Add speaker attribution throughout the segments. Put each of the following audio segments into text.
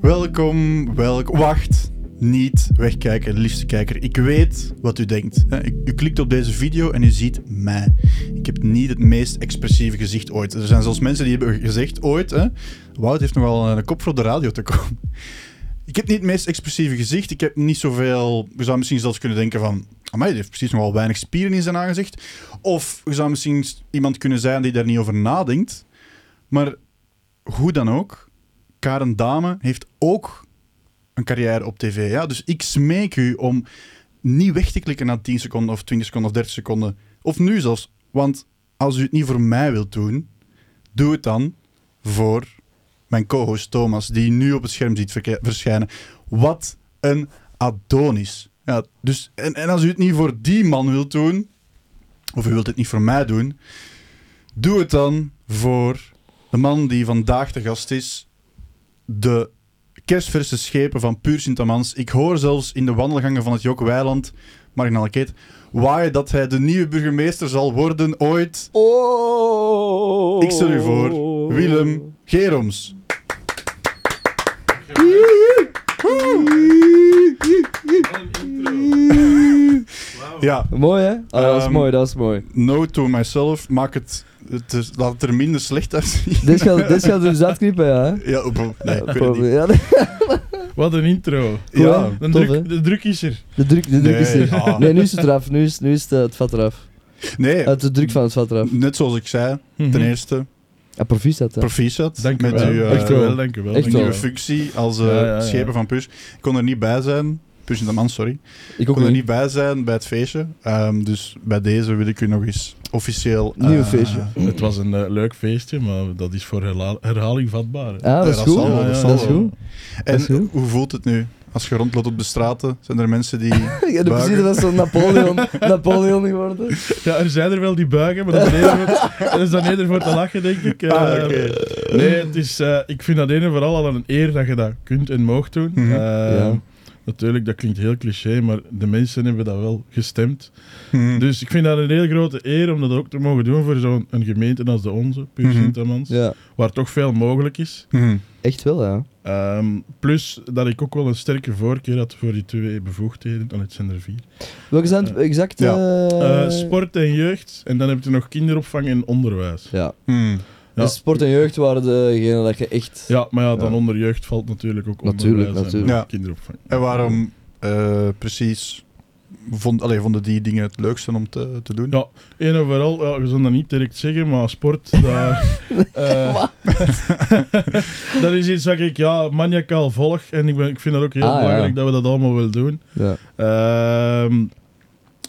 Speaker 1: welkom, welk. Wacht, niet wegkijken, liefste kijker. Ik weet wat u denkt. hè. U, u klikt op deze video en u ziet mij. Ik heb niet het meest expressieve gezicht ooit. Er zijn zelfs mensen die hebben gezegd ooit, hè, Wout heeft nogal een kop voor de radio te komen. Ik heb niet het meest expressieve gezicht. Ik heb niet zoveel... Je zou misschien zelfs kunnen denken van... Amai, die heeft precies nogal weinig spieren in zijn aangezicht. Of je zou misschien iemand kunnen zijn die daar niet over nadenkt. Maar hoe dan ook, Karen Dame heeft ook een carrière op tv. Ja? Dus ik smeek u om niet weg te klikken na 10 seconden of 20 seconden of 30 seconden. Of nu zelfs. Want als u het niet voor mij wilt doen, doe het dan voor mijn co-host Thomas, die je nu op het scherm ziet verke- verschijnen. Wat een Adonis. Ja, dus, en, en als u het niet voor die man wilt doen, of u wilt het niet voor mij doen, doe het dan voor de man die vandaag de gast is, de kerstverse schepen van Puur Sint-Amans. Ik hoor zelfs in de wandelgangen van het Jok Weiland, marginale keet, waaien dat hij de nieuwe burgemeester zal worden ooit.
Speaker 2: Oh.
Speaker 1: Ik stel u voor, Willem Geroms. Ja,
Speaker 2: Mooi hè? Ah, dat is
Speaker 1: Ehm,
Speaker 2: mooi, dat is mooi.
Speaker 1: no to myself, maak het, het is- laat het er minder slecht uitzien.
Speaker 2: Dit gaat, dit gaat dus uitknippen, ja. hè?
Speaker 1: Ja, oh, bro, nee, ik weet het niet.
Speaker 2: Ja,
Speaker 3: Wat een intro.
Speaker 1: Ja,
Speaker 3: De,
Speaker 2: Tof, hè?
Speaker 3: druk, de druk is er.
Speaker 2: de druk, de druk is
Speaker 1: Nee, Ah.
Speaker 2: er.
Speaker 1: ja.
Speaker 2: Nee, nu is het eraf. Nu is, nu is het, eh, het vat eraf.
Speaker 1: nee,
Speaker 2: Uit de druk van het vat eraf.
Speaker 1: net zoals ik zei,
Speaker 3: Mhm.
Speaker 1: ten eerste,
Speaker 2: Ja, proficiat hè.
Speaker 1: proficiat
Speaker 3: Dank u
Speaker 1: met
Speaker 3: wel.
Speaker 1: uw eh,
Speaker 3: Echt wel, dank u wel.
Speaker 2: Echt
Speaker 3: dank u
Speaker 2: wel.
Speaker 1: nieuwe
Speaker 3: wel.
Speaker 1: functie als eh
Speaker 3: Ja, ja, ja.
Speaker 1: schepen van Push. Ik kon er niet bij zijn, Push in de man, sorry.
Speaker 2: Ik
Speaker 1: Ik
Speaker 2: ook
Speaker 1: kon er
Speaker 2: niet.
Speaker 1: niet bij zijn bij het feestje. Ehm, dus bij deze wil ik u nog eens officieel... eh,
Speaker 2: Nieuw feestje.
Speaker 3: Het was een eh, leuk feestje, maar dat is voor herla- herhaling vatbaar. hè.
Speaker 2: Ah, dat is
Speaker 1: dat
Speaker 2: goed.
Speaker 1: zal wel, dat zal
Speaker 2: dat is
Speaker 1: wel.
Speaker 2: goed.
Speaker 1: En
Speaker 2: is goed.
Speaker 1: hoe voelt het nu? Als je rondloopt op de straten, zijn er mensen die...
Speaker 2: Ik heb
Speaker 1: buigen?
Speaker 2: precies dat is zo'n Napoleon, Napoleon geworden.
Speaker 3: Ja, er zijn er wel die buigen, maar dat is, dan eerder voor, dat is dan eerder voor te lachen, denk ik. Eh,
Speaker 1: Ah, oké.
Speaker 3: Nee, het is, eh, ik vind dat een en vooral al een eer dat je dat kunt en moogt doen.
Speaker 1: Mhm.
Speaker 3: Eh,
Speaker 2: Ja.
Speaker 3: Natuurlijk, dat klinkt heel cliché, maar de mensen hebben dat wel gestemd.
Speaker 1: Mhm.
Speaker 3: Dus ik vind dat een heel grote eer om dat ook te mogen doen voor zo'n een gemeente als de onze, Puur
Speaker 1: Mhm.
Speaker 3: Sint-Amans,
Speaker 2: Ja,
Speaker 3: waar toch veel mogelijk is.
Speaker 1: Mhm.
Speaker 2: echt wel ja.
Speaker 3: Ehm, plus dat ik ook wel een sterke voorkeur had voor die twee bevoegdheden, dan het zijn er vier.
Speaker 2: Welke zijn het exact?
Speaker 1: Ja.
Speaker 2: eh,
Speaker 3: Eh, sport en jeugd, en dan heb je nog kinderopvang en onderwijs.
Speaker 2: Ja.
Speaker 1: Mhm.
Speaker 3: Ja.
Speaker 2: Dus sport en jeugd waren degene dat je echt...
Speaker 3: Ja, maar ja, dan
Speaker 2: Ja.
Speaker 3: onder jeugd valt natuurlijk ook
Speaker 2: Natuurlijk,
Speaker 3: onderwijs en
Speaker 2: natuurlijk.
Speaker 1: Ja.
Speaker 3: kinderopvang.
Speaker 1: En waarom eh, precies vond, allee, vonden die dingen het leukste om te, te doen?
Speaker 3: Ja, Eén en vooral, ja, je zou dat niet direct zeggen, maar sport, daar, eh, dat is iets wat ik ja, maniacaal volg. En ik, ben, ik vind het ook heel
Speaker 2: Ah, ja.
Speaker 3: belangrijk dat we dat allemaal wel doen.
Speaker 2: Ja.
Speaker 3: Ehm,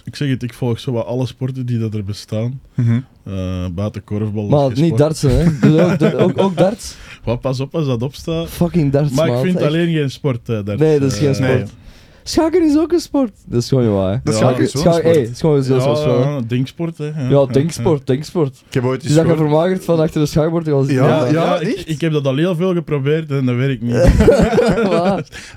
Speaker 3: ik zeg het, ik volg zo wat alle sporten die dat er bestaan.
Speaker 1: Mhm.
Speaker 3: Eh, buiten korfbal. is
Speaker 2: Maar
Speaker 3: geen
Speaker 2: niet
Speaker 3: sport.
Speaker 2: dartsen, hè? Doe ook, doe ook, ook darts?
Speaker 3: Wat, pas op als dat opstaat.
Speaker 2: Fucking darts,
Speaker 3: Maar ik
Speaker 2: maat,
Speaker 3: vind
Speaker 2: echt.
Speaker 3: alleen geen sport. eh, daar.
Speaker 2: Nee, dat is geen
Speaker 3: Eh,
Speaker 2: sport. Schaken is ook een sport. Dat is gewoon niet waar. hè.
Speaker 1: Dat
Speaker 3: Ja,
Speaker 1: schaken is wel een
Speaker 2: Schaken-
Speaker 1: sport.
Speaker 2: hey, het is gewoon een
Speaker 3: Ja,
Speaker 2: zelfs sport.
Speaker 3: ja, denksport, hè. Ja,
Speaker 2: Ja, denksport, denksport.
Speaker 1: Ik heb ooit
Speaker 2: Dus
Speaker 1: eens
Speaker 2: dat je
Speaker 1: gehoord...
Speaker 2: vermagerd van achter de schaakbord was.
Speaker 1: Ja, ja.
Speaker 3: ik,
Speaker 1: echt?
Speaker 3: ik heb dat al heel veel geprobeerd en dat werkt niet.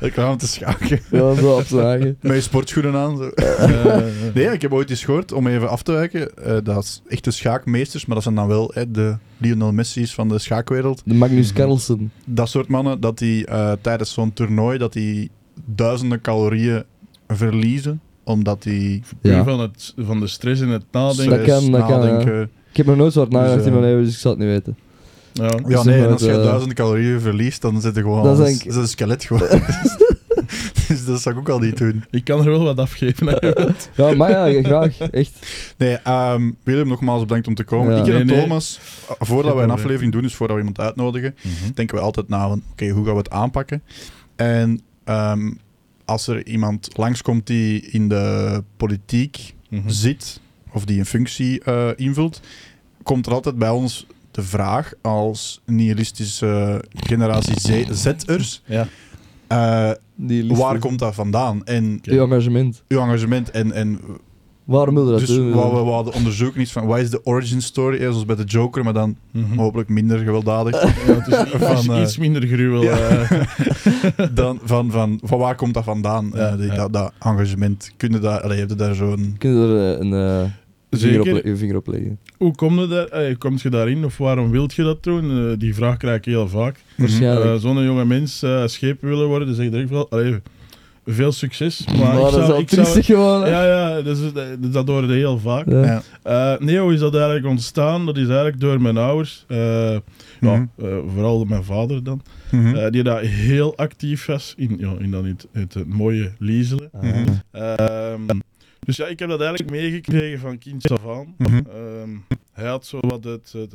Speaker 1: Ik kwam te schaken.
Speaker 2: Ja, zo op te haken.
Speaker 1: Met je sportschoenen aan. Zo.
Speaker 3: Eh,
Speaker 1: Nee, ik heb ooit eens gehoord, om even af te wijken, eh, dat is echte schaakmeesters, maar dat zijn dan wel hè, de Lionel Messi's van de schaakwereld.
Speaker 2: De Magnus Carlsen.
Speaker 1: Dat soort mannen, dat die eh, tijdens zo'n toernooi, dat die duizenden calorieën verliezen, omdat die...
Speaker 3: puur
Speaker 2: Ja.
Speaker 3: van, het, van de stress en het nadenken.
Speaker 2: Dat kan, dat kan, Ik heb nog nooit zo hard nagedacht
Speaker 1: Dus,
Speaker 2: in
Speaker 1: eh,
Speaker 2: mijn leven, dus ik zal het niet weten.
Speaker 3: Ja.
Speaker 1: Ja, nee,
Speaker 2: is
Speaker 1: en
Speaker 2: inderdaad,
Speaker 1: als je
Speaker 2: eh,
Speaker 1: duizenden calorieën verliest, dan zit er gewoon
Speaker 2: Dat
Speaker 1: dat
Speaker 2: is
Speaker 1: is,
Speaker 2: denk ik-
Speaker 1: een skelet gewoon. dus dat zou ik ook al niet doen.
Speaker 3: Ik kan er wel wat afgeven. hè.
Speaker 1: Mhm.
Speaker 2: Ja, maar ja, graag. Echt.
Speaker 1: Nee, ehm, Willem, nogmaals bedankt om te komen.
Speaker 2: Ja.
Speaker 1: Ik en
Speaker 3: Nee, nee.
Speaker 1: Thomas, eh, voordat wij een
Speaker 3: probleem.
Speaker 1: aflevering doen, dus voordat we iemand uitnodigen, denken we altijd na van, oké, hoe gaan we het aanpakken? En ehm, als er iemand langskomt die in de politiek
Speaker 3: Mhm.
Speaker 1: zit, of die een functie eh, invult, komt er altijd bij ons de vraag als nihilistische generatie Z- Z-ers,
Speaker 3: Ja.
Speaker 1: eh,
Speaker 2: Die liefde.
Speaker 1: waar komt dat vandaan? En
Speaker 2: Die engagement.
Speaker 1: uw engagement en, en
Speaker 2: Waarom wilde dat
Speaker 1: dus
Speaker 2: doen?
Speaker 1: wat we hadden onderzoeken is van, wat is de origin story? Eh, Zoals bij de Joker, maar dan
Speaker 3: Mhm.
Speaker 1: hopelijk minder gewelddadig.
Speaker 3: Ja, het is iets-
Speaker 1: Oh, Van, eh,
Speaker 3: iets minder gruwel.
Speaker 1: Ja.
Speaker 3: eh.
Speaker 1: dan van, van, van waar komt dat vandaan, eh,
Speaker 3: Ja,
Speaker 1: die,
Speaker 3: ja.
Speaker 1: Dat, dat engagement? Kun je, dat, allee, heb je daar zo'n...
Speaker 2: Kunnen we er eh, een... eh, Je vinger op,
Speaker 3: Zeker.
Speaker 2: le- je vinger op leggen.
Speaker 3: Hoe kom je, daar, eh, komt je daarin of waarom wilt je dat doen? Eh, die vraag krijg ik heel vaak.
Speaker 2: Waarschijnlijk.
Speaker 3: Eh, Zo'n jonge mens eh schepen willen worden, dan zeg ik direct wel, allee, veel succes. Maar,
Speaker 2: Maar
Speaker 3: ik
Speaker 2: dat
Speaker 3: zou,
Speaker 2: is al
Speaker 3: ik zou-
Speaker 2: triestig gewoon. hè.
Speaker 3: Ja, ja, dus, eh, dus dat hoorde heel vaak.
Speaker 2: Ja.
Speaker 1: Ja.
Speaker 3: Eh, nee, hoe is dat eigenlijk ontstaan? Dat is eigenlijk door mijn ouders. eh,
Speaker 1: Mhm.
Speaker 3: ja, eh, vooral mijn vader dan.
Speaker 1: Mhm.
Speaker 3: eh, die daar heel actief was in, ja, in dan het, het, eh, mooie Liezelen.
Speaker 2: Ah.
Speaker 1: Mhm.
Speaker 3: Ehm, dus ja, ik heb dat eigenlijk meegekregen van kind af aan.
Speaker 1: Mhm.
Speaker 3: Ehm, hij had zo wat het... het-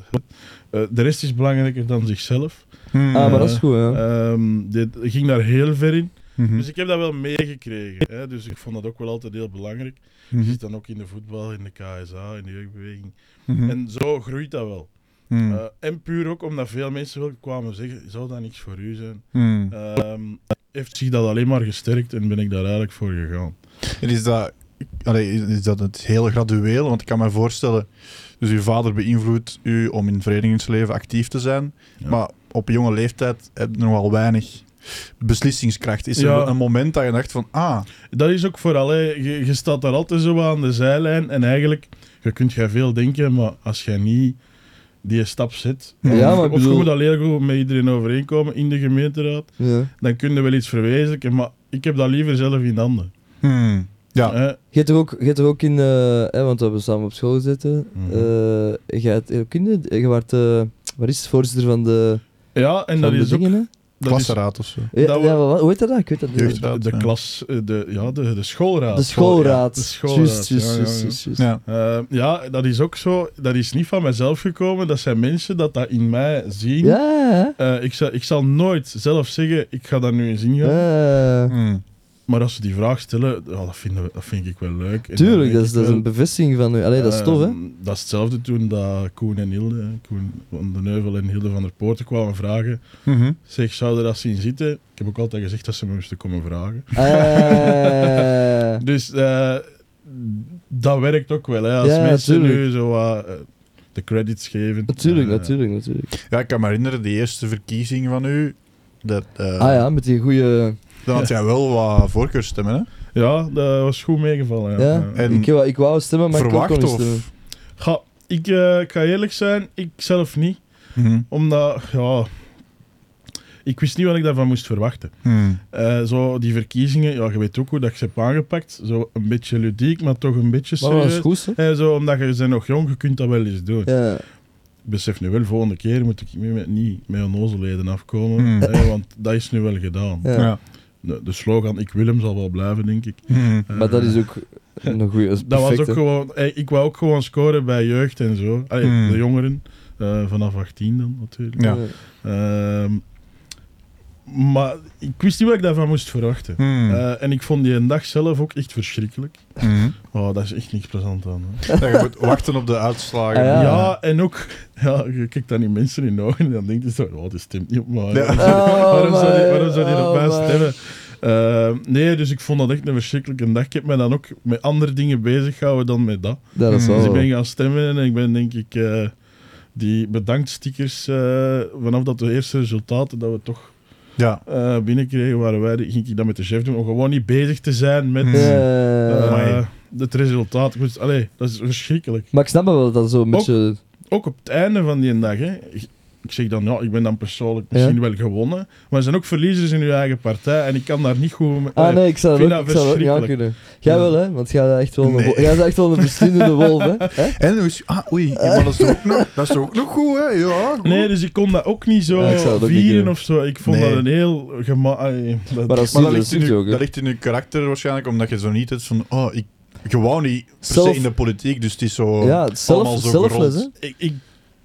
Speaker 3: eh, de rest is belangrijker dan zichzelf.
Speaker 1: Mhm.
Speaker 2: Ah, maar dat
Speaker 3: Eh,
Speaker 2: is goed, hè.
Speaker 3: Ehm, dit ging daar heel ver in.
Speaker 1: Mhm.
Speaker 3: Dus ik heb dat wel meegekregen. Hè? Dus ik vond dat ook wel altijd heel belangrijk. Je
Speaker 1: Mhm.
Speaker 3: zit dan ook in de voetbal, in de KSA, in de jeugdbeweging.
Speaker 1: Mhm.
Speaker 3: En zo groeit dat wel.
Speaker 1: Mhm.
Speaker 3: Eh, en puur ook omdat veel mensen wel kwamen zeggen, zou dat niks voor u zijn?
Speaker 1: Mhm.
Speaker 3: Ehm, heeft zich dat alleen maar gesterkt en ben ik daar eigenlijk voor gegaan.
Speaker 1: En is dat, allee, is- is dat het heel gradueel? Want ik kan me voorstellen, dus uw vader beïnvloedt u om in het verenigingsleven actief te zijn,
Speaker 3: Ja.
Speaker 1: maar op jonge leeftijd heb je nogal weinig beslissingskracht. Is er
Speaker 3: Ja.
Speaker 1: een moment dat je dacht van, ah,
Speaker 3: Dat is ook vooral, hè. Je, je staat daar altijd zo aan de zijlijn en eigenlijk, je kunt jij veel denken, maar als jij niet die stap zet,
Speaker 1: Ja,
Speaker 3: of-
Speaker 1: maar
Speaker 2: ik
Speaker 3: of je
Speaker 2: bedoel-
Speaker 3: moet al heel goed met iedereen overeenkomen in de gemeenteraad,
Speaker 2: Ja.
Speaker 3: dan kun je wel iets verwezenlijken, maar ik heb dat liever zelf in de handen.
Speaker 1: hmm, ja,
Speaker 3: Hè?
Speaker 2: Je hebt er ook, je hebt er ook in, eh, hè, want we hebben samen op school gezeten.
Speaker 3: Mhm.
Speaker 2: eh, je hebt ook in de, je werd, eh, wat is het, voorzitter van de,
Speaker 3: Ja, en
Speaker 2: van
Speaker 3: dat
Speaker 2: de
Speaker 3: is ook...
Speaker 2: dingen, hè?
Speaker 3: Dat is
Speaker 1: klasraad of zo.
Speaker 2: Ja,
Speaker 3: Dat we-
Speaker 2: ja, wat- hoe heet dat? dan? Ik weet dat niet.
Speaker 1: Jeugd-
Speaker 3: de, de
Speaker 1: Ja.
Speaker 3: klas, eh, de, ja, de, de schoolraad.
Speaker 2: De schoolraad.
Speaker 3: De schoolraad,
Speaker 2: Juist, juist,
Speaker 3: ja, ja,
Speaker 2: juist,
Speaker 3: ja.
Speaker 2: juist, juist.
Speaker 1: Ja.
Speaker 3: Eh, ja, dat is ook zo. Dat is niet van mezelf gekomen. Dat zijn mensen dat dat in mij zien.
Speaker 2: Ja, hè?
Speaker 3: Eh, ik, zal, ik zal nooit zelf zeggen, ik ga daar nu eens in gaan.
Speaker 2: Ja.
Speaker 1: Hmm.
Speaker 3: Maar als ze die vraag stellen, ja, dat, vinden we, dat vind ik wel leuk. En dan
Speaker 2: Tuurlijk,
Speaker 3: weet
Speaker 2: dat
Speaker 3: ik
Speaker 2: is, dat is
Speaker 3: wel,
Speaker 2: een bevestiging van u. Allee, dat is tof, hè?
Speaker 3: ehm, Dat is hetzelfde toen dat Koen en Hilde, hè, Koen van de Neuvel en Hilde van der Poorten kwamen vragen.
Speaker 1: Mhm.
Speaker 3: Zeg, zouden dat zien zitten? Ik heb ook altijd gezegd dat ze me moesten komen vragen.
Speaker 2: Eh,
Speaker 3: Dus eh, dat werkt ook wel. Hè? Als
Speaker 2: Ja,
Speaker 3: mensen
Speaker 2: tuurlijk.
Speaker 3: nu zo wat, eh, de credits geven.
Speaker 2: natuurlijk,
Speaker 3: eh,
Speaker 2: natuurlijk, natuurlijk.
Speaker 1: Ja, ik kan me herinneren, de eerste verkiezing van u, dat, eh,
Speaker 2: Ah ja, met die goede.
Speaker 1: dan had jij wel wat voorkeurstemmen, hè?
Speaker 3: Ja, dat was goed meegevallen. Ja.
Speaker 2: Ja,
Speaker 3: Ja.
Speaker 1: En-
Speaker 2: ik, wou- ik wou stemmen, maar ik
Speaker 1: Verwacht
Speaker 2: kon niet
Speaker 1: of...
Speaker 2: stemmen.
Speaker 3: Ga, ik, eh, ik ga eerlijk zijn, ik zelf niet.
Speaker 1: Mhm.
Speaker 3: Omdat, ja... Ik wist niet wat ik daarvan moest verwachten.
Speaker 1: Hmm.
Speaker 3: Eh, zo die verkiezingen, ja, je weet ook hoe dat ik ze heb aangepakt. Zo een beetje ludiek, maar toch een beetje
Speaker 2: Maar dat is
Speaker 3: serieus.
Speaker 2: goed, hè?
Speaker 3: Eh, zo, omdat je bent nog jong, je kunt dat wel eens doen.
Speaker 2: Ja.
Speaker 3: Ik besef nu wel, volgende keer moet ik niet met, niet met onnozelheden afkomen.
Speaker 1: Hmm.
Speaker 3: hè, want dat is nu wel gedaan.
Speaker 2: Ja.
Speaker 1: Ja.
Speaker 3: De, de slogan Ik wil hem zal wel blijven, denk ik.
Speaker 1: Hmm.
Speaker 3: Eh,
Speaker 2: Maar dat is ook een goede. Dat, is
Speaker 3: dat was
Speaker 2: perfect,
Speaker 3: ook
Speaker 2: hè.
Speaker 3: gewoon... eh, Ik wou ook gewoon scoren bij jeugd en zo. Allee,
Speaker 1: Hmm.
Speaker 3: De jongeren. eh, vanaf 18 dan, natuurlijk.
Speaker 1: Ja.
Speaker 3: Ehm, maar ik wist niet wat ik daarvan moest verwachten.
Speaker 1: Hmm.
Speaker 3: Eh, en ik vond die dag zelf ook echt verschrikkelijk.
Speaker 1: Mhm.
Speaker 3: Oh, daar is echt niks plezant aan. hè.
Speaker 1: Ja, je moet wachten op de uitslagen.
Speaker 2: Ah, ja.
Speaker 3: Ja. en ook... Ja, je kijkt dan die mensen in de ogen en dan denk je zo... Oh, dit stemt niet op mij.
Speaker 1: Ja. Oh
Speaker 3: waarom zou die,
Speaker 2: man,
Speaker 3: waarom zou die
Speaker 2: oh,
Speaker 3: erbij
Speaker 2: man.
Speaker 3: stemmen? Eh, nee, dus ik vond dat echt een verschrikkelijke dag. Ik heb me dan ook met andere dingen bezig gehouden dan met dat.
Speaker 2: Ja,
Speaker 1: Mm.
Speaker 2: dat is
Speaker 3: Dus
Speaker 2: wel.
Speaker 1: Oh.
Speaker 3: ik ben gaan stemmen en ik ben denk ik eh, die bedankt-stickers, eh, vanaf dat de eerste resultaten dat we toch
Speaker 1: Ja.
Speaker 3: eh, binnenkregen, waren wij, die- ging ik dat met de chef doen, om gewoon niet bezig te zijn met
Speaker 1: Ja.
Speaker 2: Eh,
Speaker 3: eh,
Speaker 1: Amai.
Speaker 3: het resultaat. Ik moest- Allee, dat is verschrikkelijk.
Speaker 2: Maar ik snap wel dat dat zo een beetje.
Speaker 3: Ook op het einde van die dag, hè, ik- ik zeg dan, ja, ik ben dan persoonlijk misschien
Speaker 2: Ja.
Speaker 3: wel gewonnen, maar er zijn ook verliezers in uw eigen partij en ik kan daar niet goed mee... Eh,
Speaker 1: Eh,
Speaker 2: Ah nee, ik zou
Speaker 3: vind
Speaker 2: dat ook,
Speaker 3: dat
Speaker 2: ik zou dat ook niet aan kunnen. Jij
Speaker 3: Ja.
Speaker 2: wel, hè? Want jij bent echt wel een,
Speaker 1: Nee.
Speaker 2: wol- jij bent echt wel een verschillende wolf, hè? Hè?
Speaker 1: En hoe is... Ah, oei.
Speaker 2: Eh.
Speaker 1: Ja, maar dat is toch ook nog, dat is toch ook nog goed, hè? Ja, goed.
Speaker 3: Nee, dus ik kon dat ook niet zo
Speaker 2: Ja, ik zou dat ook niet
Speaker 3: vieren
Speaker 2: doen.
Speaker 3: of zo. Ik vond
Speaker 1: Nee.
Speaker 3: dat een heel gemakkelijk...
Speaker 2: Maar dat is
Speaker 1: Maar
Speaker 2: niet
Speaker 1: dat
Speaker 2: dat
Speaker 1: ligt, in
Speaker 2: is
Speaker 1: uw,
Speaker 2: ook,
Speaker 1: dat
Speaker 2: hè?
Speaker 1: ligt in uw karakter waarschijnlijk, omdat je zo niet hebt van... Oh, ik, je wou niet per se
Speaker 2: Zelf-
Speaker 1: in de politiek, dus het is zo...
Speaker 2: Ja, het zelf,
Speaker 1: allemaal zo
Speaker 2: zelfles, hè?
Speaker 1: gerond.
Speaker 3: ik, ik,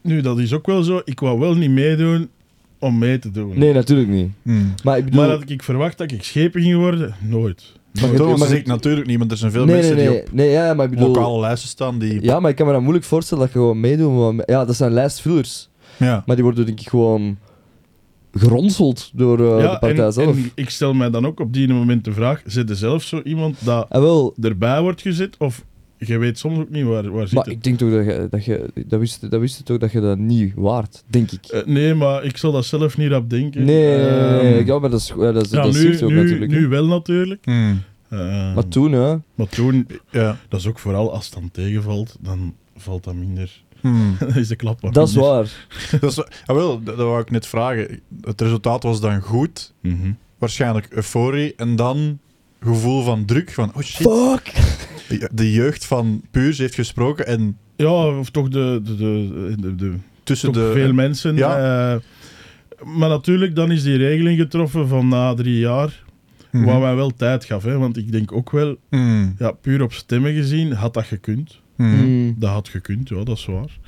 Speaker 3: nu, dat is ook wel zo. Ik wou wel niet meedoen om mee te doen.
Speaker 2: Nee, natuurlijk niet.
Speaker 1: Hmm.
Speaker 2: Maar ik bedoel...
Speaker 3: maar had ik verwacht dat ik schepen ging worden? Nooit.
Speaker 1: Maar
Speaker 2: je-
Speaker 1: Thomas
Speaker 2: maar
Speaker 1: zeg
Speaker 2: je-
Speaker 1: ik natuurlijk niet, want er zijn veel
Speaker 2: nee, nee,
Speaker 1: mensen
Speaker 2: nee,
Speaker 1: die op
Speaker 2: nee, ja, maar ik bedoel...
Speaker 1: lokale lijsten staan die...
Speaker 2: Ja, maar ik kan me dat moeilijk voorstellen dat je gewoon meedoet. want- ja, dat zijn lijstvullers.
Speaker 1: Ja.
Speaker 2: Maar die worden denk ik gewoon geronseld door eh, de partij
Speaker 3: en,
Speaker 2: zelf.
Speaker 3: en ik stel mij dan ook op die moment de vraag, zit er zelf zo iemand dat
Speaker 2: Ah, wel,
Speaker 3: erbij wordt gezet? Of je weet soms ook niet waar, waar zit
Speaker 2: maar
Speaker 3: het?
Speaker 2: ik denk toch dat je... Dat, je, dat, wist, dat wist je toch dat je dat niet waard, denk ik.
Speaker 3: Eh, nee, maar ik zal dat zelf niet op denken.
Speaker 2: nee, nee, nee, nee,
Speaker 3: Ehm,
Speaker 2: nee. Ja, maar dat is, ja, dat is,
Speaker 3: ja,
Speaker 2: dat is
Speaker 3: nu,
Speaker 2: ook
Speaker 3: nu,
Speaker 2: natuurlijk. hè.
Speaker 3: nu wel natuurlijk.
Speaker 1: Hmm.
Speaker 3: Eh, Eh,
Speaker 2: Maar toen, hè.
Speaker 3: maar toen,
Speaker 1: Ja.
Speaker 3: dat is ook vooral als het dan tegenvalt, dan valt dat minder.
Speaker 1: Hmm.
Speaker 3: dan is de klap wat
Speaker 2: Dat is
Speaker 3: minder.
Speaker 2: waar.
Speaker 1: dat, is, ah, wel, dat, dat wou ik net vragen. Het resultaat was dan goed,
Speaker 3: Mhm.
Speaker 1: waarschijnlijk euforie, en dan gevoel van druk, van oh shit.
Speaker 2: Fuck!
Speaker 1: De jeugd van Puurs heeft gesproken en
Speaker 3: Ja, of toch de, de, de, de, de-
Speaker 1: tussen
Speaker 3: toch
Speaker 1: de...
Speaker 3: veel mensen.
Speaker 1: ja.
Speaker 3: eh, maar natuurlijk, dan is die regeling getroffen van na drie jaar,
Speaker 1: Mhm.
Speaker 3: wat mij wel tijd gaf. Hè, want ik denk ook wel,
Speaker 1: Hmm.
Speaker 3: ja, puur op stemmen gezien, had dat gekund.
Speaker 1: Hmm.
Speaker 2: Mm.
Speaker 3: Dat had gekund, ja, dat is waar.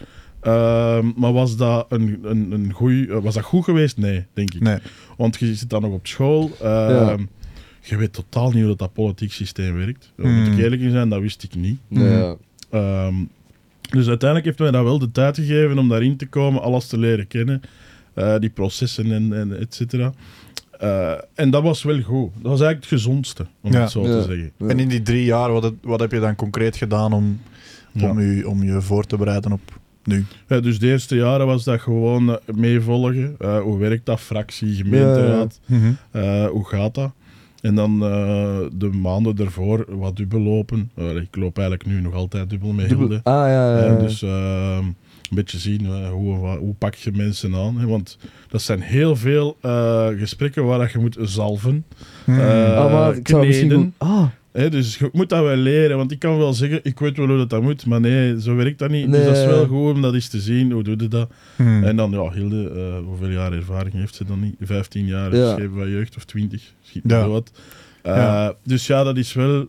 Speaker 3: Ehm, maar was dat, een, een, een goeie, eh, was dat goed geweest? Nee, denk ik.
Speaker 1: Nee.
Speaker 3: Want je zit dan nog op school. ehm, Je weet totaal niet hoe dat, dat politiek systeem werkt. Daar moet
Speaker 1: Hmm.
Speaker 3: ik eerlijk in zijn, dat wist ik niet.
Speaker 1: Mhm.
Speaker 2: Ja.
Speaker 3: Ehm, dus uiteindelijk heeft mij dat wel de tijd gegeven om daarin te komen, alles te leren kennen, eh, die processen en, en et cetera. Eh, en dat was wel goed. Dat was eigenlijk het gezondste, om
Speaker 1: Ja.
Speaker 3: het zo
Speaker 2: Ja.
Speaker 3: te zeggen.
Speaker 1: En in die drie jaar, wat, het- wat heb je dan concreet gedaan om,
Speaker 3: Ja.
Speaker 1: om, u, om je voor te bereiden op nu?
Speaker 3: Ja, dus de eerste jaren was dat gewoon eh, meevolgen. Eh, hoe werkt dat? Fractie, gemeenteraad,
Speaker 1: Hmm.
Speaker 3: eh, hoe gaat dat? En dan eh, de maanden daarvoor wat dubbel lopen. Eh, ik loop eigenlijk nu nog altijd dubbel met
Speaker 2: Dubbel-
Speaker 3: Hilde.
Speaker 2: Ah, ja, ja.
Speaker 3: Eh,
Speaker 2: ja.
Speaker 3: dus eh, een beetje zien eh, hoe, wa- hoe pak je mensen aan. Hè? Want dat zijn heel veel eh, gesprekken waar dat je moet zalven.
Speaker 1: Hmm.
Speaker 3: Eh,
Speaker 2: ah, maar ik zou misschien...
Speaker 3: kneden.
Speaker 2: goed- Ah,
Speaker 3: Hè? Dus je moet dat wel leren. Want ik kan wel zeggen, ik weet wel hoe dat, dat moet. Maar nee, zo werkt dat niet. Dus dat is
Speaker 2: Nee.
Speaker 3: wel goed om dat eens te zien. Hoe doe je dat?
Speaker 1: Hmm.
Speaker 3: En dan, ja, Hilde, eh, hoeveel jaar ervaring heeft ze dan niet? 15 jaar,
Speaker 2: Ja.
Speaker 3: schepen van jeugd of 20, schiet
Speaker 1: Ja.
Speaker 3: me wat. Eh,
Speaker 1: Ja.
Speaker 3: Dus ja, dat is wel...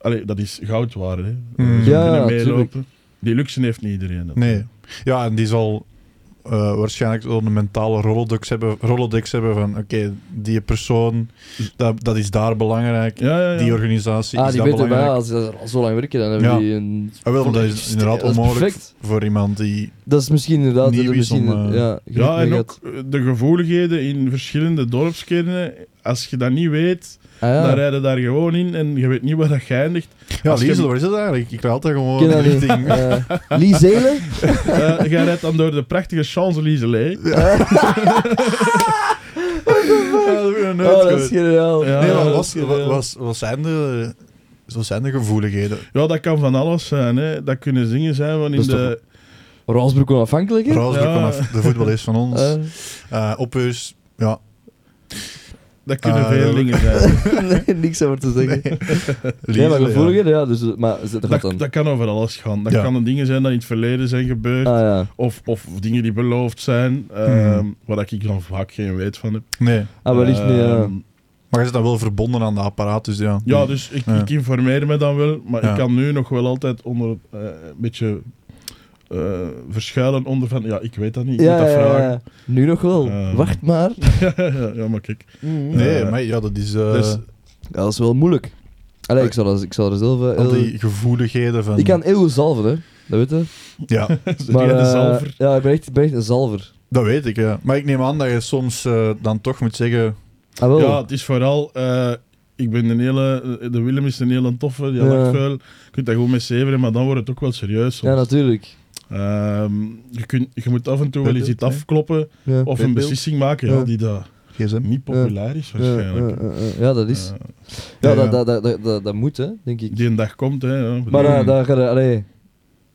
Speaker 3: Allee, dat is goud waard, hè.
Speaker 1: Mm.
Speaker 3: Eh, ze
Speaker 2: Ja,
Speaker 3: kunnen
Speaker 2: tuurlijk.
Speaker 3: meelopen. Die luxe heeft niet iedereen. dat.
Speaker 1: Nee. Ja, en die zal eh, waarschijnlijk wel een mentale rolodex hebben, rolodex hebben van oké, die persoon, dat, dat is daar belangrijk.
Speaker 3: Ja, ja, ja.
Speaker 1: Die organisatie
Speaker 2: ah
Speaker 1: is
Speaker 2: die
Speaker 1: dat
Speaker 2: weten
Speaker 1: belangrijk.
Speaker 2: wel, als ze al zo lang werken, dan hebben
Speaker 1: Ja.
Speaker 2: die een...
Speaker 1: Ah, wel, want dat is inderdaad
Speaker 2: dat is
Speaker 1: onmogelijk
Speaker 2: perfect.
Speaker 1: voor iemand die...
Speaker 2: Dat is misschien inderdaad...
Speaker 1: Nieuw
Speaker 2: dat
Speaker 1: is
Speaker 2: er misschien,
Speaker 1: om, eh,
Speaker 2: ja,
Speaker 3: Ja, en
Speaker 2: gelijk
Speaker 3: ook eh, de gevoeligheden in verschillende dorpskernen. Als je dat niet weet,
Speaker 2: had. Ah, ja.
Speaker 3: dan rijden daar gewoon in en je weet niet waar dat je eindigt.
Speaker 1: Ja,
Speaker 3: Als je-
Speaker 1: Liesel, waar is dat eigenlijk? Ik laat dat
Speaker 2: Ik
Speaker 1: gewoon
Speaker 2: ken dat niet.
Speaker 1: richting...
Speaker 2: Eh, Lee Zelen?
Speaker 3: Eh, jij rijdt dan door de prachtige Champs-Élysées.
Speaker 1: Ja, dat heb ik nog nooit
Speaker 2: Oh, dat
Speaker 1: gehoord.
Speaker 2: is geniaal.
Speaker 3: Ja.
Speaker 1: Nee, maar
Speaker 3: dat
Speaker 1: wat,
Speaker 2: is
Speaker 1: wat,
Speaker 2: geniaal.
Speaker 1: wat, wat zijn de... Wat zijn de gevoeligheden?
Speaker 3: Ja, dat kan van alles zijn. Hè. Dat kunnen zingen zijn van in
Speaker 2: Dat is
Speaker 3: de...
Speaker 2: Roosbroek onafhankelijk, hè?
Speaker 1: Rausbroek
Speaker 3: Ja.
Speaker 1: vanaf de voetbal is van ons.
Speaker 2: Eh,
Speaker 1: Eh Opheurs, ja.
Speaker 3: Dat kunnen
Speaker 1: Ah,
Speaker 3: veel
Speaker 1: dat-
Speaker 3: dingen zijn.
Speaker 2: Eh, nee, niks over te zeggen. Nee,
Speaker 1: Liesel,
Speaker 2: maar
Speaker 1: ja.
Speaker 2: gevoeliger, ja. dus, maar dat gaat
Speaker 3: Dat,
Speaker 2: dan.
Speaker 3: dat kan over alles gaan. Dat
Speaker 1: Ja.
Speaker 3: kan dingen zijn die in het verleden zijn gebeurd.
Speaker 2: ah, ja.
Speaker 3: Of, of dingen die beloofd zijn, ehm,
Speaker 1: Hmm.
Speaker 3: waar ik dan vaak geen weet van heb.
Speaker 1: Nee,
Speaker 2: Ah, wellicht niet, ja.
Speaker 3: Ehm,
Speaker 1: maar je zit dan wel verbonden aan de apparaat, dus ja.
Speaker 3: Ja, dus ik,
Speaker 1: Ja.
Speaker 3: ik informeer me dan wel, maar
Speaker 1: Ja.
Speaker 3: ik kan nu nog wel altijd onder eh, een beetje eh, verschuilen onder van ja, ik weet dat niet, ik
Speaker 2: Ja,
Speaker 3: moet dat
Speaker 2: ja, ja,
Speaker 3: vragen.
Speaker 2: ja. Nu nog wel.
Speaker 3: Ehm.
Speaker 2: Wacht maar.
Speaker 3: Ja, maar kijk.
Speaker 2: Mm.
Speaker 1: Nee,
Speaker 3: Eh,
Speaker 1: maar ja, dat is... eh,
Speaker 3: dus-
Speaker 2: Ja, dat is wel moeilijk. Allee, ik zal, er- ik zal er zelf... eh,
Speaker 1: al
Speaker 2: heel-
Speaker 1: die gevoeligheden van...
Speaker 2: Ik kan eeuwig zalven, hè. Dat weet je.
Speaker 1: Ja,
Speaker 3: jij de
Speaker 2: eh,
Speaker 3: zalver?
Speaker 2: ja, ik ben echt, ik ben echt een zalver.
Speaker 1: dat weet ik, ja. Maar ik neem aan dat je soms eh, dan toch moet zeggen...
Speaker 2: Ah, wel.
Speaker 3: Ja, het is vooral, eh, ik ben een hele, de Willem is een hele toffe, die
Speaker 2: Ja.
Speaker 3: lacht veel. Je kunt dat goed met zeveren, maar dan wordt het ook wel serieus. soms.
Speaker 2: Ja, natuurlijk.
Speaker 3: Ehm, je, kunt, je moet af en toe wel eens
Speaker 1: Weet
Speaker 3: iets
Speaker 1: het, hè?
Speaker 3: afkloppen
Speaker 2: Ja.
Speaker 3: of
Speaker 1: Weet
Speaker 3: een
Speaker 1: het.
Speaker 3: beslissing maken ja,
Speaker 2: Ja.
Speaker 3: die dat
Speaker 1: GSM.
Speaker 3: niet populair is
Speaker 2: Ja,
Speaker 3: waarschijnlijk.
Speaker 2: ja, ja, ja. Ja, dat is.
Speaker 3: Eh,
Speaker 2: Ja,
Speaker 1: ja, ja.
Speaker 2: Dat, dat, dat, dat, dat, dat moet, hè, denk ik.
Speaker 3: die een dag komt, hè. ja.
Speaker 2: Maar
Speaker 1: Mm.
Speaker 2: eh, daar ga je... Allee,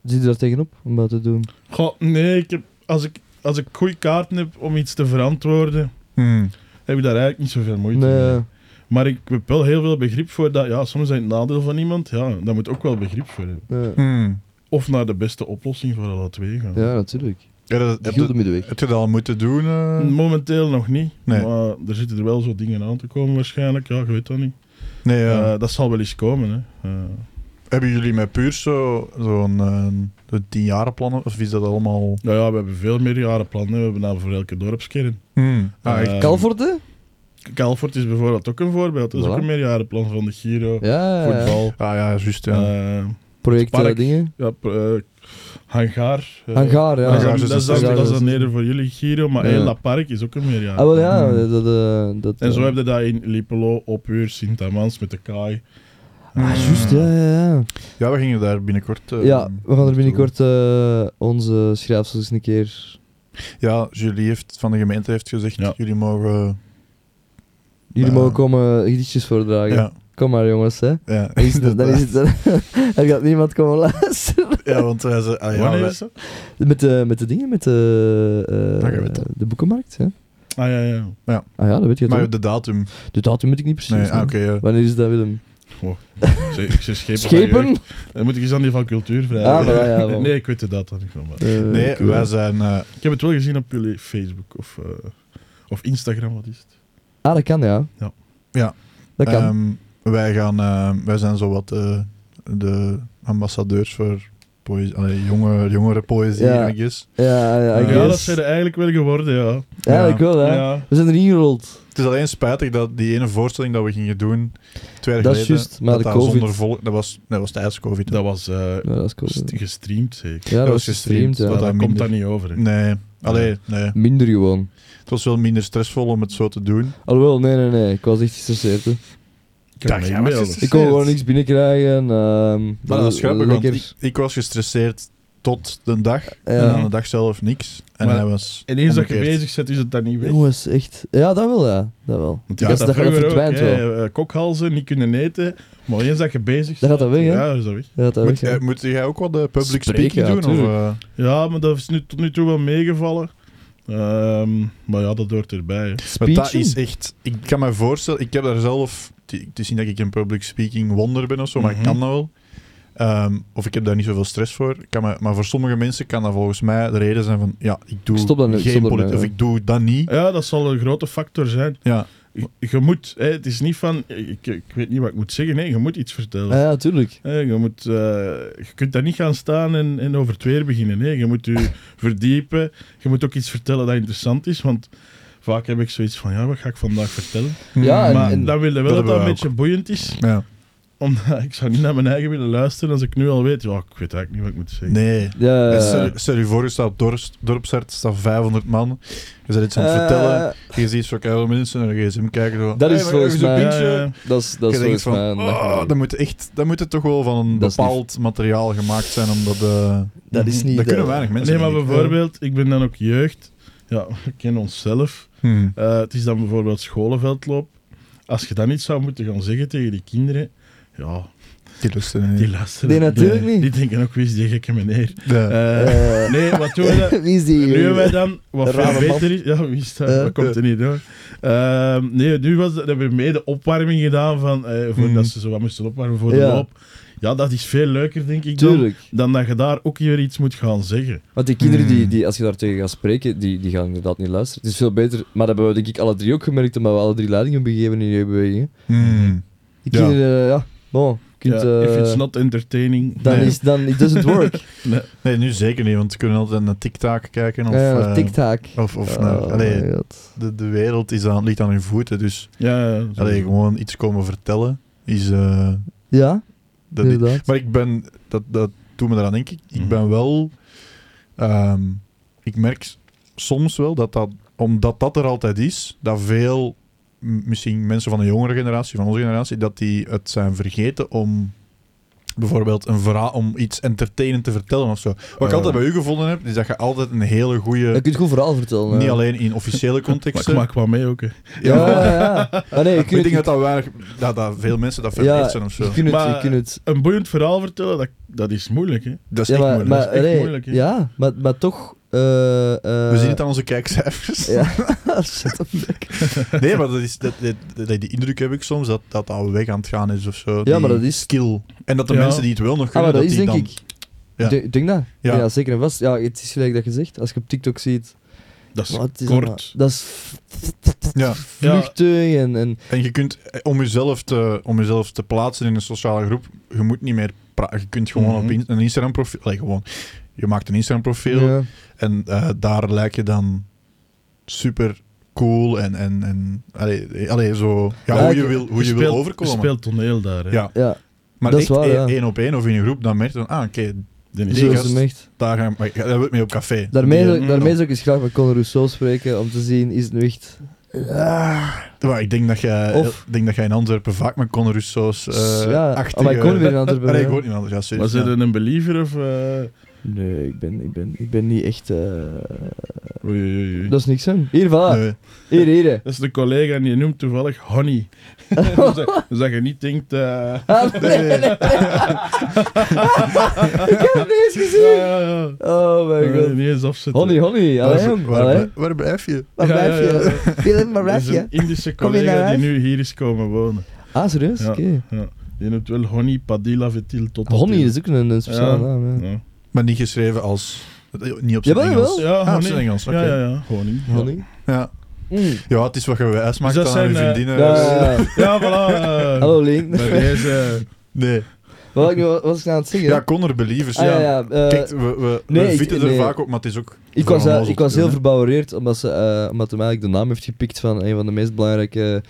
Speaker 2: zit je daar tegenop om dat te doen?
Speaker 3: Goh, nee, ik heb, als ik, als ik goede kaarten heb om iets te verantwoorden,
Speaker 1: Hmm.
Speaker 3: heb ik daar eigenlijk niet zoveel moeite
Speaker 2: Nee.
Speaker 3: mee. Maar ik heb wel heel veel begrip voor dat. Ja, soms zijn het nadeel van iemand. Ja, daar moet ook wel begrip voor hebben.
Speaker 2: nee.
Speaker 1: Hmm.
Speaker 3: Of naar de beste oplossing voor alle twee gaan.
Speaker 2: eh, Ja, natuurlijk.
Speaker 1: Ja, dat, heb,
Speaker 2: Giel de
Speaker 1: je,
Speaker 2: middenweg.
Speaker 1: heb je dat al moeten doen? eh?
Speaker 2: Hmm.
Speaker 3: Momenteel nog niet.
Speaker 1: Nee.
Speaker 3: Maar er zitten er wel zo dingen aan te komen waarschijnlijk. Ja, je weet dat niet.
Speaker 1: Nee, ja.
Speaker 3: Eh, dat zal wel eens komen, hè. Eh,
Speaker 1: Hebben jullie met puur zo- zo'n eh, zo'n tienjarenplannen? Of is dat allemaal...
Speaker 3: nou ja, we hebben veel meerjarenplannen. We hebben nou voor elke dorpskern.
Speaker 1: Hmm. Ah, echt?
Speaker 3: Eh,
Speaker 2: Calvorde?
Speaker 3: Kalfort is bijvoorbeeld ook een voorbeeld. Dat is
Speaker 2: Voilà.
Speaker 3: ook een meerjarenplan van de Giro.
Speaker 2: Ja, ja, ja.
Speaker 3: Voetbal.
Speaker 1: ah ja, juist, ja.
Speaker 3: eh,
Speaker 2: projecten,
Speaker 3: park.
Speaker 2: dingen.
Speaker 3: Ja, pr- eh, hangaar. eh,
Speaker 2: Hangaar,
Speaker 3: dat is
Speaker 2: ja.
Speaker 1: Hangaar.
Speaker 3: dan- Dat is dan-
Speaker 2: Hangaar,
Speaker 3: dat is
Speaker 2: dat
Speaker 3: dan
Speaker 2: is-
Speaker 3: eerder voor jullie, Giro, maar
Speaker 2: Ja.
Speaker 3: heel dat park is ook een meerjaar.
Speaker 2: Ah, wel ja,
Speaker 1: Hmm.
Speaker 2: dat... eh, dat
Speaker 3: En zo
Speaker 2: eh,
Speaker 3: heb je dat in Lipelo, Opuur, Sint-Amans met de Kai.
Speaker 2: Ah, juist, ja, ja, ja.
Speaker 1: Ja, we gingen daar binnenkort... eh,
Speaker 2: Ja, we gaan er
Speaker 1: naartoe.
Speaker 2: binnenkort eh, onze schrijfsels eens een keer...
Speaker 1: Ja, Julie heeft, van de gemeente heeft gezegd,
Speaker 3: Ja.
Speaker 1: jullie mogen...
Speaker 2: Jullie
Speaker 1: Ja.
Speaker 2: mogen komen gedichtjes voordragen.
Speaker 1: Ja.
Speaker 2: Kom maar jongens, hè.
Speaker 1: Ja,
Speaker 2: Dan Ah, Is er, dan is het, dan, er gaat niemand komen luisteren.
Speaker 1: ja want wij zijn... Ah, ja,
Speaker 3: Wanneer
Speaker 1: wij-
Speaker 3: is dat?
Speaker 2: Met de, met de dingen, met de, eh,
Speaker 1: Dat je weet dat.
Speaker 2: de boekenmarkt. Hè?
Speaker 3: Ah ja, ja.
Speaker 2: Ah ja, dat weet je toch?
Speaker 1: Maar de datum.
Speaker 2: De datum weet ik niet precies.
Speaker 1: Nee, ah,
Speaker 2: man.
Speaker 1: oké. ja.
Speaker 2: Wanneer is dat, Willem?
Speaker 3: Ze, ze schepen. van
Speaker 2: Schepen?
Speaker 3: jeugd. Dan moet ik eens aan die van cultuur vragen.
Speaker 2: Ah, maar ja, wel.
Speaker 3: nee, ik weet de data niet van. maar-
Speaker 2: Eh,
Speaker 1: Nee,
Speaker 2: oké.
Speaker 1: wij zijn... eh,
Speaker 3: Ik heb het wel gezien op jullie Facebook of, eh, of Instagram, wat is het?
Speaker 2: Ah, dat kan, ja.
Speaker 3: Ja.
Speaker 1: Ja.
Speaker 2: Dat kan.
Speaker 1: ehm, wij, gaan, eh, wij zijn zowat eh de ambassadeurs voor poëzie, allee, jonge, jongere poëzie,
Speaker 2: Ja.
Speaker 1: I guess.
Speaker 2: ja, ja, I
Speaker 3: ja, dat
Speaker 2: guess.
Speaker 3: zijn er eigenlijk wel geworden, ja.
Speaker 2: Eigenlijk wel, hè.
Speaker 3: Ja.
Speaker 2: We zijn erin gerold.
Speaker 1: Het is alleen spijtig dat die ene voorstelling dat we gingen doen, twee jaar
Speaker 2: Dat is
Speaker 1: geleden,
Speaker 2: juist, maar
Speaker 1: dat
Speaker 2: de
Speaker 1: dat
Speaker 2: COVID.
Speaker 1: zonder volk, dat was, dat was tijdens COVID.
Speaker 3: Dat was eh,
Speaker 2: Ja, dat is cool.
Speaker 3: st- gestreamd, zeker.
Speaker 2: Ja, dat
Speaker 1: was
Speaker 2: was gestreamd,
Speaker 1: gestreamd,
Speaker 2: ja.
Speaker 3: dat
Speaker 1: dat
Speaker 3: komt
Speaker 1: minder.
Speaker 3: daar niet over. hè.
Speaker 1: Nee, allee, nee.
Speaker 2: Minder gewoon.
Speaker 1: Het was wel minder stressvol om het zo te doen.
Speaker 2: Alhoewel, nee, nee, nee. Ik was echt gestresseerd, hè.
Speaker 3: Ik kan
Speaker 1: Ja,
Speaker 3: me
Speaker 1: ja, maar het is
Speaker 3: inbeelden.
Speaker 2: Ik kon gewoon
Speaker 1: Gestresseerd.
Speaker 2: niks binnenkrijgen. ehm
Speaker 1: Maar dat is grappig, want
Speaker 2: lekker.
Speaker 1: ik, ik was gestresseerd tot de dag. En aan
Speaker 2: Ja.
Speaker 1: de dag zelf niks. En
Speaker 3: Maar-
Speaker 1: hij was
Speaker 3: En eens dat je
Speaker 1: omgekeerd.
Speaker 3: bezig bent, is het dan niet weg.
Speaker 2: Jongens, echt. Ja, dat wel, ja. Dat wel.
Speaker 3: Want
Speaker 2: Ja, dat, dat
Speaker 3: vroeger ook,
Speaker 2: verdwijnt
Speaker 3: hè,
Speaker 2: wel.
Speaker 3: eh, Kokhalzen, niet kunnen eten. Maar eens dat je
Speaker 2: Dat
Speaker 3: bezig bent...
Speaker 2: gaat dat weg, hè?
Speaker 3: Ja, is dat weg.
Speaker 2: Ja, dat
Speaker 1: Moet,
Speaker 2: weet je.
Speaker 1: eh, moet jij ook wat de public
Speaker 2: Spreken,
Speaker 1: speaking
Speaker 2: ja,
Speaker 1: doen? Of, eh,
Speaker 3: Ja, maar dat is nu, tot nu toe wel meegevallen. Ehm, maar ja, dat hoort erbij. hè.
Speaker 1: want dat
Speaker 2: Speechen?
Speaker 1: is echt... Ik kan me voorstellen... Ik heb daar zelf... Het is niet dat ik een public speaking wonder ben of zo, maar
Speaker 3: Mhm.
Speaker 1: ik kan dat wel. Ehm, of ik heb daar niet zoveel stress voor. Ik Kan me, maar voor sommige mensen kan dat volgens mij de reden zijn van... Ja, ik doe
Speaker 2: Ik stop dat nu, ik
Speaker 1: geen
Speaker 2: stop dat
Speaker 1: politiek...
Speaker 2: nu,
Speaker 1: Of
Speaker 2: ja.
Speaker 1: ik doe dat niet.
Speaker 3: Ja, dat zal een grote factor zijn.
Speaker 1: Ja.
Speaker 3: Je, je moet, hè, het is niet van, ik, ik weet niet wat ik moet zeggen. Nee, je moet iets vertellen.
Speaker 2: Ah,
Speaker 1: Eh.
Speaker 2: ja, tuurlijk.
Speaker 3: Hè, je, moet, eh, je kunt daar niet gaan staan en, en over het weer beginnen. Nee, je moet je verdiepen. Je moet ook iets vertellen dat interessant is. Want vaak heb ik zoiets van, ja, wat ga ik vandaag vertellen?
Speaker 2: Ja, en-
Speaker 3: maar
Speaker 2: en-
Speaker 3: dan wil je wel
Speaker 1: Dat
Speaker 3: dat dat,
Speaker 1: hebben
Speaker 3: een
Speaker 1: wij
Speaker 3: beetje boeiend is.
Speaker 1: Ja.
Speaker 3: Omdat ik zou niet naar mijn eigen willen luisteren als ik nu al weet. Ja, ik weet eigenlijk niet wat ik moet zeggen.
Speaker 1: Nee.
Speaker 2: Ja,
Speaker 1: En stel- Stel je voor, je staat op dorps, dorpsart, staan 500 man. Je bent iets aan het vertellen. Je ziet zo'n koude mensen naar een gsm kijken. Zo,
Speaker 2: Eh. Dat is
Speaker 1: maar
Speaker 2: volgens
Speaker 1: even zo'n
Speaker 2: mij-
Speaker 1: pintje.
Speaker 3: Eh,
Speaker 2: Dat is, dat is
Speaker 1: Je denkt
Speaker 2: volgens
Speaker 1: van,
Speaker 2: mij... een
Speaker 1: oh,
Speaker 2: nachtmerrie.
Speaker 1: dat, moet echt, dat moet het toch wel van een
Speaker 2: Dat is niet-
Speaker 1: bepaald materiaal gemaakt zijn. Omdat, eh
Speaker 2: Dat is niet
Speaker 1: Dat
Speaker 2: de-
Speaker 1: kunnen weinig mensen.
Speaker 3: nee, maar
Speaker 1: denk ik.
Speaker 3: bijvoorbeeld, ik ben dan ook jeugd. Ja, we kennen onszelf.
Speaker 1: Hmm.
Speaker 3: Eh, het is dan bijvoorbeeld scholenveldloop. Als je dan iets zou moeten gaan zeggen tegen die kinderen, ja,
Speaker 1: Die lusten niet.
Speaker 3: die luisteren.
Speaker 2: Nee, natuurlijk
Speaker 3: die,
Speaker 2: niet.
Speaker 3: Die denken ook, wie is die gekke meneer?
Speaker 1: Ja.
Speaker 3: Eh,
Speaker 2: Eh.
Speaker 3: nee, wat doen we dan?
Speaker 2: Wie is die?
Speaker 3: Nu hebben wij
Speaker 2: jongen?
Speaker 3: dan, wat
Speaker 2: Rare
Speaker 3: veel
Speaker 2: man.
Speaker 3: beter is... Ja, wie is dat?
Speaker 2: Eh.
Speaker 3: dat komt er niet hoor. Ehm, nee, nu was, dat hebben we mee de opwarming gedaan, van, eh,
Speaker 1: Hmm.
Speaker 3: voordat ze zo wat moesten opwarmen voor de
Speaker 2: Mm. Ja.
Speaker 3: loop. Ja, dat is veel leuker, denk ik, dan,
Speaker 2: Tuurlijk.
Speaker 3: dan dat je daar ook weer iets moet gaan zeggen.
Speaker 2: Want die kinderen, die,
Speaker 1: Mm.
Speaker 2: die, als je daar tegen gaat spreken, die, die gaan inderdaad niet luisteren. Het is veel beter, maar dat hebben we denk ik alle drie ook gemerkt, omdat we alle drie leidingen hebben gegeven in jeugdbewegingen.
Speaker 1: Hmm.
Speaker 2: Die
Speaker 1: Ja.
Speaker 2: kinderen, eh, ja, bon, je kunt...
Speaker 3: Ja, if
Speaker 2: eh,
Speaker 3: it's not entertaining...
Speaker 2: dan
Speaker 1: Nee.
Speaker 2: is dan, it doesn't work.
Speaker 1: Nee, nu zeker niet, want we kunnen altijd naar TikTok kijken. Of,
Speaker 2: Ja,
Speaker 1: eh,
Speaker 2: TikTok.
Speaker 1: Of, of naar,
Speaker 2: Oh
Speaker 1: allee,
Speaker 2: my god.
Speaker 1: de, de wereld is aan, ligt aan hun voeten. Dus
Speaker 3: Ja, ja, zo.
Speaker 1: allee, gewoon iets komen vertellen is. eh,
Speaker 2: Ja,
Speaker 1: dat is-
Speaker 2: inderdaad.
Speaker 1: maar ik ben. Dat, dat doet me daaraan denk Ik Ik
Speaker 3: Mhm.
Speaker 1: ben wel. ehm, ik merk s- soms wel dat dat. Omdat dat er altijd is, dat veel. m- Misschien mensen van de jongere generatie, van onze generatie, dat die het zijn vergeten om bijvoorbeeld een verhaal, om iets entertainend te vertellen of zo. Wat ik
Speaker 3: Eh.
Speaker 1: altijd bij u gevonden heb, is dat je altijd een hele
Speaker 2: Je
Speaker 1: goede,
Speaker 2: kunt het goed verhaal vertellen.
Speaker 1: eh, niet
Speaker 2: ja.
Speaker 1: alleen in officiële
Speaker 3: Maar ik
Speaker 1: contexten.
Speaker 3: maak wel mee ook. hè.
Speaker 2: Ja, ja, ja. Maar nee, je
Speaker 1: Ik
Speaker 2: kunt
Speaker 1: denk dat
Speaker 2: het...
Speaker 1: dat, weinig- dat, dat veel mensen dat vergeten
Speaker 2: Ja,
Speaker 1: zijn of zo.
Speaker 2: Je kunt het, je
Speaker 3: Maar-
Speaker 2: kunt het
Speaker 3: Een boeiend verhaal vertellen, dat, dat is moeilijk. Hè?
Speaker 1: Dat is
Speaker 2: ja,
Speaker 1: echt
Speaker 2: maar,
Speaker 1: moeilijk.
Speaker 2: maar,
Speaker 3: Dat is echt
Speaker 2: allee,
Speaker 3: moeilijk, hè.
Speaker 2: Ja, maar, maar toch... eh, eh,
Speaker 1: We zien het aan onze kijkcijfers.
Speaker 2: Ja, shut up.
Speaker 1: Nee, maar dat is, dat, dat, dat- die indruk heb ik soms dat dat al weg aan het gaan is of zo.
Speaker 2: Ja,
Speaker 1: die
Speaker 2: maar dat is...
Speaker 1: skill. En dat de
Speaker 3: Ja.
Speaker 1: mensen die het wel nog
Speaker 2: Ah,
Speaker 1: kunnen,
Speaker 2: maar dat
Speaker 1: dat,
Speaker 2: is
Speaker 1: die
Speaker 2: denk
Speaker 1: dan...
Speaker 2: ik...
Speaker 1: Ja.
Speaker 2: Ik Denk, denk dat?
Speaker 1: Ja.
Speaker 2: Ja. zeker en vast. Ja, het is gelijk dat je zegt. Als je op TikTok ziet...
Speaker 3: Dat is
Speaker 2: Wat is dat nou?
Speaker 3: kort.
Speaker 2: Dat is v-
Speaker 1: Ja.
Speaker 2: vluchtig en... en
Speaker 1: En je kunt, eh, om jezelf, te, om jezelf te plaatsen in een sociale groep, je moet niet meer praten. Je kunt gewoon
Speaker 3: Mhm.
Speaker 1: op in- een Instagram profiel... allee, gewoon, je maakt een Instagram profiel
Speaker 2: ja.
Speaker 1: en eh, daar lijk je dan super cool en... en, en allee, allee, zo, ja,
Speaker 2: Ja,
Speaker 1: hoe
Speaker 2: ik-
Speaker 1: je wil, hoe je
Speaker 3: speelt-
Speaker 1: wil overkomen.
Speaker 3: speelt toneel daar. Hè?
Speaker 1: Ja.
Speaker 2: ja.
Speaker 1: Maar
Speaker 2: Dat
Speaker 1: echt
Speaker 2: is waar,
Speaker 1: één,
Speaker 2: ja.
Speaker 1: één op één of in een groep, dan merk je dan, ah, oké,
Speaker 3: Dan is
Speaker 1: Die
Speaker 2: Zo
Speaker 3: het-
Speaker 2: is
Speaker 1: gast-
Speaker 2: hem echt.
Speaker 1: daar gaan we... Daar wil ik mee op café.
Speaker 2: Daarmee,
Speaker 1: Die- eh,
Speaker 2: zou-
Speaker 3: mm,
Speaker 2: daarmee
Speaker 1: ja.
Speaker 2: zou ik eens graag met Conor Rousseau spreken, om te zien, is het nu echt...
Speaker 1: Maar ik denk dat jij,
Speaker 2: Of-
Speaker 1: ik denk dat jij in Antwerpen vaak met Conor Rousseau's eh
Speaker 2: ja,
Speaker 1: achtige...
Speaker 2: oh, maar ik woon weer in Antwerpen.
Speaker 1: Ah, nee, ik
Speaker 2: ja.
Speaker 1: woon niet in Antwerpen, ja, sorry.
Speaker 3: Was
Speaker 1: Ja.
Speaker 3: er een believer of... eh,
Speaker 2: Nee, ik ben, ik ben, ik ben niet echt... eh,
Speaker 3: Oei, oei, oei.
Speaker 2: Dat is niks, hè. Hier, voilà.
Speaker 1: Nee.
Speaker 2: Hier, hier. hè.
Speaker 3: Dat is de collega en die noemt toevallig Honey. dus, dat, dus dat je niet denkt... eh,
Speaker 2: Ah, nee, nee, nee. ik heb het niet eens gezien.
Speaker 3: ja, ja,
Speaker 2: Oh
Speaker 3: ja.
Speaker 2: mijn
Speaker 3: Dat je
Speaker 2: god.
Speaker 3: niet eens afzetten.
Speaker 2: Honey, honey. Allee,
Speaker 1: Waar,
Speaker 2: jong.
Speaker 1: waar,
Speaker 2: Allee.
Speaker 1: waar blijf je?
Speaker 2: Waar
Speaker 3: Ja,
Speaker 2: blijf
Speaker 3: ja, ja.
Speaker 2: je? Wil in mijn
Speaker 3: Dat is
Speaker 2: restje.
Speaker 3: een Indische
Speaker 2: Kom je naar
Speaker 3: collega die
Speaker 2: huis?
Speaker 3: nu hier is komen wonen.
Speaker 2: Ah, serieus?
Speaker 3: Ja.
Speaker 2: Oké.
Speaker 3: Die noemt wel Honey Padilla Vetil tot
Speaker 2: Honey is ook een, een speciale naam, hè.
Speaker 3: Ja,
Speaker 1: Maar niet geschreven als... Niet op zijn
Speaker 2: Jawel,
Speaker 1: Engels.
Speaker 2: jawel.
Speaker 3: ja
Speaker 1: Ah, op
Speaker 3: Honey.
Speaker 1: zijn Engels, oké.
Speaker 3: Ja, ja, ja. Honey. Ja.
Speaker 2: Oh. Honey.
Speaker 1: Ja.
Speaker 2: Mm.
Speaker 1: ja, het is wat je wijs maakt
Speaker 3: Dus dat
Speaker 1: aan je
Speaker 3: zijn, eh,
Speaker 1: vriendinnen.
Speaker 2: Ja, ja, ja.
Speaker 3: Ja, voilà. eh,
Speaker 2: Hallo, Leen.
Speaker 3: Bij deze...
Speaker 1: Nee.
Speaker 2: Wat was ik, nu- wat was ik nou aan het zeggen?
Speaker 1: Ja, Connor Believers.
Speaker 2: Ah, ja,
Speaker 1: ja.
Speaker 2: ja. eh,
Speaker 1: Kijk, we, we, we
Speaker 2: nee, ik-
Speaker 1: vitten
Speaker 2: nee.
Speaker 1: er vaak op, maar het is ook...
Speaker 2: ik, was,
Speaker 1: vooral
Speaker 2: eh,
Speaker 1: om ons
Speaker 2: ik
Speaker 1: op
Speaker 2: was
Speaker 1: te
Speaker 2: heel
Speaker 1: doen,
Speaker 2: verbouwereerd omdat, ze, eh, omdat hij eigenlijk de naam heeft gepikt van een van de meest belangrijke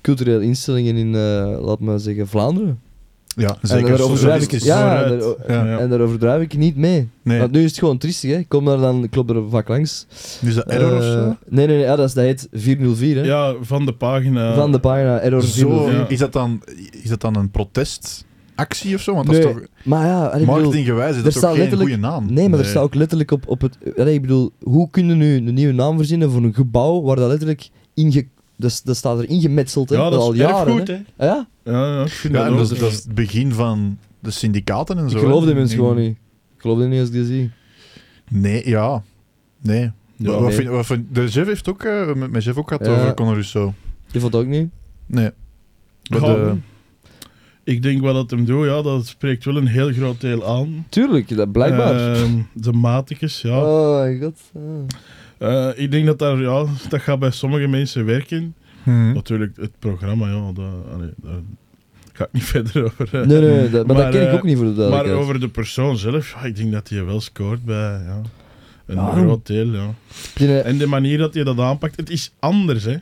Speaker 2: culturele instellingen in, eh, laat maar zeggen, Vlaanderen.
Speaker 1: hè. Ja, zeker.
Speaker 2: daarover
Speaker 1: socialistisch.
Speaker 2: schrijf ik- ja,
Speaker 1: Vooruit.
Speaker 2: daar-
Speaker 1: ja.
Speaker 3: Ja.
Speaker 2: En daar overdrijf ik niet mee.
Speaker 1: Nee,
Speaker 2: Want nu is het gewoon triestig, hè? Ik Kom daar dan, ik klop er vaak langs.
Speaker 1: is dat error
Speaker 2: Eh,
Speaker 1: of zo?
Speaker 2: Nee, nee, nee ja, dat, is, dat heet 404, hè?
Speaker 3: Ja, van de pagina.
Speaker 2: Van de pagina Error
Speaker 1: Zo,
Speaker 2: 404.
Speaker 3: Ja.
Speaker 1: is, dat dan, is dat dan een protestactie of zo? Want dat
Speaker 2: Nee,
Speaker 1: is toch...
Speaker 2: Maar ja, allee, ik bedoel-
Speaker 1: Marketinggewijs is
Speaker 2: er
Speaker 1: dat
Speaker 2: staat
Speaker 1: toch geen
Speaker 2: letterlijk-
Speaker 1: goede naam?
Speaker 2: Nee, maar er
Speaker 3: Nee.
Speaker 2: staat ook letterlijk op, op het... Allee, ik bedoel, hoe kunnen nu een nieuwe naam verzinnen voor een gebouw waar dat letterlijk inge... Dat, is- dat staat er ingemetseld, hè?
Speaker 3: Ja, dat
Speaker 2: al
Speaker 3: is
Speaker 2: jaren.
Speaker 3: erfgoed,
Speaker 2: hè.
Speaker 3: hè.
Speaker 2: Ah, ja?
Speaker 3: Ja, ja, ik vind
Speaker 1: Ja, en
Speaker 3: dat
Speaker 1: dat,
Speaker 3: ook.
Speaker 1: is, dat is het begin van de syndicaten en zo.
Speaker 2: Ik geloof
Speaker 1: hè.
Speaker 2: die mensen
Speaker 1: Nee.
Speaker 2: gewoon niet. Ik geloof die niet als ik die zie.
Speaker 1: Nee, ja. Nee.
Speaker 3: Ja,
Speaker 1: wat,
Speaker 2: nee.
Speaker 1: Vind, wat vind- de chef heeft ook, eh, met mijn chef ook gehad
Speaker 2: Ja.
Speaker 1: over Conor Rousseau.
Speaker 2: Je vond het ook niet?
Speaker 1: Nee. Maar
Speaker 3: Ja,
Speaker 1: de-
Speaker 3: Ik denk wel dat hem doet, ja, dat spreekt wel een heel groot deel aan.
Speaker 2: Tuurlijk, dat blijkbaar.
Speaker 3: Ehm, de maticus, ja.
Speaker 2: Oh mijn god. Ah.
Speaker 3: Eh, ik denk dat daar, ja, dat gaat bij sommige mensen werken. Hmm.
Speaker 1: Mhm.
Speaker 3: Natuurlijk, het programma, ja, dat, allee, daar ga ik niet verder over. eh.
Speaker 2: Nee, nee, dat, maar,
Speaker 3: Maar,
Speaker 2: dat ken ik
Speaker 3: eh,
Speaker 2: ook niet voor de
Speaker 3: maar
Speaker 2: duidelijkheid.
Speaker 3: over de persoon zelf, ja, ik denk dat hij wel scoort bij, ja. Een
Speaker 2: Ja.
Speaker 3: groot deel, ja.
Speaker 2: Die, eh,
Speaker 3: En de manier dat hij dat aanpakt, het is anders, hè.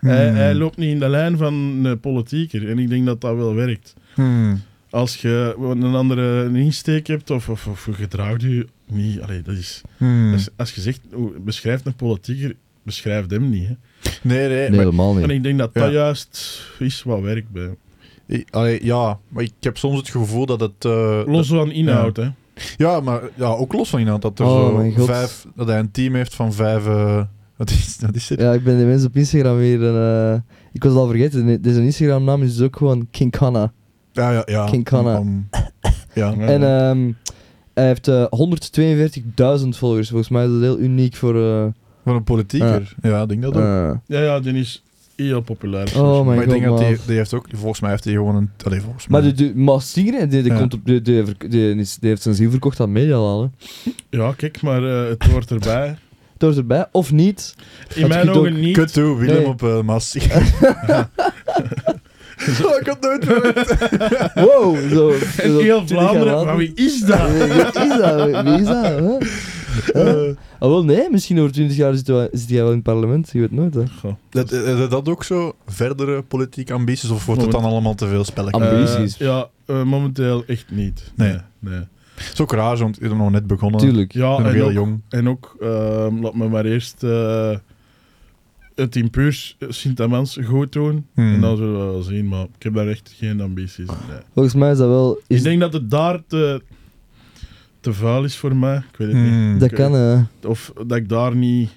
Speaker 1: Mhm.
Speaker 3: Hij, hij loopt niet in de lijn van een politieker. En ik denk dat dat wel werkt.
Speaker 1: Mhm.
Speaker 3: als je een andere insteek hebt of, of, of je gedraagt je niet. Allee, dat is,
Speaker 1: Mhm.
Speaker 3: dat is- als je zegt, hoe- beschrijf een politieker, beschrijf hem niet. Hè.
Speaker 1: Nee, nee.
Speaker 2: Nee,
Speaker 1: maar-
Speaker 2: helemaal
Speaker 3: En
Speaker 2: niet.
Speaker 3: ik denk dat dat
Speaker 1: Ja.
Speaker 3: juist is wat werkt bij.
Speaker 1: ik- allee, ja, maar ik heb soms het gevoel dat het... eh,
Speaker 3: Los van inhoud, hè.
Speaker 1: dat- ja, maar ja, ook los van inhoud. Dat, er
Speaker 2: Oh, mijn
Speaker 1: zo
Speaker 2: God.
Speaker 1: vijf, dat hij een team heeft van vijf... eh, wat, is, wat is het?
Speaker 2: Ja, ik ben de mensen op Instagram weer... een, eh, ik was het al vergeten, nee, deze Instagram naam is dus ook gewoon King Kana.
Speaker 1: Ja, ja, ja.
Speaker 2: King Kana.
Speaker 1: Om- ja. eh,
Speaker 3: Ja.
Speaker 2: En ehm, hij heeft eh, 142.000 volgers. Volgens mij is dat heel uniek voor... eh,
Speaker 1: Van een politieker. Ja, ik denk dat ook.
Speaker 2: eh,
Speaker 3: ja, ja, die is heel populair. Dus-
Speaker 2: oh my
Speaker 1: maar ik
Speaker 2: god,
Speaker 1: denk dat
Speaker 2: man.
Speaker 1: die, die heeft ook, volgens mij heeft hij gewoon een. Allee, volgens
Speaker 2: Maar
Speaker 1: mij.
Speaker 2: de, de maar Singer, die, die
Speaker 1: Ja.
Speaker 2: komt op, die, die, verk- die, is- die heeft zijn ziel verkocht aan Medialaal. hè.
Speaker 3: Ja, kijk, maar eh, het hoort erbij.
Speaker 2: Door erbij, of niet.
Speaker 3: In
Speaker 2: Dat
Speaker 3: mijn
Speaker 2: kunt
Speaker 3: ogen
Speaker 2: ook-
Speaker 3: niet.
Speaker 1: Kut toe, Willem
Speaker 2: Nee.
Speaker 1: op eh Mas. ik had nooit verwacht.
Speaker 2: Wow, zo.
Speaker 3: En
Speaker 2: zo
Speaker 3: heel
Speaker 2: 20 jaar
Speaker 3: Vlaanderen,
Speaker 2: later.
Speaker 3: maar wie is
Speaker 2: Eh,
Speaker 3: dat?
Speaker 2: Wie is dat? Wie is dat? hè? Eh, ah, wel, nee, misschien over 20 jaar zit, hij- zit hij wel in het parlement. Je weet nooit, hè.
Speaker 3: Goh.
Speaker 1: Dat, eh, dat ook zo? Verdere politieke ambities of wordt het dan allemaal te veel spelletjes?
Speaker 2: Am- Ambities.
Speaker 3: Eh, ja, eh, momenteel echt niet.
Speaker 1: Nee.
Speaker 3: nee. nee.
Speaker 1: Het is ook raar, want ik ben nog net begonnen. Ah,
Speaker 2: Tuurlijk.
Speaker 1: Ik
Speaker 3: Ja,
Speaker 1: ben nog
Speaker 3: en
Speaker 1: heel
Speaker 3: ook-
Speaker 1: jong.
Speaker 3: En ook, ehm, laat me maar eerst eh, het in puurs Sint-Amans goed doen.
Speaker 1: Hmm.
Speaker 3: En dan zullen we wel zien, maar ik heb daar echt geen ambities in. nee.
Speaker 2: Volgens mij is dat wel... Is,
Speaker 3: Ik denk dat het daar te, te vuil is voor mij. Ik weet het niet.
Speaker 1: Hmm.
Speaker 2: dat kan, hè.
Speaker 3: Of dat ik daar niet...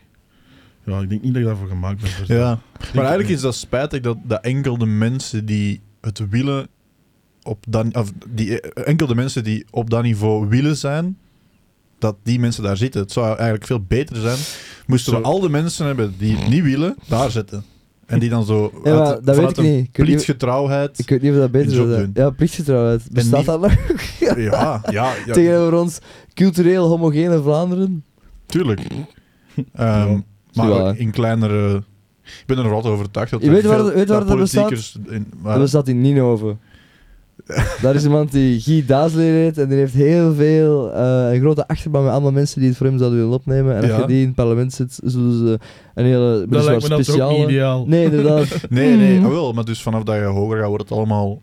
Speaker 3: Ja, ik denk niet dat ik daarvoor gemaakt ben. voor dat.
Speaker 1: Ja.
Speaker 3: het
Speaker 1: Maar eigenlijk
Speaker 3: niet.
Speaker 1: is dat spijtig dat, dat enkel de mensen die het willen. Op dat, of die, eh, enkel de mensen die op dat niveau willen zijn, dat die mensen daar zitten. Het zou eigenlijk veel beter zijn. Moesten we
Speaker 3: Zo.
Speaker 1: al de mensen hebben die het niet willen, daar zitten. En die dan zo
Speaker 2: Ja, maar
Speaker 1: uit-
Speaker 2: dat weet
Speaker 1: vanuit
Speaker 2: ik niet. Ik weet niet-
Speaker 1: plichtgetrouwheid.
Speaker 2: Ik weet niet of dat beter
Speaker 1: Een job
Speaker 2: zou zijn.
Speaker 1: doen.
Speaker 2: Ja, plichtgetrouwheid. Bestaat
Speaker 1: niet-
Speaker 2: dat nog?
Speaker 1: Ja, ja, ja,
Speaker 2: Tegenover ons cultureel homogene Vlaanderen?
Speaker 1: tuurlijk. Ehm, maar
Speaker 2: wel, hè.
Speaker 1: in kleinere... Ik ben er nog altijd overtuigd dat
Speaker 2: Je
Speaker 1: er
Speaker 2: weet waar
Speaker 1: veel-
Speaker 2: dat- weet waar
Speaker 1: dat
Speaker 2: dat bestaat?
Speaker 1: politiekers in- maar-
Speaker 2: Dat bestaat in Ninove. Daar is iemand die Guy Daasleer heet en die heeft heel veel, eh, een grote achterban met allemaal mensen die het voor hem zouden willen opnemen. En als
Speaker 1: Ja.
Speaker 2: je die in het parlement zit, zullen ze een hele
Speaker 3: Dat
Speaker 2: weliswaar
Speaker 3: lijkt me dat ook niet ideaal.
Speaker 2: Nee, inderdaad.
Speaker 1: Nee, nee, jawel, maar dus vanaf dat je hoger gaat, wordt het allemaal,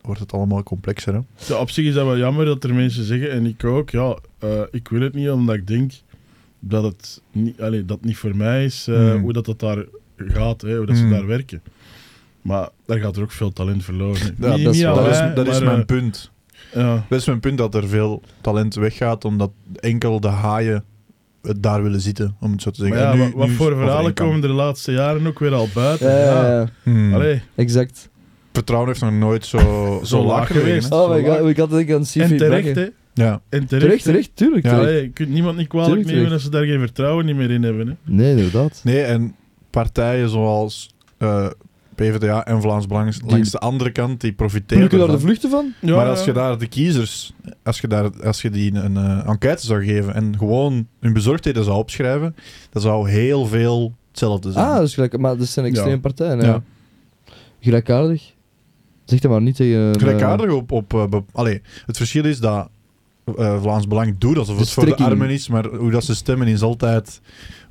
Speaker 1: wordt het allemaal complexer. Hè?
Speaker 3: Ja, op zich is dat wel jammer dat er mensen zeggen, en ik ook, ja, eh, ik wil het niet omdat ik denk dat het niet, allee, dat het niet voor mij is, eh,
Speaker 1: Hmm.
Speaker 3: hoe dat, dat daar gaat, hè, hoe dat ze
Speaker 1: Hmm.
Speaker 3: daar werken. Maar daar gaat er ook veel talent verloren.
Speaker 1: Ja,
Speaker 3: niet,
Speaker 2: dat is
Speaker 3: niet
Speaker 2: waar.
Speaker 3: aan
Speaker 1: dat is,
Speaker 3: mij,
Speaker 1: dat is
Speaker 3: maar,
Speaker 1: mijn
Speaker 3: eh,
Speaker 1: punt.
Speaker 3: Ja.
Speaker 1: Dat is mijn punt, dat er veel talent weggaat, omdat enkel de haaien het daar willen zitten, om het zo te
Speaker 3: Maar
Speaker 1: zeggen.
Speaker 3: ja,
Speaker 1: En nu-
Speaker 3: wat, wat
Speaker 1: nu
Speaker 3: voor
Speaker 1: is wat
Speaker 3: verhalen
Speaker 1: erin kan.
Speaker 3: komen er de laatste jaren ook weer al buiten?
Speaker 2: Ja, ja,
Speaker 3: Ja.
Speaker 2: ja.
Speaker 1: Hmm.
Speaker 3: Allee,
Speaker 2: exact.
Speaker 1: Vertrouwen heeft nog nooit zo, zo laag geweest.
Speaker 2: Oh my
Speaker 3: Zo
Speaker 2: god, ik had het aan Sifi
Speaker 3: en terecht,
Speaker 2: bakken.
Speaker 3: hè?
Speaker 1: Ja.
Speaker 2: Terecht,
Speaker 3: En terecht. hè.
Speaker 2: terecht, tuurlijk.
Speaker 1: Ja.
Speaker 2: Terecht.
Speaker 3: Allee, je kunt niemand niet kwalijk
Speaker 2: Tuurlijk,
Speaker 3: nemen
Speaker 2: terecht.
Speaker 3: als ze daar geen vertrouwen niet meer in hebben. Hè?
Speaker 2: Nee, inderdaad.
Speaker 1: Nee, en partijen zoals eh, PvdA en Vlaams Belang langs de andere kant, die profiteren
Speaker 2: Plukken daar de
Speaker 1: ervan.
Speaker 2: vluchten van?
Speaker 3: Ja,
Speaker 1: maar als je
Speaker 3: ja.
Speaker 1: daar de kiezers, als je, daar, als je die een eh, enquête zou geven en gewoon hun bezorgdheden zou opschrijven, dan zou heel veel hetzelfde zijn.
Speaker 2: Ah, dus gelijk, maar dat zijn extreme
Speaker 3: Ja.
Speaker 2: partijen.
Speaker 1: Ja.
Speaker 2: Ja. Gelijkaardig. Zeg dat maar niet tegen. een, eh,
Speaker 1: Gelijkaardig op... op eh, be- Allee, het verschil is dat eh, Vlaams Belang doet alsof
Speaker 2: De
Speaker 1: het voor de
Speaker 2: strekking.
Speaker 1: armen is, maar hoe dat ze stemmen is altijd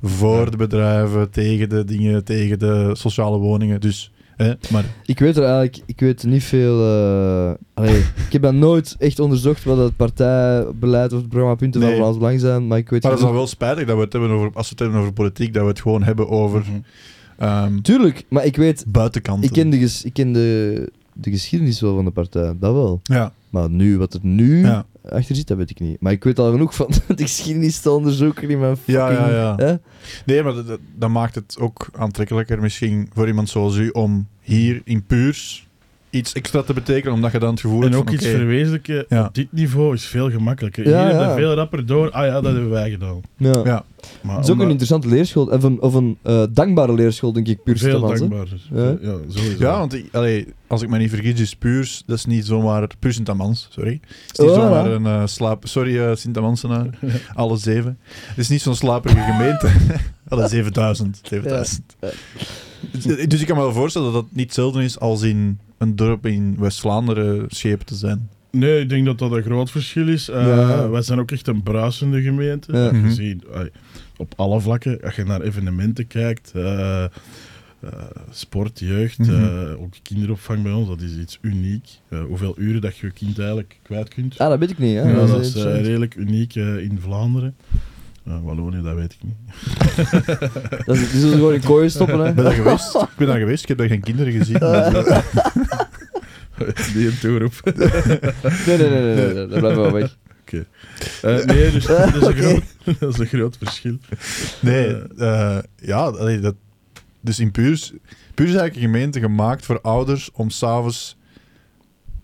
Speaker 1: voor de bedrijven, tegen de dingen, tegen de sociale woningen. Dus, hè, maar
Speaker 2: Ik weet er eigenlijk ik weet niet veel. eh, allee, ik heb dat nooit echt onderzocht wat het partijbeleid of het programmapunten
Speaker 1: Nee.
Speaker 2: van Vlaams Belang zijn, maar ik weet
Speaker 1: Maar dat is
Speaker 2: genoeg-
Speaker 1: dan wel spijtig dat we het hebben over, als we het hebben over politiek, dat we het gewoon hebben over
Speaker 3: Mhm.
Speaker 1: ehm
Speaker 2: Tuurlijk, maar ik weet.
Speaker 1: buitenkanten.
Speaker 2: Ik ken, de, ges- ik ken de, de geschiedenis wel van de partij, dat wel.
Speaker 1: Ja,
Speaker 2: Maar nu, wat er nu
Speaker 1: ja.
Speaker 2: achter zit, dat weet ik niet. Maar ik weet al genoeg van de geschiedenis te onderzoeken in mijn fucking...
Speaker 1: Ja, ja, ja.
Speaker 2: Hè?
Speaker 1: Nee, maar dat, dat- dat maakt het ook aantrekkelijker misschien voor iemand zoals u om hier in Puurs iets extra te betekenen, omdat je dan het gevoel
Speaker 3: En
Speaker 1: hebt
Speaker 3: ook
Speaker 1: van,
Speaker 3: iets
Speaker 1: oké,
Speaker 3: verwezenlijken
Speaker 1: Ja.
Speaker 3: op dit niveau is veel gemakkelijker.
Speaker 2: Ja,
Speaker 3: Hier hebben
Speaker 2: ja.
Speaker 3: we veel rapper door. Ah ja, dat hebben wij gedaan.
Speaker 2: Ja.
Speaker 1: Ja.
Speaker 3: Maar
Speaker 2: Het is ook een
Speaker 3: omdat-
Speaker 2: interessante leerschool, of een, of een eh, dankbare leerschool, denk ik, puur
Speaker 3: Veel
Speaker 2: Stamans, hè.
Speaker 3: dankbaarder.
Speaker 2: Ja.
Speaker 3: Ja, sowieso.
Speaker 1: Ja, want ik- allee, als ik me niet vergis, is Puurs, dat is niet zomaar... Puurs Sint-Amans, sorry. Het is niet
Speaker 2: Oh,
Speaker 1: zomaar
Speaker 2: ja.
Speaker 1: een eh, slaap... Sorry, eh Sint-Amansenaar. Alle zeven. Het is niet zo'n slaperige gemeente. Alle 7000. 7000. Dus- Dus ik kan me wel voorstellen dat dat niet zelden is als in een dorp in West-Vlaanderen schepen te zijn.
Speaker 3: Nee, ik denk dat dat een groot verschil is. Eh,
Speaker 2: Ja.
Speaker 3: Wij zijn ook echt een bruisende gemeente.
Speaker 2: Ja.
Speaker 3: Heb je
Speaker 1: Mhm.
Speaker 3: gezien, ai, op alle vlakken, als je naar evenementen kijkt, eh, eh, sport, jeugd,
Speaker 1: Mhm.
Speaker 3: eh, ook kinderopvang bij ons, dat is iets uniek. Eh, hoeveel uren dat je je kind eigenlijk kwijt kunt.
Speaker 2: Ah, dat weet ik niet, hè.
Speaker 1: Ja,
Speaker 3: Ja,
Speaker 2: dat is
Speaker 3: dat is eh,
Speaker 2: interessant.
Speaker 3: redelijk uniek eh, in Vlaanderen. Eh, Wallonië, dat weet ik niet.
Speaker 2: Dat is, die zullen ze gewoon in kooien stoppen, hè.
Speaker 1: Ik ben daar geweest. Ik ben daar geweest. Ik heb daar geen kinderen gezien.
Speaker 2: Ah,
Speaker 1: Dus, eh,
Speaker 3: Die een toer op.
Speaker 2: Nee, nee, nee, nee, nee, nee, dat blijven we wel weg.
Speaker 3: Eh, nee, dus dat is, een
Speaker 2: Oké.
Speaker 3: groot, dat is een groot verschil.
Speaker 1: Nee, eh, ja, allee, dat, dus in Puurs, Puurs is eigenlijk een gemeente gemaakt voor ouders om s'avonds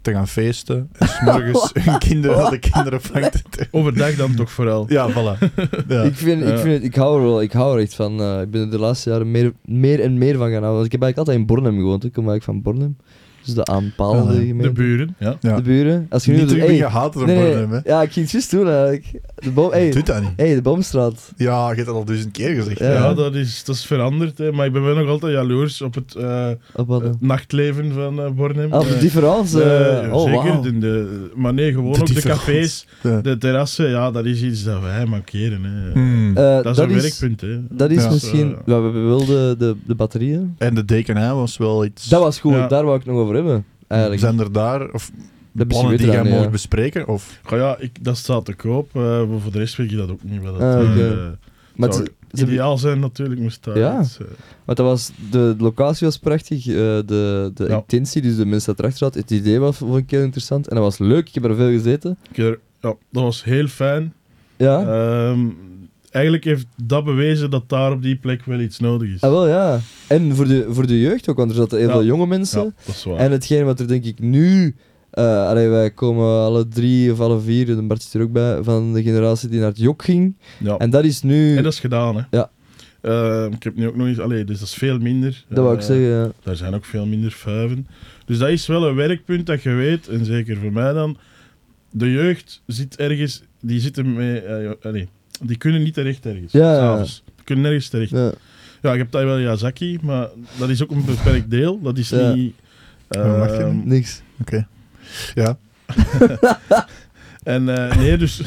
Speaker 1: te gaan feesten en s'morgens hun kinderen naar de kinderopvang te... te-
Speaker 3: Overdag dan toch vooral.
Speaker 1: Ja, voilà. Ja.
Speaker 2: Ik, vind, ik,
Speaker 3: Ja.
Speaker 2: vind het, ik hou er wel, ik hou er echt van. eh, ik ben er de laatste jaren meer, meer en meer van gaan houden. Want ik heb eigenlijk altijd in Bornem gewoond, hè. ik kom eigenlijk van Bornem. Dus de aanpalende
Speaker 1: Ja, de
Speaker 2: gemeente.
Speaker 3: De buren, ja.
Speaker 1: ja.
Speaker 2: De buren. Als je nu
Speaker 1: Niet
Speaker 2: doet,
Speaker 1: terug
Speaker 2: hey,
Speaker 1: hey, gehaald door
Speaker 2: nee, nee,
Speaker 1: Bornem, hè.
Speaker 2: Ja, ik ging het juist doen, eigenlijk. De boom, hey,
Speaker 1: Doet dat niet.
Speaker 2: hey, de boomstraat.
Speaker 1: Ja, je hebt dat al duizend keer gezegd.
Speaker 2: Ja.
Speaker 3: Ja, dat is, dat is veranderd. Hè. Maar ik ben wel nog altijd jaloers op het eh,
Speaker 2: Op wat?
Speaker 3: het nachtleven van eh, Bornem.
Speaker 2: Ah, op de
Speaker 3: Eh,
Speaker 2: difference.
Speaker 3: eh,
Speaker 2: eh, oh,
Speaker 3: zeker.
Speaker 2: wauw.
Speaker 3: De, de- maar nee, gewoon
Speaker 1: De
Speaker 3: ook de
Speaker 1: difference.
Speaker 3: cafés,
Speaker 1: Ja.
Speaker 3: de terrassen. Ja, dat is iets dat wij markeren. Hè.
Speaker 1: Hmm.
Speaker 2: Eh,
Speaker 3: dat is een werkpunt. Hè.
Speaker 2: Dat is
Speaker 1: Ja.
Speaker 2: misschien.
Speaker 3: Dus, eh,
Speaker 2: we hebben wel de, de, de batterijen.
Speaker 1: En de dekenij was wel iets...
Speaker 2: Dat was goed,
Speaker 3: Ja.
Speaker 2: daar wou ik het nog over hebben. Eigenlijk.
Speaker 1: Zijn er daar of
Speaker 2: misschien
Speaker 1: plannen die
Speaker 2: beter
Speaker 1: jij
Speaker 2: aan,
Speaker 1: mocht
Speaker 2: ja.
Speaker 1: bespreken? Of,
Speaker 3: Goh, ja, ik, dat staat te koop. eh, maar voor de rest weet ik dat ook niet. Wat dat,
Speaker 2: Ah, oké.
Speaker 3: eh,
Speaker 2: maar, het-
Speaker 3: zou
Speaker 2: ze-
Speaker 3: ideaal zijn natuurlijk, moest dat
Speaker 2: Ja.
Speaker 3: iets, eh,
Speaker 2: maar dat was, de locatie was prachtig, eh, de, de
Speaker 3: Ja.
Speaker 2: intentie, dus de mensen dat erachter zaten. Het idee was vond ik heel interessant en dat was leuk, ik heb er veel gezeten. Eh,
Speaker 3: ik heb er- ja, dat was heel fijn.
Speaker 2: Ja,
Speaker 3: Ehm, eigenlijk heeft dat bewezen dat daar op die plek wel iets nodig is.
Speaker 2: ah, wel ja. En voor de, voor de jeugd ook, want er zaten heel
Speaker 3: Ja.
Speaker 2: veel jonge mensen.
Speaker 3: ja, dat is waar.
Speaker 2: En hetgeen wat er denk ik nu. eh allee, wij komen alle drie of alle vier, en Bart zit er ook bij, van de generatie die naar het jok ging.
Speaker 3: ja.
Speaker 2: En dat is nu.
Speaker 3: En
Speaker 2: dat,
Speaker 3: dat is gedaan, hè?
Speaker 2: Ja.
Speaker 3: Eh, ik heb nu ook nog eens... Allee, dus dat is veel minder.
Speaker 2: wou ik
Speaker 3: Eh,
Speaker 2: zeggen. ja.
Speaker 3: Daar zijn ook veel minder vuiven. Dus dat is wel een werkpunt dat je weet, en zeker voor mij dan. De jeugd zit ergens... Die zitten mee... eh, allee, die kunnen niet terecht ergens.
Speaker 2: Ja, ja, ja.
Speaker 3: s'avonds. Die kunnen nergens terecht. Ja,
Speaker 2: Ja.
Speaker 3: ik heb daar wel Yazaki, maar dat is ook een beperkt deel. Dat is
Speaker 2: Ja.
Speaker 3: niet...
Speaker 1: Ja, wacht
Speaker 3: ehm,
Speaker 1: even.
Speaker 2: Niks.
Speaker 1: ja.
Speaker 3: en eh, nee, dus eh,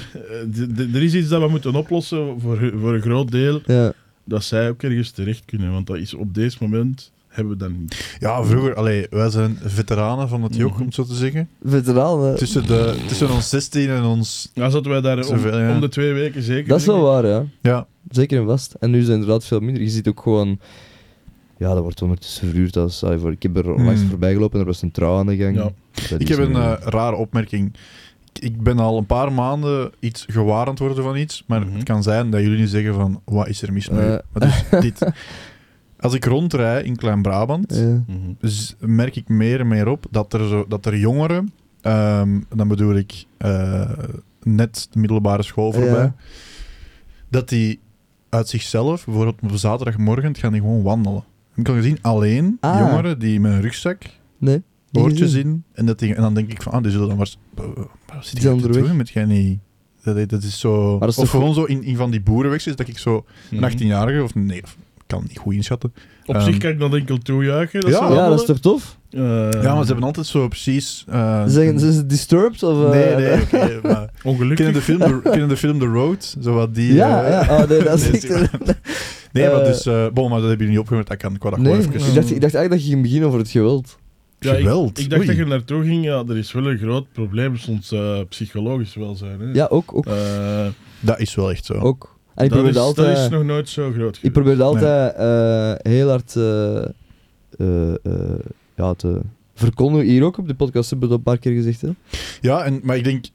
Speaker 3: d- d- er is iets dat we moeten oplossen voor, voor een groot deel.
Speaker 2: Ja.
Speaker 3: dat zij ook ergens terecht kunnen. Want dat is op deze moment hebben we dat niet.
Speaker 1: ja, vroeger... Allee, wij zijn veteranen van het jok,
Speaker 3: Mhm.
Speaker 1: om het zo te zeggen.
Speaker 2: Veteranen.
Speaker 1: Tussen, de, tussen ons 16 en ons.
Speaker 3: Dan zaten wij daar om,
Speaker 1: Zoveel, ja.
Speaker 3: om de twee weken zeker.
Speaker 2: Dat is wel
Speaker 3: in.
Speaker 2: waar, ja.
Speaker 1: Ja,
Speaker 2: Zeker en vast. En nu is het inderdaad veel minder. Je ziet ook gewoon... Ja, dat wordt ondertussen verhuurd als... ah, voor- Ik heb er onlangs
Speaker 1: Hmm.
Speaker 2: voorbij gelopen en er was een trouw aan de gang.
Speaker 3: Ja.
Speaker 2: Dat
Speaker 1: ik
Speaker 2: is
Speaker 1: heb een
Speaker 2: wel-
Speaker 1: eh, rare opmerking. ik ben al een paar maanden iets gewarend worden van iets, maar
Speaker 3: Mhm.
Speaker 1: het kan zijn dat jullie nu zeggen van, wat is er mis mee?
Speaker 2: Eh.
Speaker 1: Maar dus dit. Als ik rondrij in Klein-Brabant,
Speaker 2: Ja.
Speaker 3: Mhm.
Speaker 1: z- merk ik meer en meer op dat er, zo, dat er jongeren, ehm, dan bedoel ik eh, net de middelbare school voorbij,
Speaker 2: Ja.
Speaker 1: dat die uit zichzelf, bijvoorbeeld op zaterdagmorgen, gaan die gewoon wandelen. Heb ik al gezien, alleen
Speaker 2: Ah.
Speaker 1: jongeren die met een rugzak,
Speaker 2: Nee. niet
Speaker 1: oortjes
Speaker 2: gezien.
Speaker 1: in, en, dat die, en dan denk ik van, ah, die zullen dan was, wat zit
Speaker 2: Die
Speaker 1: je te
Speaker 2: onderweg.
Speaker 1: doen met jij niet? Dat, dat is zo...
Speaker 2: dat is
Speaker 1: of
Speaker 2: toch-
Speaker 1: gewoon zo in, in van die boerenwegjes, dat ik zo een
Speaker 3: Mhm.
Speaker 1: 18-jarige, of nee, of, ik kan het niet goed inschatten.
Speaker 3: Op
Speaker 1: Ehm,
Speaker 3: zich kan ik dat enkel toejuichen. Dat
Speaker 1: ja.
Speaker 3: ze
Speaker 2: Ja, dat is
Speaker 3: wandelen.
Speaker 2: toch tof?
Speaker 3: Eh,
Speaker 1: Ja, maar ze hebben altijd zo precies... eh,
Speaker 2: Zeggen ze is het disturbed? Of, eh,
Speaker 1: Nee, nee, oké, maar...
Speaker 3: Ongelukkig.
Speaker 1: Kennen de, film, de, kennen de film The Road? Zo wat die...
Speaker 2: Ja,
Speaker 1: eh,
Speaker 2: ja. Oh, nee, dat is
Speaker 1: nee,
Speaker 2: echt-
Speaker 1: zie Nee, maar
Speaker 2: Eh,
Speaker 1: dus... eh bon, maar dat hebben jullie niet opgemerkt. Dat kan ik wel dat
Speaker 2: Nee,
Speaker 1: gewoon
Speaker 2: ik
Speaker 1: even...
Speaker 2: dacht, ik dacht eigenlijk dat je ging beginnen over het geweld.
Speaker 3: Ja, ik-
Speaker 1: geweld.
Speaker 3: Ik, dacht
Speaker 1: Oei.
Speaker 3: dat je naartoe ging. Ja, er is wel een groot probleem soms eh, psychologisch welzijn. Hè.
Speaker 2: Ja, ook, ook,
Speaker 3: Eh,
Speaker 1: Dat is wel echt zo.
Speaker 2: ook. En ik
Speaker 3: dat,
Speaker 2: probeerde
Speaker 3: is,
Speaker 2: altijd... eh,
Speaker 3: dat is nog nooit zo groot
Speaker 2: Ik
Speaker 3: geweest.
Speaker 2: probeerde altijd eh, heel hard eh, eh, eh, ja, te verkondigen. Hier ook op de podcast hebben we dat een paar keer gezegd. Hè. Ik
Speaker 1: Ja, en, maar ik denk...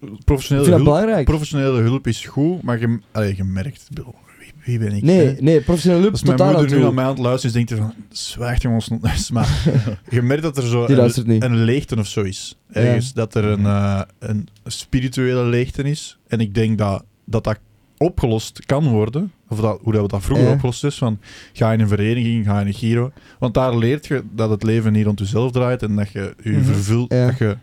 Speaker 2: vind
Speaker 1: Professionele
Speaker 2: dat
Speaker 1: hulp,
Speaker 2: belangrijk.
Speaker 1: professionele hulp is goed, maar je, allee, je merkt... Bill, wie, wie ben ik? hè?
Speaker 2: nee, nee, professionele hulp
Speaker 1: Als
Speaker 2: tot
Speaker 1: mijn
Speaker 2: daar aan
Speaker 1: moeder nu
Speaker 2: toe.
Speaker 1: aan mij aan het luisteren is, denkt hij van... Zwijgt jongens, nog eens. Maar je merkt dat er zo
Speaker 2: Die
Speaker 1: een,
Speaker 2: luistert niet.
Speaker 1: een leegte of zo is. Ergens dat er een, eh, een spirituele leegte is. En ik denk dat dat, dat opgelost kan worden. Of dat, hoe dat we dat vroeger
Speaker 2: Ja.
Speaker 1: opgelost is. Van, ga je in een vereniging, ga je in een giro. Want daar leert je dat het leven niet rond jezelf draait. En dat je je
Speaker 3: Mhm.
Speaker 1: vervult.
Speaker 2: Ja.
Speaker 1: Dat je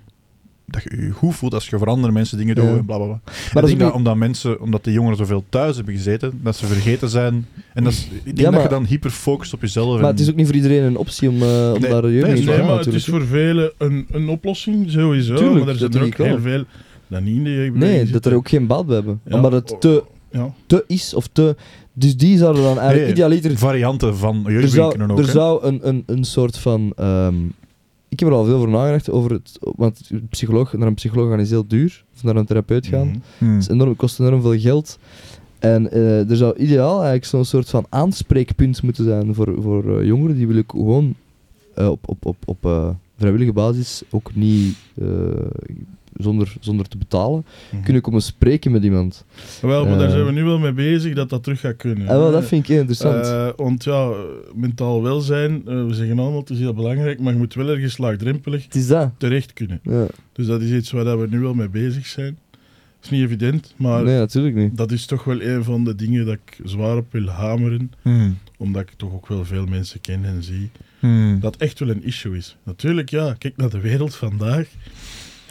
Speaker 1: dat je je goed voelt als je voor andere mensen dingen doet
Speaker 2: Ja.
Speaker 1: en bla bla bla.
Speaker 2: Maar
Speaker 1: Maar
Speaker 2: dat
Speaker 1: ik
Speaker 2: is
Speaker 1: denk
Speaker 2: ook
Speaker 1: dat omdat mensen, omdat de jongeren zoveel thuis hebben gezeten, dat ze vergeten zijn. En dat is, ik denk
Speaker 2: Ja,
Speaker 1: dat je
Speaker 2: maar-
Speaker 1: dan hyperfocust op jezelf.
Speaker 2: niet- maar het is ook niet voor iedereen een optie om, eh, om
Speaker 1: Nee,
Speaker 2: daar
Speaker 1: nee,
Speaker 2: jeugd
Speaker 1: nee,
Speaker 2: te maken
Speaker 3: Nee, maar het
Speaker 2: natuurlijk.
Speaker 3: is voor velen een, een oplossing, sowieso.
Speaker 2: Tuurlijk,
Speaker 3: maar er zijn
Speaker 2: dat denk
Speaker 3: er ook
Speaker 2: ik wel.
Speaker 3: heel veel dat niet in de jeugdbeweging
Speaker 2: Nee, dat
Speaker 3: zitten.
Speaker 2: er ook geen baat bij hebben.
Speaker 3: Ja.
Speaker 2: Omdat
Speaker 1: oh.
Speaker 2: het te,
Speaker 3: Ja.
Speaker 2: te is of te... Dus die zouden dan eigenlijk
Speaker 1: Nee,
Speaker 2: idealiter...
Speaker 1: eh, varianten van
Speaker 2: Er
Speaker 1: jeugdwinken
Speaker 2: zou,
Speaker 1: kunnen ook.
Speaker 2: er
Speaker 1: hè.
Speaker 2: zou een, een, een soort van... ehm, ik heb er al veel voor nagedacht, over het, want een psycholoog, naar een psycholoog gaan is heel duur. Of naar een therapeut gaan.
Speaker 3: Mhm.
Speaker 1: Hmm.
Speaker 2: Het is enorm, kost enorm veel geld. En eh, er zou ideaal eigenlijk zo'n soort van aanspreekpunt moeten zijn voor, voor eh, jongeren. Die wil ik gewoon eh, op, op, op, op eh, vrijwillige basis, ook niet eh, zonder, zonder te betalen,
Speaker 3: Mhm.
Speaker 2: kunnen komen spreken met iemand.
Speaker 3: Wel, maar daar
Speaker 2: Eh.
Speaker 3: zijn we nu wel mee bezig dat dat terug gaat kunnen.
Speaker 2: En wel, dat
Speaker 3: Eh,
Speaker 2: vind ik heel interessant.
Speaker 3: Eh, want ja, eh, mentaal welzijn, eh, we zeggen allemaal, het is heel belangrijk, maar je moet wel ergens laagdrempelig
Speaker 2: het is dat.
Speaker 3: terecht kunnen.
Speaker 2: Ja.
Speaker 3: Dus dat is iets waar dat we nu wel mee bezig zijn. Dat is niet evident, maar
Speaker 2: Nee, natuurlijk niet.
Speaker 3: dat is toch wel een van de dingen dat ik zwaar op wil hameren,
Speaker 1: Hmm.
Speaker 3: omdat ik toch ook wel veel mensen ken en zie,
Speaker 1: Hmm.
Speaker 3: dat echt wel een issue is. Natuurlijk, ja, kijk naar de wereld vandaag.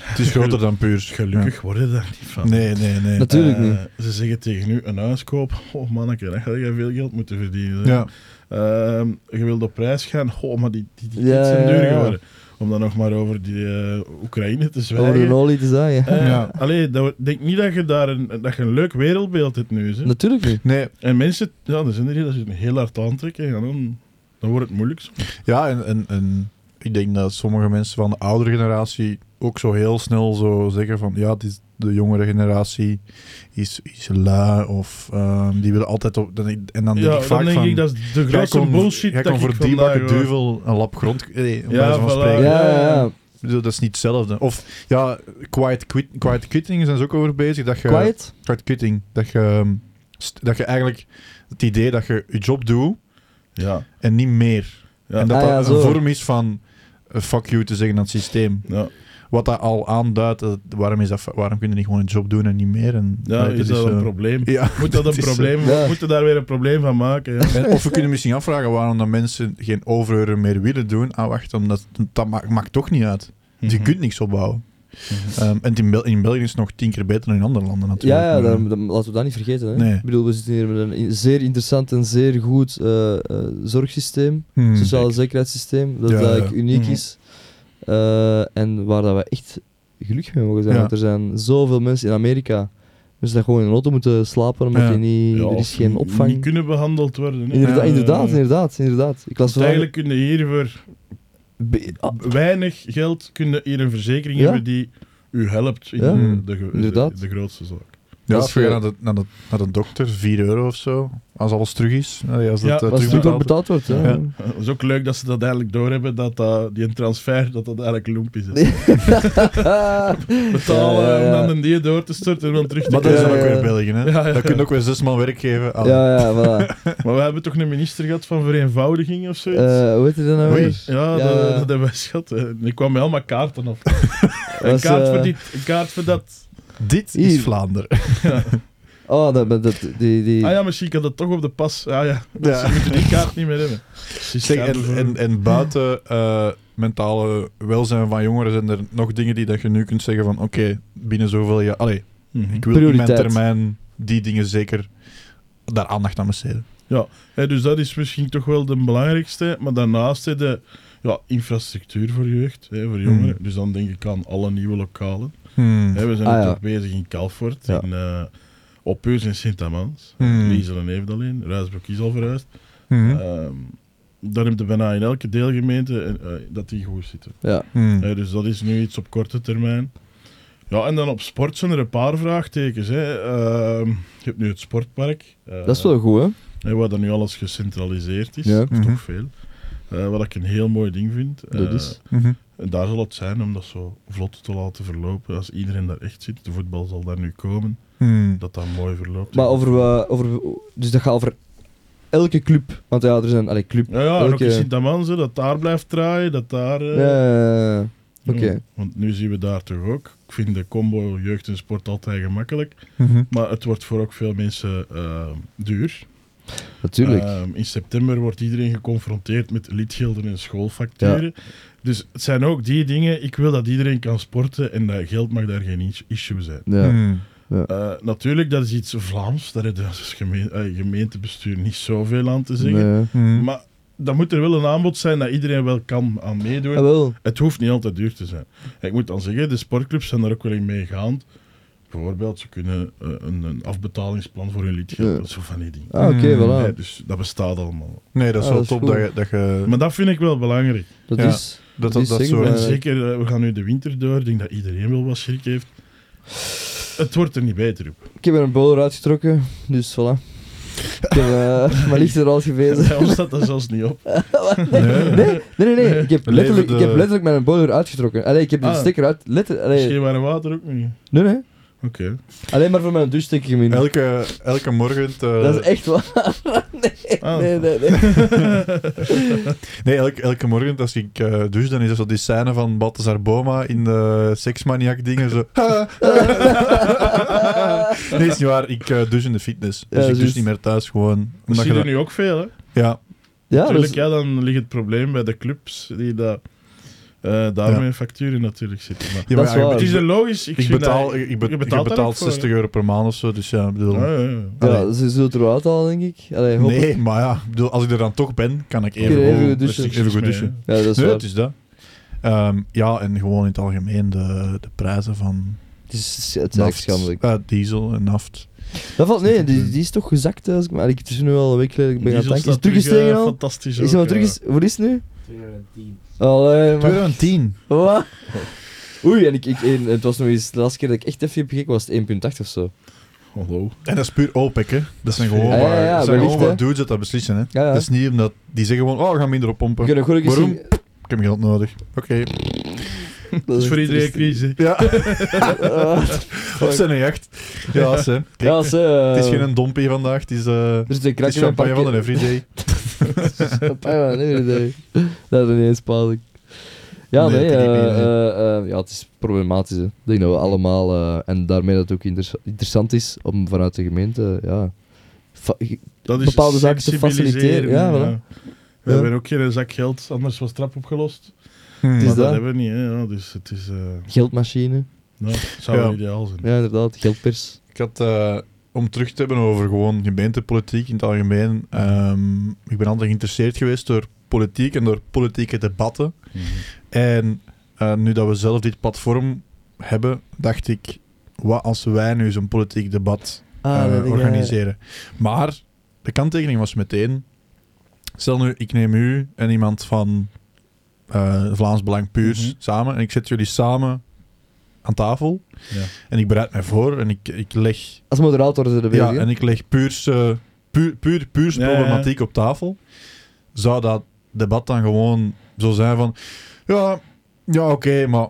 Speaker 1: Het is groter dan puur.
Speaker 3: Gelukkig worden daar niet
Speaker 1: Ja.
Speaker 3: van.
Speaker 1: Nee, nee, nee.
Speaker 2: Dat- Natuurlijk
Speaker 3: Eh, Ze zeggen tegen u, een huis kopen, oh manneke, dan ga je veel geld moeten verdienen. hè.
Speaker 1: Ja.
Speaker 3: Ehm, je wilt op reis gaan, oh, maar die, die, die
Speaker 2: Ja,
Speaker 3: kids zijn
Speaker 2: ja,
Speaker 3: duur
Speaker 2: ja.
Speaker 3: geworden. Om dan nog maar over die eh, Oekraïne te
Speaker 2: Over de
Speaker 3: zwijgen.
Speaker 2: olie te zijn, ja.
Speaker 3: Eh,
Speaker 1: Ja.
Speaker 3: Allee, dat, we- denk niet dat je daar een, dat je een leuk wereldbeeld hebt nu. Hè.
Speaker 2: Natuurlijk niet.
Speaker 1: Nee,
Speaker 3: En mensen, ja, er zijn er die dat zitten heel hard aantrekken. En dan, dan wordt het moeilijk. soms.
Speaker 1: ja, en, en, en ik denk dat sommige mensen van de oudere generatie ook zo heel snel zo zeggen van ja, het is de jongere generatie is, is lui of ehm, die willen altijd op. dan ik- En dan denk
Speaker 3: ja,
Speaker 1: ik vaak
Speaker 3: dan denk
Speaker 1: van.
Speaker 3: ik dat is de
Speaker 1: jij
Speaker 3: grootste
Speaker 1: kon-
Speaker 3: bullshit
Speaker 1: jij
Speaker 3: dat
Speaker 1: kan
Speaker 3: ik
Speaker 1: voor die
Speaker 3: vandaag
Speaker 1: bakken
Speaker 3: hoor.
Speaker 1: duivel een lap grond. Nee,
Speaker 3: Ja,
Speaker 1: ja, van
Speaker 3: voilà.
Speaker 1: spreken.
Speaker 2: Ja, ja, ja.
Speaker 1: Ik bedoel, dat is niet hetzelfde. Of ja, quiet, quit, quiet quitting zijn ze ook over bezig. Dat je,
Speaker 2: Quiet?
Speaker 1: quiet quitting. Dat je, ehm, st- dat je eigenlijk het idee dat je je job doet
Speaker 3: Ja,
Speaker 1: en niet meer.
Speaker 3: ja,
Speaker 1: En dat
Speaker 2: Ah, ja,
Speaker 1: dat
Speaker 2: zo.
Speaker 1: een vorm is van eh, fuck you te zeggen aan het systeem.
Speaker 3: ja.
Speaker 1: Wat dat al aanduidt, dat- waarom, is dat, waarom kun je niet gewoon een job doen en niet meer? En,
Speaker 3: ja
Speaker 1: allee,
Speaker 3: is dat een
Speaker 1: eh,
Speaker 3: probleem?
Speaker 1: Ja,
Speaker 3: Moet dat
Speaker 1: het
Speaker 3: een
Speaker 1: is, eh,
Speaker 3: probleem?
Speaker 2: Ja.
Speaker 3: Moeten daar weer een probleem van maken? Ja.
Speaker 1: En of we kunnen misschien afvragen waarom dat mensen geen overuren meer willen doen. Ah, wacht, omdat dat maakt, maakt toch niet uit. Dus Je
Speaker 3: Mhm.
Speaker 1: kunt niks opbouwen. Ehm, en in, Bel- in België is het nog tien keer beter dan in andere landen natuurlijk.
Speaker 2: Ja, ja
Speaker 1: Maar,
Speaker 2: daarom- dan, laten we dat niet vergeten. Hè.
Speaker 1: Nee.
Speaker 2: Ik bedoel, we zitten hier met een i- zeer interessant en zeer goed eh, eh, zorgsysteem,
Speaker 1: hmm.
Speaker 2: sociaal zekerheidssysteem, dat
Speaker 1: Ja,
Speaker 2: eigenlijk
Speaker 1: ja.
Speaker 2: uniek
Speaker 3: Mhm.
Speaker 2: is. Eh, en waar dat we echt gelukkig mee mogen zijn.
Speaker 1: Ja.
Speaker 2: Want er zijn zoveel mensen in Amerika, mensen dat gewoon in een auto moeten slapen, omdat
Speaker 1: Ja.
Speaker 2: die niet,
Speaker 3: Ja,
Speaker 2: er
Speaker 3: of
Speaker 2: is geen
Speaker 3: niet-
Speaker 2: opvang.
Speaker 3: Niet kunnen behandeld worden. hè.
Speaker 2: Inderdaad,
Speaker 1: Ja,
Speaker 3: Eh,
Speaker 2: inderdaad, inderdaad, inderdaad. Ik las
Speaker 3: want Eigenlijk kun je hier voor
Speaker 2: Be- ah,
Speaker 3: weinig geld kun je hier een verzekering
Speaker 2: Ja.
Speaker 3: hebben die u helpt in
Speaker 2: Ja.
Speaker 3: de, de, de-
Speaker 2: Inderdaad.
Speaker 3: de grootste zaak.
Speaker 1: Ja,
Speaker 2: Ja,
Speaker 1: als je
Speaker 2: ja.
Speaker 1: naar de, naar, de, naar de dokter, 4 euro of zo, als alles terug is. Allee, Als
Speaker 3: Ja,
Speaker 1: dat, eh,
Speaker 2: Als het
Speaker 1: terugbetaald
Speaker 2: natuurlijk
Speaker 1: wordt.
Speaker 2: betaald wordt, ja.
Speaker 1: Ja.
Speaker 3: Het Eh, is ook leuk dat ze dat eigenlijk doorhebben, dat eh, die een transfer, dat dat eigenlijk loempjes is.
Speaker 2: Ah.
Speaker 3: Betalen
Speaker 2: Ja, ja, ja.
Speaker 3: om dan een die door te storten en dan terug te
Speaker 1: Maar dat is dan
Speaker 2: Ja,
Speaker 1: ook
Speaker 2: ja,
Speaker 1: weer
Speaker 2: ja.
Speaker 1: België, hè?
Speaker 3: Ja, ja,
Speaker 1: Dat kun je
Speaker 3: ja.
Speaker 1: ook weer zes man werk geven. aan-
Speaker 2: ja, ja, voilà.
Speaker 3: Maar we hebben toch een minister gehad van vereenvoudiging of zoiets?
Speaker 2: Eh, hoe heet hij dan nou
Speaker 1: Oei.
Speaker 2: weer? ja.
Speaker 3: ja, Dat, dat hebben we schat. Ik kwam met allemaal kaarten af. een
Speaker 2: Was,
Speaker 3: kaart
Speaker 2: eh,
Speaker 3: voor dit, een kaart voor dat.
Speaker 1: Dit is
Speaker 2: Hier.
Speaker 1: Vlaanderen.
Speaker 2: Oh, dat, dat, dat- die, die...
Speaker 3: Ah ja, misschien kan dat toch op de pas. Ah ja,
Speaker 1: Ja.
Speaker 3: ze moeten die kaart niet meer hebben. Ze
Speaker 1: Zeg,
Speaker 3: schaden voor-
Speaker 1: en, en, en buiten eh, mentale welzijn van jongeren zijn er nog dingen die dat je nu kunt zeggen van oké, binnen zoveel jaar... Allee,
Speaker 3: Mhm.
Speaker 1: ik wil in mijn
Speaker 2: Prioriteit.
Speaker 1: termijn die dingen zeker daar aandacht aan besteden.
Speaker 3: Hè, dus dat is misschien toch wel de belangrijkste. Maar daarnaast hè, de ja, infrastructuur voor jeugd, hè, voor jongeren. Dus dan denk ik aan alle nieuwe lokalen.
Speaker 1: Hmm.
Speaker 3: Hè, we zijn
Speaker 2: Ah,
Speaker 3: nu
Speaker 2: ja.
Speaker 3: toch bezig in Calfort,
Speaker 2: Ja.
Speaker 3: in eh Opheus en Sint-Amans.
Speaker 1: Hmm.
Speaker 3: Lieselen heeft alleen, Ruisbroek is al verhuisd.
Speaker 1: Mhm.
Speaker 3: Ehm, daar heb je bijna in elke deelgemeente eh, eh, dat die goed zitten.
Speaker 2: Ja.
Speaker 1: Mhm.
Speaker 3: Hè, dus dat is nu iets op korte termijn. Ja, en dan op sport zijn er een paar vraagtekens. Hè. Ehm, je hebt nu het sportpark. eh,
Speaker 2: Dat is wel goed, hè?
Speaker 3: hè, waar dan nu alles gecentraliseerd is.
Speaker 2: Ja.
Speaker 3: Dat is
Speaker 1: Mhm.
Speaker 3: toch veel. Eh, wat ik een heel mooi ding vind.
Speaker 2: Dat
Speaker 3: Eh,
Speaker 2: is.
Speaker 1: Mhm.
Speaker 3: En daar zal het zijn om dat zo vlot te laten verlopen. Als iedereen daar echt zit, de voetbal zal daar nu komen,
Speaker 1: Mhm.
Speaker 3: dat dat mooi verloopt.
Speaker 2: Maar over, eh, over... Dus dat gaat over elke club. Want ja, er zijn... Allee, club.
Speaker 3: Ja, ja en ook
Speaker 2: Elke-
Speaker 3: in Sint-Amans, hè, dat daar blijft draaien, dat daar... eh, hmm.
Speaker 2: Ja, oké.
Speaker 3: Ja, Want nu zien we daar toch ook. Ik vind de combo jeugd en sport altijd gemakkelijk.
Speaker 1: Mhm.
Speaker 3: Maar het wordt voor ook veel mensen eh, duur.
Speaker 2: natuurlijk.
Speaker 3: Ehm, in september wordt iedereen geconfronteerd met lidgelden en schoolfacturen. Dus het zijn ook die dingen. Ik wil dat iedereen kan sporten en dat geld mag daar geen is- issue zijn.
Speaker 2: ja.
Speaker 1: Mhm.
Speaker 3: Eh, natuurlijk, dat is iets Vlaams. Daar heeft het geme- eh, gemeentebestuur niet zoveel aan te zeggen.
Speaker 2: Nee.
Speaker 1: Mhm.
Speaker 3: Maar dan moet er wel een aanbod zijn dat iedereen wel kan aan meedoen.
Speaker 2: Ah, wel.
Speaker 3: Het hoeft niet altijd duur te zijn. Ik moet dan zeggen, de sportclubs zijn daar ook wel in meegaand. Bijvoorbeeld, ze kunnen eh, een, een afbetalingsplan voor hun lidgeld,
Speaker 2: Ja.
Speaker 3: zo van die dingen.
Speaker 2: Ah, oké,
Speaker 1: Mm,
Speaker 2: voilà.
Speaker 3: Nee, dus dat bestaat allemaal.
Speaker 1: Nee, dat is
Speaker 2: Ah,
Speaker 1: wel
Speaker 2: dat is
Speaker 1: top
Speaker 2: goed.
Speaker 1: dat je... Dat je
Speaker 3: Maar dat vind ik wel belangrijk.
Speaker 2: Dat
Speaker 1: Ja.
Speaker 2: is...
Speaker 1: dat,
Speaker 2: die
Speaker 1: dat, dat
Speaker 2: zeggen
Speaker 1: soort...
Speaker 2: we-
Speaker 3: En
Speaker 2: Eh.
Speaker 3: zeker, eh, we gaan nu de winter door, ik denk dat iedereen wel wat schrik heeft. Het wordt er niet beter op.
Speaker 2: Ik heb er een bowler uitgetrokken, dus voilà. Ik heb eh, mijn liefde er al gewezen.
Speaker 3: Bij ons staat dat zelfs niet op.
Speaker 1: Nee.
Speaker 2: Nee, nee, nee. nee. Ik, heb
Speaker 1: Leven
Speaker 2: letterlijk, ik
Speaker 1: de-
Speaker 2: heb letterlijk mijn bowler uitgetrokken. Allee, ik heb de
Speaker 3: Ah.
Speaker 2: stekker uit... Letter, allee,
Speaker 3: Misschien waren water ook niet.
Speaker 2: nee, nee.
Speaker 3: Oké.
Speaker 2: Alleen maar voor mijn douchestekker gemeen.
Speaker 1: Eh, Elke, elke morgen... eh, te-
Speaker 2: Dat is echt waar.
Speaker 3: Ah.
Speaker 2: Nee, nee, nee.
Speaker 1: Nee, elke, elke morgen als ik eh, douche, dan is dat zo die scène van Balthazar Boma in de seksmaniac-dingen. Zo. nee, is niet waar. Ik eh, douche in de fitness. Dus ik douche
Speaker 2: juist.
Speaker 1: niet meer thuis, gewoon.
Speaker 3: Dat
Speaker 1: Omdat
Speaker 3: zie
Speaker 1: je
Speaker 3: je
Speaker 1: dat-
Speaker 3: nu ook veel, hè?
Speaker 1: Ja.
Speaker 2: Ja, dat
Speaker 3: Natuurlijk,
Speaker 2: is...
Speaker 3: ja, dan ligt het probleem bij de clubs die dat, eh daarmee facturen natuurlijk zitten. Maar
Speaker 1: Ja,
Speaker 2: Dat is
Speaker 1: ja,
Speaker 2: waar.
Speaker 1: ik-
Speaker 3: Het is er logisch. Ik,
Speaker 1: Ah, Ik
Speaker 3: vind
Speaker 1: betaal,
Speaker 3: dat-
Speaker 1: ik, ik be-
Speaker 3: je
Speaker 1: ik
Speaker 3: betaalt daar
Speaker 1: betaal
Speaker 3: ook voor, Ah,
Speaker 1: 60 euro per maand of zo, dus ja, ik bedoel...
Speaker 3: Ja, Oh, ja, ja.
Speaker 2: Ja, ze zullen het eruit halen, denk ik. Allee, hoop ik.
Speaker 1: nee, maar ja, ik bedoel, als ik er dan toch ben, kan ik
Speaker 2: Kun
Speaker 1: even,
Speaker 2: je
Speaker 1: gewoon-
Speaker 2: even goed
Speaker 3: Dus
Speaker 2: douchen.
Speaker 1: Even goed douchen.
Speaker 2: Ja, dat is
Speaker 1: Nee,
Speaker 2: waar.
Speaker 1: het is dat. Ehm, ja, en gewoon in het algemeen de, de prijzen van
Speaker 2: Het is, het is eigenlijk
Speaker 1: naft,
Speaker 2: schandelijk.
Speaker 1: eh, diesel en naft.
Speaker 2: Dat valt, nee, die, die is toch gezakt. Als ik, maar ik het is nu al een week geleden. Ik ben gaan tanken. Is het teruggestegen
Speaker 1: eh,
Speaker 2: al?
Speaker 3: eh, Fantastisch.
Speaker 2: Is het
Speaker 3: ook,
Speaker 2: maar terug
Speaker 3: ja.
Speaker 2: is, Hoe is het nu?
Speaker 4: 2010.
Speaker 2: Allee, maar...
Speaker 1: 2010.
Speaker 2: Wat? Oei, en ik, ik, en het was nog eens de laatste keer dat ik echt even heb gekeken, was het 1.8 of zo.
Speaker 3: Hallo.
Speaker 1: En dat is puur OPEC, hè? Dat zijn gewoon
Speaker 3: Ja,
Speaker 1: maar,
Speaker 2: ja, ja,
Speaker 1: dat zijn gewoon
Speaker 2: wellicht,
Speaker 1: maar
Speaker 2: hè.
Speaker 1: dudes dat dat beslissen, hè?
Speaker 2: Ja, ja.
Speaker 1: Dat is niet omdat die zeggen gewoon, oh, we gaan minder op pompen.
Speaker 2: We kunnen goed eens
Speaker 1: Waarom?
Speaker 2: zien.
Speaker 1: Ik heb geld nodig. Oké.
Speaker 2: Dat
Speaker 3: Dat is voor
Speaker 2: echt
Speaker 3: iedereen een
Speaker 2: triest.
Speaker 3: crisis.
Speaker 1: Ja,
Speaker 2: Ah,
Speaker 1: op zijn jacht. Ja, ze. Kijk,
Speaker 2: Ja, ze, eh,
Speaker 1: het is geen dompie vandaag, het is, eh,
Speaker 2: Er zit een
Speaker 1: het is
Speaker 2: krakje
Speaker 1: champagne van een everyday.
Speaker 2: Champagne van een everyday. Dat is ineens pijnlijk. Ja,
Speaker 1: Nee,
Speaker 2: nee,
Speaker 1: dat denk ik
Speaker 2: eh,
Speaker 1: niet, nee.
Speaker 2: eh, eh, ja, het is problematisch. Hè. Ik denk dat we allemaal, eh, en daarmee dat het ook inter- interessant is om vanuit de gemeente, ja, fa-
Speaker 3: Dat is
Speaker 2: Bepaalde zaken te
Speaker 3: sensibiliseren,
Speaker 2: faciliteren, ja, voilà.
Speaker 3: We
Speaker 2: Ja.
Speaker 3: hebben ook geen zak geld, anders was trap opgelost.
Speaker 1: Hmm.
Speaker 2: is
Speaker 3: maar dat,
Speaker 2: dat.
Speaker 3: hebben we niet, hè. Ja, dus het is... eh,
Speaker 2: geldmachine.
Speaker 3: nou, het zou
Speaker 1: Ja.
Speaker 3: wel ideaal zijn.
Speaker 2: Ja, inderdaad, geldpers.
Speaker 1: Ik had, eh, om terug te hebben over gewoon gemeentepolitiek in het algemeen, ehm, ik ben altijd geïnteresseerd geweest door politiek en door politieke debatten.
Speaker 3: Mhm.
Speaker 1: En eh, nu dat we zelf dit platform hebben, dacht ik, wat als wij nu zo'n politiek debat
Speaker 3: Ah,
Speaker 1: eh, organiseren. Maar de kanttekening was meteen: stel nu, ik neem u en iemand van eh, Vlaams Belang Puurs
Speaker 3: Mhm.
Speaker 1: samen en ik zet jullie samen aan tafel
Speaker 3: Ja.
Speaker 1: en ik bereid mij voor en ik, ik leg
Speaker 2: Als moderator is er
Speaker 1: Ja,
Speaker 2: bezig.
Speaker 1: en ik leg puurs, eh, puur, puur, puurs
Speaker 3: Ja, ja, ja.
Speaker 1: problematiek op tafel. Zou dat debat dan gewoon zo zijn van... Ja, ja oké, maar...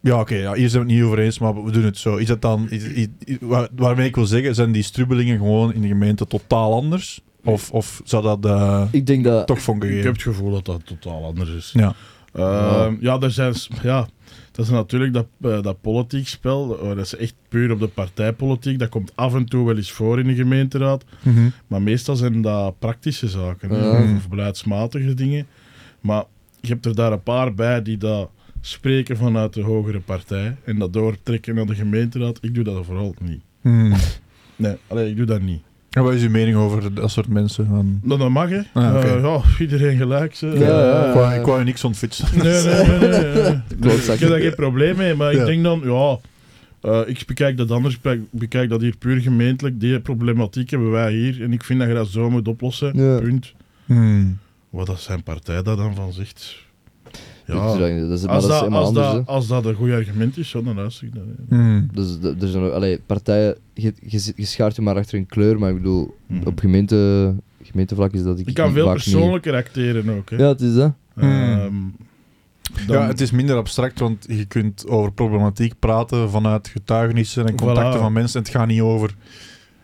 Speaker 1: Ja, oké, ja, hier zijn we het niet over eens, maar we doen het zo. Is dat dan... Is, is- is- waar- waarmee ik wil zeggen, zijn die strubbelingen gewoon in de gemeente totaal anders? Of, of zou dat eh,
Speaker 2: ik denk dat...
Speaker 1: toch van
Speaker 3: Ik
Speaker 1: gegeven?
Speaker 3: heb het gevoel dat dat totaal anders is.
Speaker 1: Ja.
Speaker 3: Ehm, ja, er zijn, s- ja, dat is natuurlijk dat, eh, dat politiek spel. eh, dat is echt puur op de partijpolitiek. Dat komt af en toe wel eens voor in de gemeenteraad.
Speaker 1: Mhm.
Speaker 3: Maar meestal zijn dat praktische zaken. hè,
Speaker 2: Ja.
Speaker 3: Of beleidsmatige dingen. Maar je hebt er daar een paar bij die dat spreken vanuit de hogere partij. En dat doortrekken naar de gemeenteraad. Ik doe dat vooral niet.
Speaker 1: Hmm.
Speaker 3: Nee, allee, ik doe dat niet.
Speaker 1: En wat is uw mening over dat soort mensen? Van...
Speaker 3: Nou, dat mag, hè.
Speaker 1: Ah, oké.
Speaker 3: Eh, ja, iedereen gelijk. Ze.
Speaker 2: Ja, ja, ja.
Speaker 1: Ik wou- Ik wou je niks ontfietsen.
Speaker 3: Nee, nee, nee. nee, nee.
Speaker 2: Klootzak.
Speaker 3: Ik heb daar geen probleem mee, maar
Speaker 1: Ja.
Speaker 3: ik denk dan, ja, eh, ik bekijk dat anders, ik bekijk- bekijk dat hier puur gemeentelijk. Die problematiek hebben wij hier en ik vind dat je dat zo moet oplossen.
Speaker 2: Ja.
Speaker 3: Punt.
Speaker 1: Hmm.
Speaker 3: Wat dat zijn partij daar dan van zegt.
Speaker 2: Dat
Speaker 3: Ja,
Speaker 2: is, maar
Speaker 3: als
Speaker 2: dat is
Speaker 3: dat,
Speaker 2: helemaal
Speaker 3: als
Speaker 2: anders, hè.
Speaker 3: dat, als dat een goed argument is, ja, dan luister ik naar. hè.
Speaker 1: Hmm.
Speaker 2: Dus de- er zijn ook, allee, partijen, je, je, zit- je schaart je maar achter een kleur, maar ik bedoel,
Speaker 3: Mhm.
Speaker 2: op gemeente, gemeentevlak is dat ik.
Speaker 3: Ik kan veel
Speaker 2: vaak niet-
Speaker 3: persoonlijker acteren ook. Hè.
Speaker 2: Ja, het is dat.
Speaker 3: Ehm, dan-
Speaker 1: Ja, het is minder abstract, want je kunt over problematiek praten vanuit getuigenissen en contacten
Speaker 3: Voilà.
Speaker 1: van mensen. Het gaat niet over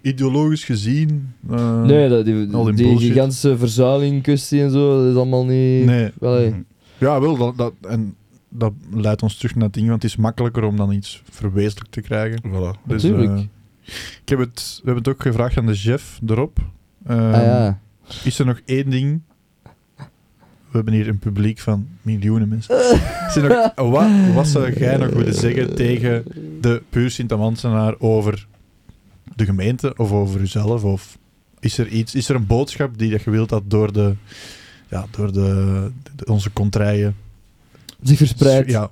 Speaker 1: ideologisch gezien. eh,
Speaker 2: nee, dat, die,
Speaker 1: al die
Speaker 2: die,
Speaker 1: bullshit.
Speaker 2: gigantische verzuiling, kwestie en zo, dat is allemaal niet.
Speaker 1: nee. Mm.
Speaker 2: Allee,
Speaker 1: Ja, wel, dat, dat, en dat leidt ons terug naar het ding, want het is makkelijker om dan iets verwezenlijk te krijgen.
Speaker 3: Voilà.
Speaker 1: Dus,
Speaker 2: Natuurlijk.
Speaker 1: eh, ik heb het, we hebben het ook gevraagd aan de chef erop. Eh,
Speaker 2: ah ja.
Speaker 1: Is er nog één ding? We hebben hier een publiek van miljoenen mensen. Is er nog, wat, wat zou jij nog willen zeggen tegen de puur Sint-Amansenaar over de gemeente of over uzelf? Of is er iets, is er een boodschap die dat je wilt dat door de, ja, door de, de- onze contraien
Speaker 2: Zich verspreid.
Speaker 1: Ja.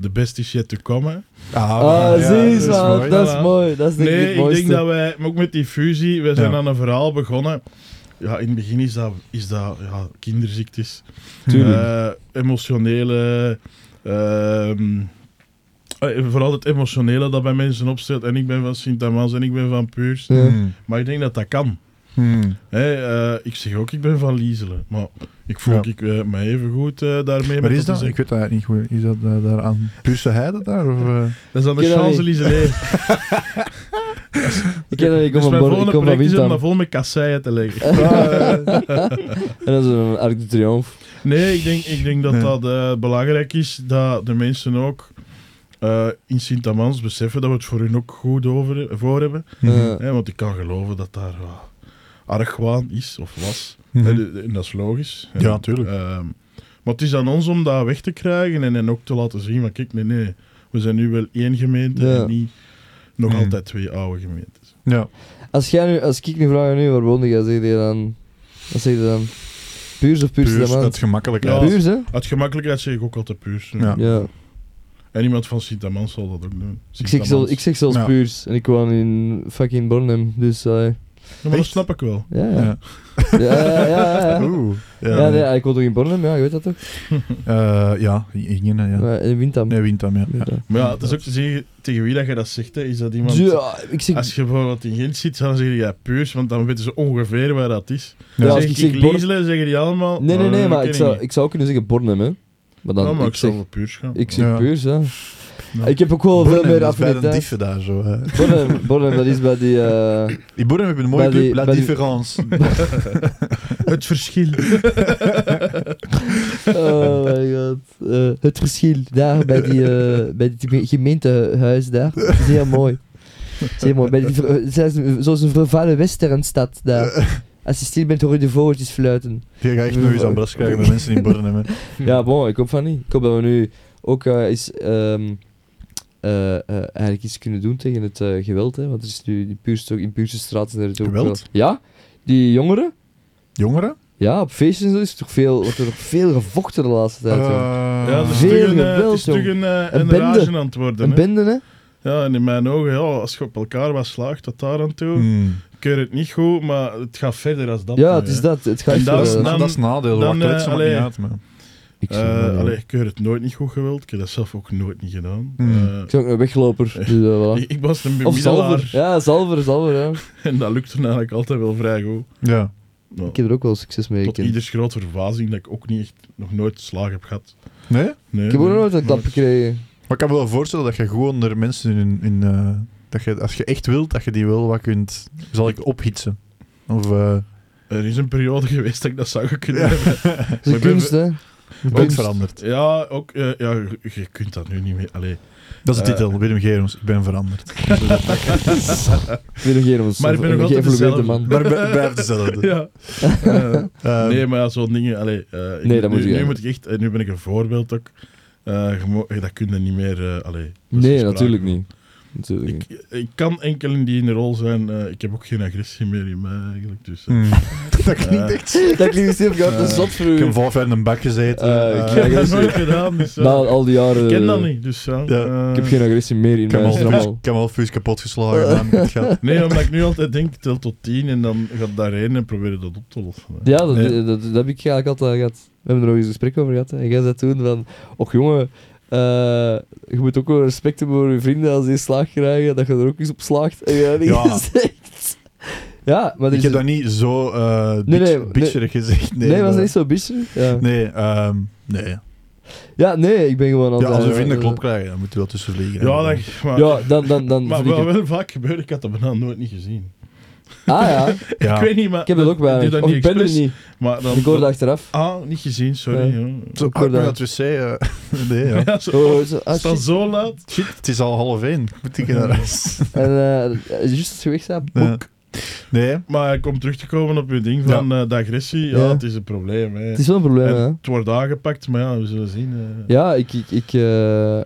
Speaker 3: The best is yet to come. hè.
Speaker 1: Ah,
Speaker 2: Ah,
Speaker 1: ja,
Speaker 2: zie
Speaker 1: dat
Speaker 2: je,
Speaker 1: is
Speaker 2: man,
Speaker 1: mooi.
Speaker 2: dat is
Speaker 3: Voilà.
Speaker 2: mooi. Dat is denk ik
Speaker 3: Nee,
Speaker 2: het
Speaker 3: ik
Speaker 2: mooiste.
Speaker 3: denk dat wij, maar ook met die fusie, wij zijn
Speaker 1: Ja.
Speaker 3: aan een verhaal begonnen. Ja, in het begin is dat, is dat ja, kinderziektes.
Speaker 2: Tuurlijk.
Speaker 3: Eh, emotionele... ehm, eh, vooral het emotionele dat bij mensen opstelt. En ik ben van Sint-Amans en ik ben van Puurs.
Speaker 2: Ja.
Speaker 1: Hmm.
Speaker 3: Maar ik denk dat dat kan.
Speaker 1: Hmm.
Speaker 3: Hè, eh, ik zeg ook, ik ben van Liezelen. Maar ik voel
Speaker 1: Ja.
Speaker 3: ik, eh, mij even goed daarmee.
Speaker 1: Waar
Speaker 3: met
Speaker 1: is dat?
Speaker 3: te
Speaker 1: Ik
Speaker 3: zeggen.
Speaker 1: weet dat eigenlijk niet goed. Is dat eh, daar aan Puurse Heide daar? Of, eh?
Speaker 3: Dat is aan de
Speaker 2: Ik weet dat niet.
Speaker 3: Champs-Élysées.
Speaker 2: ik ken dat, ik kom
Speaker 3: dus
Speaker 2: van
Speaker 3: mijn
Speaker 2: Born, ik
Speaker 3: volgende
Speaker 2: kom van
Speaker 3: project is om dat
Speaker 2: Windham.
Speaker 3: vol met kasseien te leggen.
Speaker 1: Ah,
Speaker 2: En dat is een Arc de Triomphe.
Speaker 3: Nee, ik denk, ik denk dat
Speaker 1: Nee.
Speaker 3: dat eh, belangrijk is dat de mensen ook eh, in Sint-Amans beseffen dat we het voor hun ook goed over, voor hebben.
Speaker 2: Ja.
Speaker 3: Hè, want ik kan geloven dat daar wel argwaan is of was.
Speaker 1: Hmm.
Speaker 2: Mhm. eh,
Speaker 3: Hè, de- de- en dat is logisch. hè.
Speaker 1: Ja, tuurlijk.
Speaker 3: Ehm, maar het is aan ons om dat weg te krijgen en, en ook te laten zien: van kijk, nee, nee, we zijn nu wel één gemeente
Speaker 2: Ja. Mhm.
Speaker 3: en niet nog
Speaker 1: Mm.
Speaker 3: altijd twee oude gemeentes.
Speaker 1: Ja.
Speaker 2: Als, jij nu, als ik nu vraag, nu, waar woonde jij, zeg je dan... Wat zeg je dan? Puurs of Puurs
Speaker 1: Puurs,
Speaker 2: Puurs,
Speaker 1: dat is gemakkelijk.
Speaker 3: Ja.
Speaker 1: hè.
Speaker 2: Puurs, hè?
Speaker 3: Uit gemakkelijkheid zeg ik ook altijd puur.
Speaker 1: Ja.
Speaker 2: Ja.
Speaker 3: En iemand van Sint-Amans zal dat ook doen.
Speaker 2: Ik zeg, zelf,
Speaker 3: Sint-Amans.
Speaker 2: ik zeg zelfs
Speaker 1: Ja.
Speaker 2: Puurs. En ik woon in fucking Bornem. Dus, eh,
Speaker 3: Ja, maar dat
Speaker 1: Echt?
Speaker 3: snap ik wel.
Speaker 2: ja, ja.
Speaker 1: Ja.
Speaker 2: Ja, ja, ja. ja.
Speaker 1: Oeh.
Speaker 2: Ja, nee, ik woon toch in Bornem? Ja, je weet dat toch?
Speaker 1: Eh, ja, Ingen, ja.
Speaker 2: Maar In Windham.
Speaker 1: Nee, Wintam, ja. ja.
Speaker 2: Ja.
Speaker 3: Maar ja, het is ook te zeggen tegen wie dat je dat zegt. Hè. Is dat iemand...
Speaker 2: Ja, ah, ik zeg...
Speaker 3: Als je bijvoorbeeld in Gent zit, dan zeg je ja, puurs, want dan weten ze ongeveer waar dat is.
Speaker 2: Ja,
Speaker 3: Ja,
Speaker 2: als
Speaker 3: zeg
Speaker 2: ik
Speaker 3: ik,
Speaker 2: zeg
Speaker 3: ik
Speaker 2: Born-
Speaker 3: Lieselen, zeggen die allemaal...
Speaker 2: Nee, nee,
Speaker 3: oh,
Speaker 2: nee,
Speaker 3: dat
Speaker 2: maar
Speaker 3: ken
Speaker 2: ik zou,
Speaker 3: niet.
Speaker 2: ik zou ook kunnen zeggen Bornem, hè. Maar dan,
Speaker 3: Ja, maar ik
Speaker 2: ik zeg,
Speaker 3: zou voor puurs gaan.
Speaker 2: ik zeg
Speaker 1: Ja.
Speaker 2: Puurs, hè.
Speaker 3: Ja.
Speaker 2: Ik heb ook wel veel
Speaker 1: Bornem,
Speaker 2: meer
Speaker 1: dat is bij de
Speaker 2: affiniteit.
Speaker 1: dieven daar zo. hè.
Speaker 2: Bornem, Bornem, dat is bij die... eh,
Speaker 1: Die Bornem hebben een
Speaker 2: Bij
Speaker 1: mooie
Speaker 2: die-
Speaker 1: club, La
Speaker 2: bij die-
Speaker 1: Différence.
Speaker 3: Het verschil.
Speaker 2: Oh my god. Eh, het verschil daar bij die, eh, bij die geme- gemeentehuis daar. Zeer mooi. Zeer mooi. Bij die, ver- eh, zij is een- zoals een vervallen westernstad daar. Als je stil bent hoor je de vogeltjes fluiten.
Speaker 1: Je gaat echt nog eens aan bras krijgen met mensen in Bornem. hè.
Speaker 2: Ja, bon, ik hoop van niet. Ik hoop dat we nu ook eh, eens, ehm, eh, eh, eigenlijk iets kunnen doen tegen het eh, geweld. Hè? Want er is nu die puurste, in puurste straat. zijn er toch ook
Speaker 1: Geweld?
Speaker 2: wel- Ja, die jongeren.
Speaker 1: Jongeren?
Speaker 2: Ja, op feestjes en zo is er toch veel, wordt er toch veel gevochten de laatste
Speaker 1: Eh,
Speaker 3: Ah,
Speaker 2: tijd. joh.
Speaker 3: Ja, dat is
Speaker 1: hm.
Speaker 2: Veel
Speaker 3: toch een, eh,
Speaker 2: geweld,
Speaker 3: het is toch
Speaker 2: jong.
Speaker 3: een, eh,
Speaker 2: Een
Speaker 3: een
Speaker 2: bende.
Speaker 3: rage aan het worden.
Speaker 2: Een
Speaker 3: hè.
Speaker 2: bende, hè?
Speaker 3: Ja, en in mijn ogen, ja, als je op elkaar wat slaagt tot daar aan toe,
Speaker 1: Hmm.
Speaker 3: ik keur het niet goed, maar het gaat verder als dat.
Speaker 2: Ja,
Speaker 3: nu,
Speaker 2: het is
Speaker 3: hè.
Speaker 2: dat. Het gaat
Speaker 3: En
Speaker 2: echt wel,
Speaker 3: dat
Speaker 1: Dat
Speaker 3: is
Speaker 1: is,
Speaker 2: eh,
Speaker 1: na-
Speaker 3: dan-
Speaker 1: dat is nadeel,
Speaker 3: dan,
Speaker 1: waar
Speaker 3: eh,
Speaker 1: kletsen maakt niet
Speaker 3: allee.
Speaker 1: uit. man.
Speaker 2: Ik zou,
Speaker 3: Eh,
Speaker 2: eh,
Speaker 3: allee, ik heb het nooit niet goed gewild. Ik heb dat zelf ook nooit niet gedaan.
Speaker 1: Hmm.
Speaker 3: Eh,
Speaker 2: ik ben ook een wegloper. Dus, eh, voilà.
Speaker 3: ik, ik was een
Speaker 2: Of zalver.
Speaker 3: bemiddelaar.
Speaker 2: Ja, zalver, zalver. Ja.
Speaker 3: En dat lukte eigenlijk altijd wel vrij goed.
Speaker 1: Ja.
Speaker 3: Nou,
Speaker 2: Ik heb er ook wel succes mee.
Speaker 3: tot
Speaker 2: gekend.
Speaker 3: ieders grote verbazing dat ik ook niet echt, nog nooit slaag heb gehad.
Speaker 1: Nee?
Speaker 3: Nee,
Speaker 2: Ik heb ook nog
Speaker 3: nee,
Speaker 2: nooit een klap
Speaker 3: nooit.
Speaker 2: gekregen.
Speaker 1: Maar ik kan me wel voorstellen dat je gewoon er mensen in... in eh, dat je, als je echt wilt, dat je die wel wat kunt... Zal ik ophitsen? Of... eh,
Speaker 3: Er is een periode geweest dat ik dat zou kunnen
Speaker 1: ja.
Speaker 3: hebben.
Speaker 2: Dat is een
Speaker 1: ik ben-
Speaker 2: kunst, hè. Een
Speaker 1: Ook
Speaker 2: kunst.
Speaker 1: veranderd.
Speaker 3: Ja, ook, eh, ja, je- je kunt dat nu niet meer. Allee.
Speaker 1: Dat is de
Speaker 3: Eh.
Speaker 1: titel. Willem Gerums, ik ben veranderd.
Speaker 2: Willem Geremans.
Speaker 3: Maar ik ben
Speaker 2: een
Speaker 3: nog altijd
Speaker 2: eh, geëvolueerde
Speaker 3: dezelfde.
Speaker 2: man.
Speaker 1: maar bij- blijft dezelfde.
Speaker 3: Ja. Eh,
Speaker 1: Eh,
Speaker 3: nee, maar ja, zo'n dingen. Allee, eh, ik-
Speaker 2: Nee, dat
Speaker 3: nu,
Speaker 2: moet je
Speaker 3: nu
Speaker 2: hebben.
Speaker 3: moet ik echt. eh, nu ben ik een voorbeeld ook. Eh, je mo- dat kun je niet meer. eh, allee, dat is geen
Speaker 2: Nee,
Speaker 3: sprake
Speaker 2: natuurlijk
Speaker 3: van.
Speaker 2: niet. Natuurlijk niet.
Speaker 3: Ik, ik kan enkelen die in de rol zijn. eh, ik heb ook geen agressie meer in mij eigenlijk. Dus, eh,
Speaker 1: hmm. dat klinkt
Speaker 3: Eh.
Speaker 1: echt slecht.
Speaker 2: Dat klinkt heel gaaf, dat is zot voor
Speaker 1: Ik heb
Speaker 2: u.
Speaker 1: vijf jaar in een bak gezeten. Eh,
Speaker 2: Eh, ik- ja,
Speaker 3: ik heb dat
Speaker 2: agressie.
Speaker 3: nooit gedaan. Dus, eh,
Speaker 2: Na al die jaren...
Speaker 3: ik ken dat niet. Dus, ja,
Speaker 1: Ja,
Speaker 3: eh,
Speaker 2: Ik heb geen agressie meer in
Speaker 1: Ik heb
Speaker 2: mij.
Speaker 1: al
Speaker 2: is er
Speaker 1: vuist-
Speaker 2: allemaal-
Speaker 1: ik heb al vuist kapot
Speaker 2: Eh,
Speaker 1: geslagen. Uh. Gaat.
Speaker 3: Nee, omdat ik nu altijd denk, tel tot tien en dan gaat daarheen en proberen dat op te lossen. hè.
Speaker 2: Ja, dat,
Speaker 1: Ja.
Speaker 2: Dat, dat, heb ik eigenlijk altijd gehad. We hebben er nog eens een gesprek over gehad. hè. En jij zei toen van... Och jongen, eh, je moet ook wel respect hebben voor je vrienden als die slaag krijgen. Dat je er ook eens op slaagt. En jij
Speaker 1: Ja.
Speaker 2: ja. gezegd. Ja, maar er
Speaker 1: Ik
Speaker 2: is
Speaker 1: heb dat niet zo eh bitch,
Speaker 2: Nee, nee,
Speaker 1: bitcherig gezegd. Nee,
Speaker 2: Nee, was
Speaker 1: maar-
Speaker 2: niet zo bitter. Ja.
Speaker 1: Nee, ehm, nee.
Speaker 2: ja, nee, ik ben gewoon aan
Speaker 1: Ja,
Speaker 2: het-
Speaker 1: als we
Speaker 2: eh,
Speaker 1: vrienden
Speaker 2: eh,
Speaker 1: klop krijgen, dan moeten we wel tussen vliegen.
Speaker 3: Ja, dat, maar,
Speaker 2: Ja, dan, dan, dan
Speaker 3: maar
Speaker 2: vind ik
Speaker 3: wat
Speaker 2: het-
Speaker 3: wel vaak gebeurt, ik had dat bijna nooit niet gezien.
Speaker 2: Ah ja,
Speaker 1: Ja.
Speaker 3: Ik weet niet, maar...
Speaker 2: ik heb dat ook
Speaker 3: doe
Speaker 2: bij.
Speaker 3: dat
Speaker 2: Of
Speaker 3: niet
Speaker 2: ik ben er
Speaker 3: expres,
Speaker 2: niet.
Speaker 3: Maar dan,
Speaker 2: Ik hoorde achteraf.
Speaker 3: Ah, niet gezien, sorry.
Speaker 2: Ja.
Speaker 3: joh.
Speaker 1: Zo
Speaker 2: Ik
Speaker 1: ah,
Speaker 2: hoor
Speaker 1: ik ben
Speaker 2: dat.
Speaker 1: aan het wc. eh, nee, ja.
Speaker 3: Ja, zo,
Speaker 2: Oh, zo, ah,
Speaker 3: het staat
Speaker 2: shit.
Speaker 3: zo laat.
Speaker 1: Shit, het is al half één. Moet ik naar huis?
Speaker 2: En eh, juist als je weg bent,
Speaker 1: Ja.
Speaker 2: boek.
Speaker 1: Nee.
Speaker 3: Maar ik kom terug te komen op je ding van eh, de agressie. Ja,
Speaker 2: Ja.
Speaker 3: het is een probleem. Hè.
Speaker 2: Het is wel een probleem,
Speaker 3: En
Speaker 2: hè.
Speaker 3: het wordt aangepakt, maar ja, we zullen zien. eh.
Speaker 2: Ja, ik... ik, ik eh,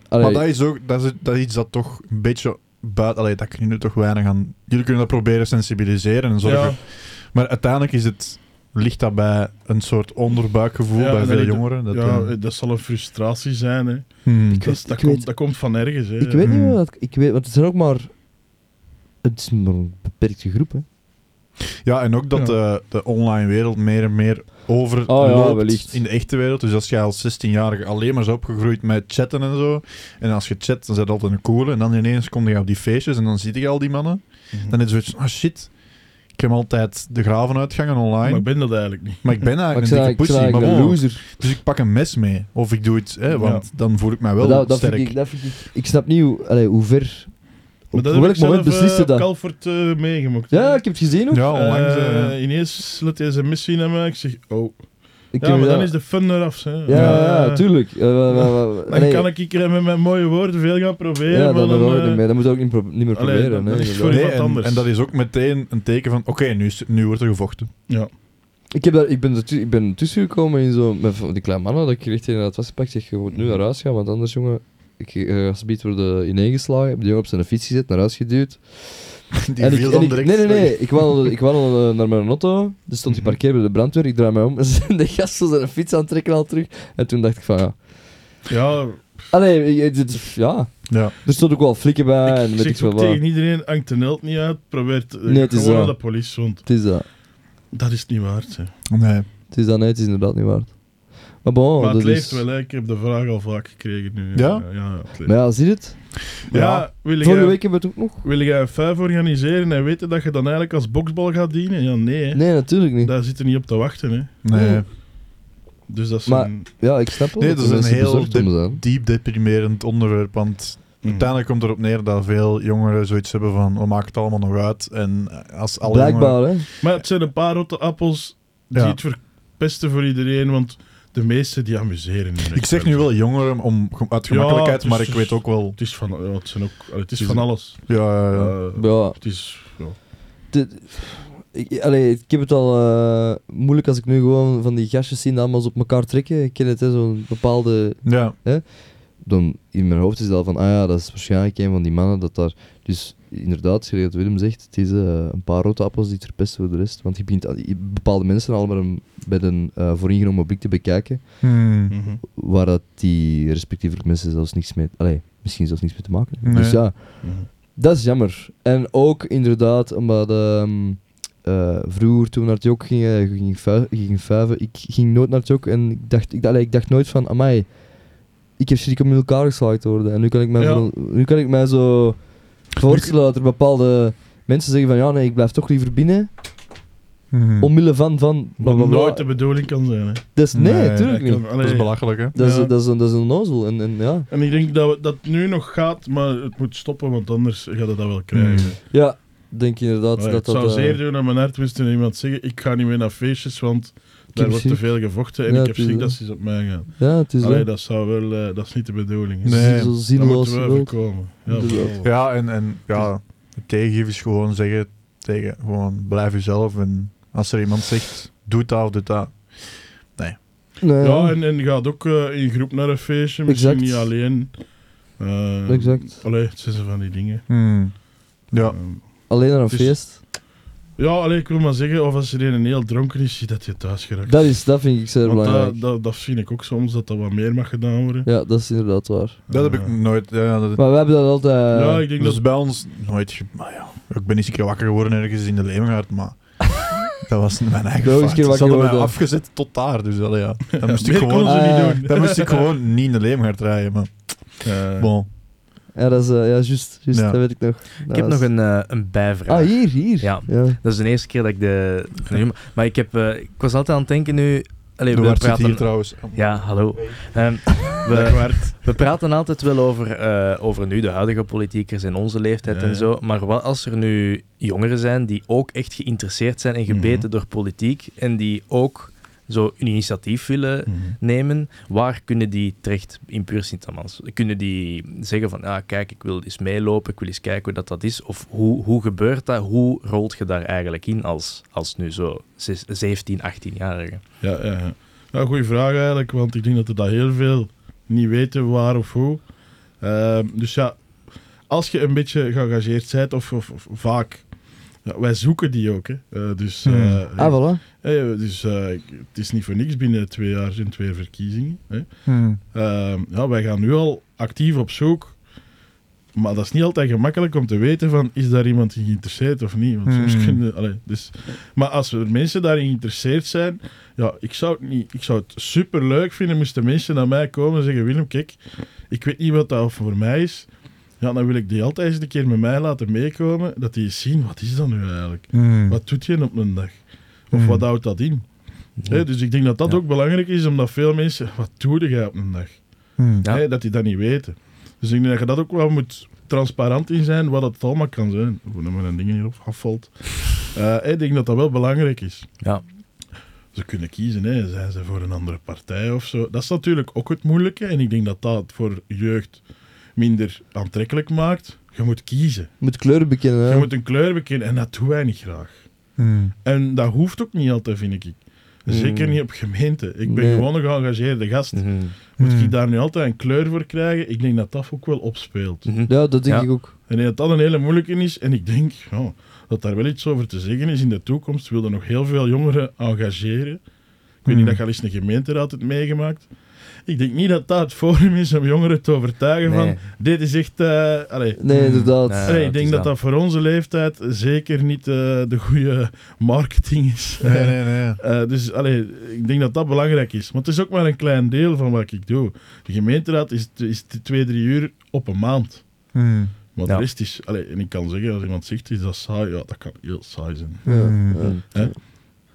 Speaker 2: allee,
Speaker 1: Maar dat is ook dat is, dat is iets dat toch een beetje buiten... Allee, dat kunnen we toch weinig aan... Jullie kunnen dat proberen sensibiliseren en zorgen.
Speaker 3: Ja,
Speaker 1: Maar uiteindelijk is het, ligt dat bij een soort onderbuikgevoel
Speaker 3: Ja,
Speaker 1: bij
Speaker 3: en
Speaker 1: veel
Speaker 3: dat-
Speaker 1: jongeren. Dat,
Speaker 3: ja,
Speaker 1: eh,
Speaker 3: dat zal een frustratie zijn. Hè.
Speaker 1: hmm.
Speaker 3: Dat, is-
Speaker 2: weet-
Speaker 3: dat,
Speaker 2: ik
Speaker 3: komt,
Speaker 2: weet-
Speaker 3: dat komt van ergens. Hè.
Speaker 2: ik weet niet
Speaker 1: Hmm.
Speaker 2: meer wat... Ik weet, want het zijn ook maar... Het is maar een beperkte groep, hè.
Speaker 1: Ja, en ook dat
Speaker 3: Ja.
Speaker 1: de, de online wereld meer en meer overloopt
Speaker 2: Oh ja, wellicht.
Speaker 1: in de echte wereld. Dus als jij als 16-jarige alleen maar is opgegroeid met chatten en zo, en als je chat, dan zit altijd een coole, en dan ineens kom je op die feestjes en dan zie je al die mannen.
Speaker 3: Mhm.
Speaker 1: Dan is het zoiets van, ah shit, ik heb altijd de gravenuitgangen online,
Speaker 3: Maar
Speaker 1: maar,
Speaker 3: ik ben dat eigenlijk niet.
Speaker 1: ik ben
Speaker 2: Maar ik
Speaker 1: eigenlijk
Speaker 2: zei
Speaker 1: een dikke
Speaker 2: eigenlijk- ik
Speaker 1: pussy.
Speaker 2: zei
Speaker 1: Maar
Speaker 2: eigenlijk een
Speaker 1: bon,
Speaker 2: loser.
Speaker 1: dus ik pak een mes mee, of ik doe iets, hè, want dan voel ik mij wel
Speaker 2: Maar dat, dat
Speaker 1: sterk.
Speaker 2: Vind ik, dat vind ik... Ik snap niet hoe, allee, hoe ver...
Speaker 3: Maar
Speaker 2: Op
Speaker 3: dat heb ik
Speaker 2: welk
Speaker 3: zelf
Speaker 2: moment beslist je
Speaker 3: eh, op
Speaker 2: dat?
Speaker 3: Calvert eh, meegemaakt.
Speaker 2: Ja, ik heb het gezien ook.
Speaker 1: Ja, onlangs.
Speaker 3: Eh,
Speaker 1: eh,
Speaker 3: ineens laat hij zijn missie naar mij. Ik zeg, oh.
Speaker 2: Ik
Speaker 3: Ja,
Speaker 2: heb-
Speaker 3: maar dan
Speaker 2: ja.
Speaker 3: is de fun eraf. Hè.
Speaker 2: Ja, ja,
Speaker 3: Eh,
Speaker 2: ja, tuurlijk. Eh, wa- wa- wa-
Speaker 3: Dan
Speaker 2: allee.
Speaker 3: kan ik hier met mijn mooie woorden veel gaan proberen.
Speaker 2: Ja,
Speaker 3: maar
Speaker 2: dan, dan,
Speaker 3: dan,
Speaker 2: dan,
Speaker 3: eh,
Speaker 2: dan moet je ook niet, pro- niet meer
Speaker 3: allee,
Speaker 2: proberen.
Speaker 3: dat-
Speaker 2: nee,
Speaker 3: dat is
Speaker 2: inderdaad.
Speaker 3: voor
Speaker 1: nee, en,
Speaker 3: iemand anders.
Speaker 1: en dat is ook meteen een teken van, oké, nu, is- nu wordt er gevochten.
Speaker 3: ja.
Speaker 2: Ik, heb daar, ik, ben ertu- ik ben tussengekomen in zo, met van die kleine mannen dat ik echt in het was gepakt. Ik zeg, je
Speaker 3: Mhm.
Speaker 2: moet nu naar huis gaan, want anders, jongen, ik eh, als gebied worden ineengeslagen. Ik heb die jongen op zijn fiets gezet, naar huis geduwd.
Speaker 1: Die
Speaker 2: En ik,
Speaker 1: viel
Speaker 2: en
Speaker 1: dan
Speaker 2: ik-
Speaker 1: direct.
Speaker 2: nee, nee, nee. Ik wandelde, ik wandelde naar mijn auto. Er stond die
Speaker 3: Mhm.
Speaker 2: parkeer bij de brandweer. Ik draai mij om. en De gast was zijn fiets aan het trekken al terug. En toen dacht ik van, ja...
Speaker 3: ja,
Speaker 2: Allee, ik- dit- ja.
Speaker 1: Ja.
Speaker 2: Er stond ook wel flikken bij Ah, en
Speaker 3: ik
Speaker 2: weet ik
Speaker 3: zeg
Speaker 2: veel
Speaker 3: ook
Speaker 2: wat.
Speaker 3: tegen iedereen, hangt de nelt niet uit, probeert eh,
Speaker 2: Nee, het is
Speaker 3: gewoon
Speaker 2: waar.
Speaker 3: aan de politie rond.
Speaker 2: Het is dat.
Speaker 3: Dat is niet waard. Hè.
Speaker 1: Nee.
Speaker 2: Het is dat, nee. Het is inderdaad niet waard. Maar bon,
Speaker 3: maar
Speaker 2: Oh, dat
Speaker 3: het
Speaker 2: is...
Speaker 3: leeft wel, hè. ik heb de vraag al vaak gekregen nu.
Speaker 1: Ja?
Speaker 3: Ja, ja, het leeft.
Speaker 2: Maar ja, zie je het?
Speaker 3: ja,
Speaker 1: Ja.
Speaker 3: wil,
Speaker 2: Vorige
Speaker 3: jij,
Speaker 2: week hebben we het ook nog.
Speaker 3: wil jij een vijf organiseren en weten dat je dan eigenlijk als boksbal gaat dienen? Ja, nee. hè.
Speaker 2: Nee, natuurlijk niet.
Speaker 3: Daar zit je niet op te wachten. Hè.
Speaker 1: Nee.
Speaker 3: Dus dat is
Speaker 2: Maar-
Speaker 3: een...
Speaker 2: Ja, ik snap wel
Speaker 1: Nee, dat
Speaker 2: de
Speaker 1: is een
Speaker 2: mensen
Speaker 1: heel
Speaker 2: bezorgd om
Speaker 1: diep,
Speaker 2: zijn.
Speaker 1: diep deprimerend onderwerp. Want
Speaker 3: Mhm.
Speaker 1: uiteindelijk komt erop neer dat veel jongeren zoiets hebben van: we maken het allemaal nog uit. En als alle jongeren-
Speaker 2: Blijkbaar, hè.
Speaker 3: Maar het zijn een paar rotte appels die
Speaker 1: Ja.
Speaker 3: het verpesten voor iedereen, want de meesten die amuseren. hun
Speaker 1: Ik zeg nu wel jongeren om, om- uit gemakkelijkheid,
Speaker 3: Ja, het
Speaker 1: maar
Speaker 3: is- dus-
Speaker 1: ik weet ook wel.
Speaker 3: Het is van, ja, het zijn ook, allee, het is
Speaker 1: Het is-
Speaker 3: van alles.
Speaker 1: Ja, ja, ja.
Speaker 3: Eh,
Speaker 2: Ja,
Speaker 3: het is, ja.
Speaker 2: dit- ik, allee, ik heb het al eh, moeilijk als ik nu gewoon van die gastjes zie die allemaal zo op elkaar trekken. Ik ken het, hè, zo'n bepaalde...
Speaker 1: ja.
Speaker 2: Dan in mijn hoofd is het al van, ah ja, dat is waarschijnlijk een van die mannen dat daar... Dus inderdaad, zoals Willem zegt, het is eh, een paar rode appels die het verpesten voor de rest. Want je begint al- je- bepaalde mensen al met een, met een eh, vooringenomen blik te bekijken,
Speaker 1: Hmm.
Speaker 3: Mhm.
Speaker 2: waar dat die respectievelijk mensen zelfs niks mee... Allee, misschien zelfs niks mee te maken hebben. Dus
Speaker 1: Nee.
Speaker 2: ja,
Speaker 3: Mhm.
Speaker 2: Dat is jammer. En ook inderdaad omdat ehm, eh, vroeger toen we naar het jok gingen, je ging, vuil- je ging vuiven. Ik ging nooit naar het jok en ik dacht, ik, allee, ik dacht nooit van, amai, ik heb schrik om in elkaar geslagen worden. En nu kan ik mij,
Speaker 3: Ja.
Speaker 2: vooral- nu kan ik mij zo voorstellen dat er bepaalde mensen zeggen van, ja nee, ik blijf toch liever binnen,
Speaker 1: Hm. Hmm.
Speaker 2: omwille van, van,
Speaker 3: Wat
Speaker 2: blablabla.
Speaker 3: nooit de bedoeling kan zijn. Hè.
Speaker 2: Dat is, nee,
Speaker 1: Nee,
Speaker 2: tuurlijk
Speaker 3: ik
Speaker 2: niet.
Speaker 3: kan-
Speaker 1: Dat
Speaker 3: allee.
Speaker 1: is belachelijk, hè?
Speaker 2: Dat is,
Speaker 3: Ja.
Speaker 2: dat is, een- dat is een nozel. En, en ja.
Speaker 3: En ik denk dat we- dat het nu nog gaat, maar het moet stoppen, want anders gaat het dat wel krijgen.
Speaker 1: Mm.
Speaker 2: ja, denk je inderdaad
Speaker 3: Allee,
Speaker 2: dat dat...
Speaker 3: het zou
Speaker 2: eh,
Speaker 3: zeer doen aan mijn hart moest toen iemand zeggen, ik ga niet meer naar feestjes, want daar
Speaker 2: heb
Speaker 3: wordt
Speaker 2: schrik.
Speaker 3: te veel gevochten en
Speaker 2: Ja,
Speaker 3: ik heb
Speaker 2: het is
Speaker 3: schrik
Speaker 2: dat.
Speaker 3: dat
Speaker 1: eh,
Speaker 3: ze eens op mij gaan.
Speaker 2: ja, het is
Speaker 3: Allee,
Speaker 2: wel-
Speaker 3: dat zou wel, eh, dat is niet de bedoeling. hè.
Speaker 1: Nee,
Speaker 2: zo
Speaker 3: Dat
Speaker 2: zinloos
Speaker 3: moeten we
Speaker 2: geweld.
Speaker 3: voorkomen. Ja,
Speaker 2: Dus-
Speaker 3: vooral.
Speaker 1: Ja, en, en ja, het tegengif is gewoon zeggen tegen, gewoon blijf jezelf. En als er iemand zegt, doe dat of doe dat.
Speaker 2: Nee,
Speaker 3: Ja, en, en je gaat ook eh, in groep naar een feestje, misschien
Speaker 2: Exact.
Speaker 3: niet alleen. Eh,
Speaker 2: Exact.
Speaker 3: Allee, het zijn zo van die dingen.
Speaker 1: Hmm. Ja.
Speaker 3: Ehm,
Speaker 2: Alleen naar een
Speaker 3: Dus-
Speaker 2: feest.
Speaker 3: ja, allee, ik wil maar zeggen, of als er een heel dronken is, zie dat je thuis geraakt.
Speaker 2: Dat, is, dat vind ik zeer
Speaker 3: Want eh,
Speaker 2: belangrijk.
Speaker 3: dat, dat, dat vind ik ook soms, dat dat wat meer mag gedaan worden.
Speaker 2: Ja, dat is inderdaad waar.
Speaker 1: Dat heb ik
Speaker 3: Eh,
Speaker 1: nooit. Ja, dat,
Speaker 2: Maar we hebben dat altijd... eh,
Speaker 3: ja, ik denk
Speaker 1: dat
Speaker 3: dat
Speaker 1: is bij ons nooit. ge- Maar ja, ik ben eens een keer wakker geworden ergens in de Leeuwengaard, maar dat was niet mijn eigen
Speaker 2: Ben ook eens
Speaker 1: fout.
Speaker 2: een keer
Speaker 1: Ze
Speaker 2: wakker
Speaker 1: hadden mij
Speaker 2: geworden.
Speaker 1: afgezet tot daar, dus allee, ja. Dan moest ik
Speaker 3: meer
Speaker 1: gewoon...
Speaker 3: konden ze niet
Speaker 2: Ah.
Speaker 3: doen.
Speaker 1: Dan moest ik gewoon niet in de Leeuwengaard rijden, maar
Speaker 3: Eh,
Speaker 1: bon.
Speaker 2: ja, dat is... eh, ja, juist. juist
Speaker 1: Ja.
Speaker 2: Dat weet ik nog.
Speaker 4: Ik heb nog een, eh, een bijvraag.
Speaker 2: Ah, hier, hier.
Speaker 4: Ja.
Speaker 2: ja.
Speaker 4: Dat is de eerste keer dat ik de... Maar ik, heb, eh, ik was altijd aan het denken nu... Allee,
Speaker 1: De
Speaker 4: we
Speaker 1: Wart zit hier
Speaker 4: praten...
Speaker 1: trouwens.
Speaker 4: Ja, hallo. Ehm,
Speaker 3: Dag,
Speaker 4: we,
Speaker 3: Bart.
Speaker 4: we praten altijd wel over, eh, over nu de huidige politiekers en onze leeftijd
Speaker 3: Ja, ja.
Speaker 4: en zo. Maar wat als er nu jongeren zijn die ook echt geïnteresseerd zijn en gebeten
Speaker 3: Mhm.
Speaker 4: door politiek en die ook zo een initiatief willen
Speaker 3: Mhm.
Speaker 4: nemen, waar kunnen die terecht in puur Sint-Amans? Kunnen die zeggen van, ah, kijk, ik wil eens meelopen, ik wil eens kijken hoe dat, dat is? Of hoe, hoe gebeurt dat? Hoe rolt je daar eigenlijk in als, als nu zo zes- 17, 18-jarige?
Speaker 3: Ja, ja, ja. Nou, goede vraag eigenlijk, want ik denk dat er dat heel veel niet weten waar of hoe. Ehm, dus ja, als je een beetje geëngageerd bent, of, of, of vaak, ja, wij zoeken die ook. Hè. Eh, dus eh,
Speaker 1: Hmm.
Speaker 2: Ah, voilà.
Speaker 3: eh, dus eh, ik- het is niet voor niks binnen twee jaar zijn twee verkiezingen. Hè.
Speaker 1: Hmm.
Speaker 3: Ehm, ja, wij gaan nu al actief op zoek. Maar dat is niet altijd gemakkelijk om te weten van, is daar iemand in geïnteresseerd of niet? Want soms
Speaker 1: Hmm.
Speaker 3: kunnen... allee, dus, maar als er mensen daarin geïnteresseerd zijn, ja, ik zou het, niet, ik zou het superleuk vinden moesten mensen naar mij komen en zeggen, Willem, kijk, ik weet niet wat dat voor mij is. Ja, dan wil ik die altijd eens een keer met mij laten meekomen, dat die eens zien, wat is dat nu eigenlijk?
Speaker 1: Hmm.
Speaker 3: Wat doet je op een dag? Of
Speaker 1: Hmm.
Speaker 3: wat houdt dat in? Hè, dus ik denk dat dat
Speaker 4: Ja.
Speaker 3: ook belangrijk is, omdat veel mensen, wat doe jij op een dag?
Speaker 1: Hmm.
Speaker 4: Ja.
Speaker 3: Hè, dat die dat niet weten. Dus ik denk dat je dat ook wel moet transparant in zijn, wat het allemaal kan zijn. Hoe dat mijn dingen hierop afvalt. Eh, ik denk dat dat wel belangrijk is.
Speaker 4: Ja.
Speaker 3: Ze kunnen kiezen, hè. zijn ze voor een andere partij of zo. Dat is natuurlijk ook het moeilijke. En ik denk dat dat voor jeugd minder aantrekkelijk maakt. Je moet kiezen.
Speaker 2: Moet kleuren bekennen,
Speaker 3: Je
Speaker 2: hè.
Speaker 3: moet een kleur bekennen en dat doen wij niet graag.
Speaker 1: Hmm.
Speaker 3: En dat hoeft ook niet altijd, vind ik. Zeker
Speaker 4: Mm.
Speaker 3: niet op gemeente. Ik ben
Speaker 2: Nee.
Speaker 3: gewoon een geëngageerde gast.
Speaker 4: Mhm.
Speaker 3: Moet
Speaker 1: Hmm.
Speaker 3: ik daar nu altijd een kleur voor krijgen? Ik denk dat dat ook wel opspeelt.
Speaker 4: Mhm.
Speaker 2: Ja, dat denk
Speaker 4: Ja.
Speaker 2: ik ook.
Speaker 3: En dat dat een hele moeilijke is. En ik denk ja, dat daar wel iets over te zeggen is in de toekomst. Wilden nog heel veel jongeren engageren. Ik
Speaker 1: Hmm.
Speaker 3: weet niet dat je al eens een gemeenteraad hebt meegemaakt. Ik denk niet dat dat het forum is om jongeren te overtuigen
Speaker 4: Nee.
Speaker 3: van... Dit is echt... eh, allee,
Speaker 2: Nee, inderdaad.
Speaker 4: Nee.
Speaker 3: allee,
Speaker 4: dat
Speaker 3: ik
Speaker 4: is
Speaker 3: denk dat
Speaker 4: dat.
Speaker 3: dat voor onze leeftijd zeker niet eh, de goede marketing is.
Speaker 1: Nee, nee, nee.
Speaker 3: Eh, dus allee, ik denk dat dat belangrijk is. Want het is ook maar een klein deel van wat ik doe. De gemeenteraad is, is twee, drie uur op een maand.
Speaker 1: Hmm.
Speaker 3: Maar
Speaker 4: Ja.
Speaker 3: de rest is... Allee, en ik kan zeggen, als iemand zegt, is dat saai? Ja, dat kan heel saai zijn.
Speaker 1: Hmm.
Speaker 3: Mm.
Speaker 2: Ja.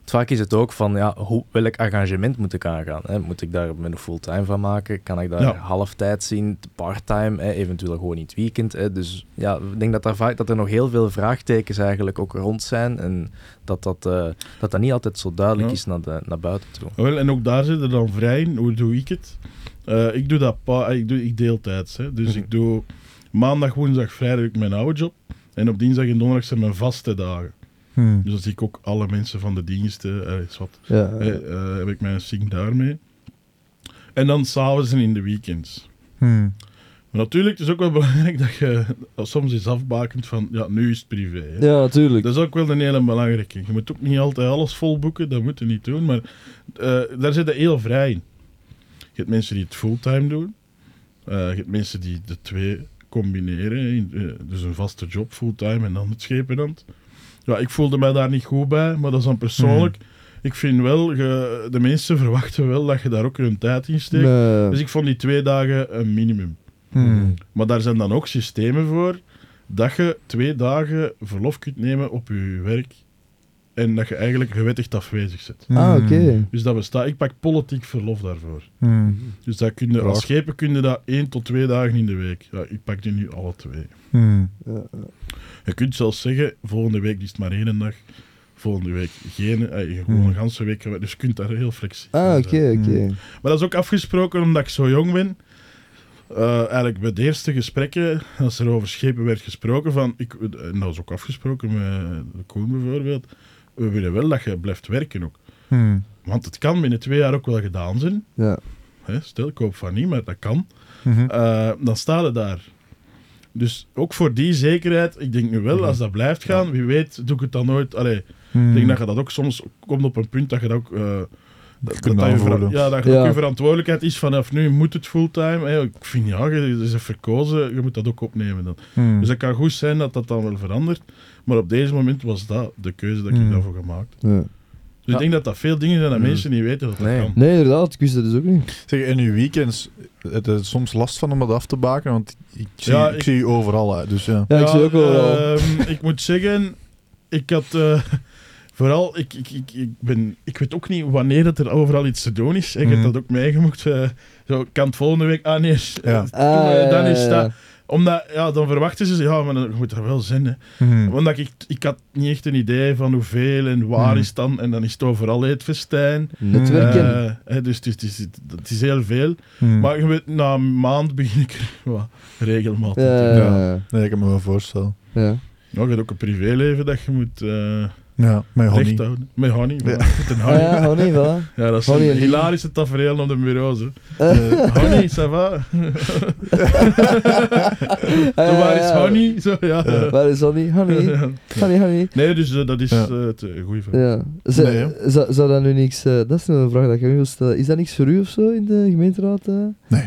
Speaker 4: Vaak is het ook van, ja, hoe, welk engagement moet ik aangaan? Hè? Moet ik daar mijn fulltime van maken? Kan ik daar
Speaker 3: Ja.
Speaker 4: halftijd zien, parttime, hè? eventueel gewoon in het weekend? Hè? Dus ja, ik denk dat, daar vaak, dat er nog heel veel vraagtekens eigenlijk ook rond zijn en dat dat, eh, dat, dat niet altijd zo duidelijk
Speaker 3: Ja.
Speaker 4: is naar, de, naar buiten toe.
Speaker 3: Wel, en ook daar zit er dan vrij in. Hoe doe ik het? Eh, ik doe dat pa ik, doe, ik deeltijds. Hè. Dus ik doe maandag, woensdag, vrijdag heb ik mijn oude job. En op dinsdag en donderdag zijn mijn vaste dagen.
Speaker 1: Hmm.
Speaker 3: Dus dan zie ik ook alle mensen van de diensten. eh, is wat.
Speaker 2: Ja.
Speaker 3: Eh, eh, heb ik mijn sync daarmee. En dan s'avonds en in de weekends.
Speaker 1: Hmm.
Speaker 3: Maar natuurlijk, het is ook wel belangrijk dat je eh, soms is afbakend van, ja, nu is het privé. hè.
Speaker 2: Ja, natuurlijk.
Speaker 3: Dat is ook wel een hele belangrijke. Je moet ook niet altijd alles volboeken, dat moet je niet doen. Maar eh, daar zit je heel vrij in. Je hebt mensen die het fulltime doen. Eh, je hebt mensen die de twee combineren. hè, in- eh, dus een vaste job fulltime en dan het schepenhand. Ja, ik voelde mij daar niet goed bij, maar dat is dan persoonlijk. Ik vind wel, je- de mensen verwachten wel dat je daar ook hun tijd in steekt.
Speaker 2: Nee.
Speaker 3: Dus ik vond die twee dagen een minimum.
Speaker 1: Hmm.
Speaker 3: Maar daar zijn dan ook systemen voor dat je twee dagen verlof kunt nemen op je werk en dat je eigenlijk gewettigd afwezig zit.
Speaker 2: Ah, oké.
Speaker 3: Dus dat bestaat. Ik pak politiek verlof daarvoor.
Speaker 1: Hmm.
Speaker 3: Dus dat kun je,
Speaker 4: Braaf.
Speaker 3: als schepen kun je dat één tot twee dagen in de week. Ja, ik pak die nu alle twee.
Speaker 1: Hmm.
Speaker 2: Ja, ja.
Speaker 3: Je kunt zelfs zeggen, volgende week is het maar één dag. Volgende week geen, eh, gewoon
Speaker 1: Hmm.
Speaker 3: een ganse week. Dus je kunt daar heel flexibel
Speaker 2: Ah,
Speaker 3: zijn.
Speaker 2: oké, oké.
Speaker 1: Mm.
Speaker 3: Maar dat is ook afgesproken omdat ik zo jong ben. Eh, eigenlijk bij de eerste gesprekken, als er over schepen werd gesproken, van, ik, en dat is ook afgesproken met de Koen bijvoorbeeld, we willen wel dat je blijft werken ook.
Speaker 1: Hmm.
Speaker 3: Want het kan binnen twee jaar ook wel gedaan zijn.
Speaker 2: Ja.
Speaker 3: Hè, stel, ik hoop van niet, maar dat kan.
Speaker 1: Mhm.
Speaker 3: Eh, dan staat het daar. Dus ook voor die zekerheid, ik denk nu wel, als dat blijft gaan, wie weet doe ik het dan nooit. Allee, ik
Speaker 1: Mhm.
Speaker 3: denk dat je dat ook soms komt op een punt dat je dat ook... eh, dat,
Speaker 1: kunt
Speaker 3: dat je vera-
Speaker 1: aanvoelen.
Speaker 3: ja, dat je ook
Speaker 2: Ja.
Speaker 3: je verantwoordelijkheid is vanaf nu moet het fulltime. Hè. Ik vind ja, je je is verkozen, je moet dat ook opnemen dan.
Speaker 1: Hmm.
Speaker 3: Dus het kan goed zijn dat dat dan wel verandert. Maar op deze moment was dat de keuze dat ik
Speaker 1: Mhm.
Speaker 3: daarvoor gemaakt heb.
Speaker 2: ja.
Speaker 3: Dus ik denk dat dat veel dingen zijn dat
Speaker 1: Hmm.
Speaker 4: Mhm.
Speaker 3: mensen niet weten dat dat
Speaker 4: Nee.
Speaker 3: kan.
Speaker 2: Nee, inderdaad, ik wist dat dus ook niet.
Speaker 1: Zeg, en uw weekends, het is soms last van om dat af te baken, want ik zie,
Speaker 3: Ja,
Speaker 1: ik...
Speaker 3: ik-
Speaker 1: zie u overal uit. Dus ja.
Speaker 2: Ja, ik zie ook wel. wel.
Speaker 3: ehm, ik moet zeggen, ik had. eh, Vooral, ik, ik, ik, ik, ben, ik weet ook niet wanneer dat er overal iets te doen is. Ik heb
Speaker 1: Mhm.
Speaker 3: dat ook meegemaakt. eh, zo, kan het volgende week... Ah, nee.
Speaker 1: Ja.
Speaker 2: Ah,
Speaker 3: eh, dan
Speaker 2: ja,
Speaker 3: is
Speaker 2: ja,
Speaker 3: dat-
Speaker 2: ja.
Speaker 3: Omdat, ja, dan verwachten ze... Ja, maar dan je moet er wel zijn, hè.
Speaker 1: Hmm.
Speaker 3: Want ik, ik had niet echt een idee van hoeveel en waar
Speaker 1: Mhm.
Speaker 3: is het dan. En dan is het overal het festijn.
Speaker 2: Netwerken.
Speaker 3: Eh, hè, dus het is, het, is, het is heel veel.
Speaker 1: Hmm.
Speaker 3: Maar je weet, na een maand begin ik er wat regelmatig te
Speaker 2: Ja, ja.
Speaker 1: Nee, ik kan me wel voorstellen.
Speaker 2: ja.
Speaker 3: Ja, je hebt ook een privéleven dat je moet eh
Speaker 1: Ja, met honey.
Speaker 3: recht houden. Met honey.
Speaker 1: Ja.
Speaker 3: Ja. Met een
Speaker 2: Ah,
Speaker 3: honey.
Speaker 2: ja,
Speaker 3: ja.
Speaker 2: honey, voilà.
Speaker 3: dat is
Speaker 2: Honey
Speaker 3: een
Speaker 2: en
Speaker 3: hilarische tafereel op de bureaus. Hè.
Speaker 1: Eh,
Speaker 3: Honey, ça va? Zo, waar is honey? Zo, ja.
Speaker 2: Waar is honey? Honey, honey, honey.
Speaker 3: Nee, dus eh, dat is
Speaker 1: Ja.
Speaker 3: eh, het eh, goeie van.
Speaker 2: Ja. Z-
Speaker 1: Nee, hè?
Speaker 2: zou, zou dat nu niks... eh, dat is nu een vraag dat ik aan u wil stellen. Is dat niks voor u of zo in de gemeenteraad? eh?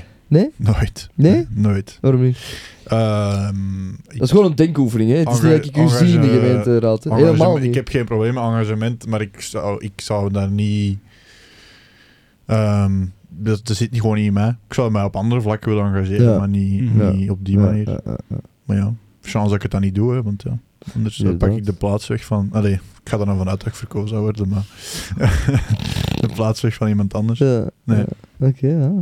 Speaker 1: nooit.
Speaker 2: Nee?
Speaker 1: Nooit.
Speaker 2: Waarom niet?
Speaker 1: Ehm, ik-
Speaker 2: Dat is gewoon een denkoefening, hè. Het is niet dat ik u
Speaker 1: Engage-
Speaker 2: zie in de
Speaker 1: engage-
Speaker 2: gemeenteraad. hè.
Speaker 1: Engagement-
Speaker 2: Helemaal
Speaker 1: Ik
Speaker 2: niet.
Speaker 1: heb geen probleem met engagement, maar ik zou, ik zou daar niet. ehm, dat, dat zit niet gewoon niet in mij. Ik zou mij op andere vlakken willen engageren,
Speaker 2: Ja.
Speaker 1: maar niet,
Speaker 3: Ja.
Speaker 1: niet op die
Speaker 2: Ja,
Speaker 1: manier.
Speaker 2: ja, ja, ja.
Speaker 1: Maar ja, chance dat ik het dan niet doe, hè, want ja, anders dan pak ik de
Speaker 2: Inderdaad.
Speaker 1: plaats weg van. Allee, ik ga er dan vanuit dat ik verkozen zou worden, maar. de plaats weg van iemand anders.
Speaker 2: Ja,
Speaker 1: Nee.
Speaker 2: ja. Oké, ja.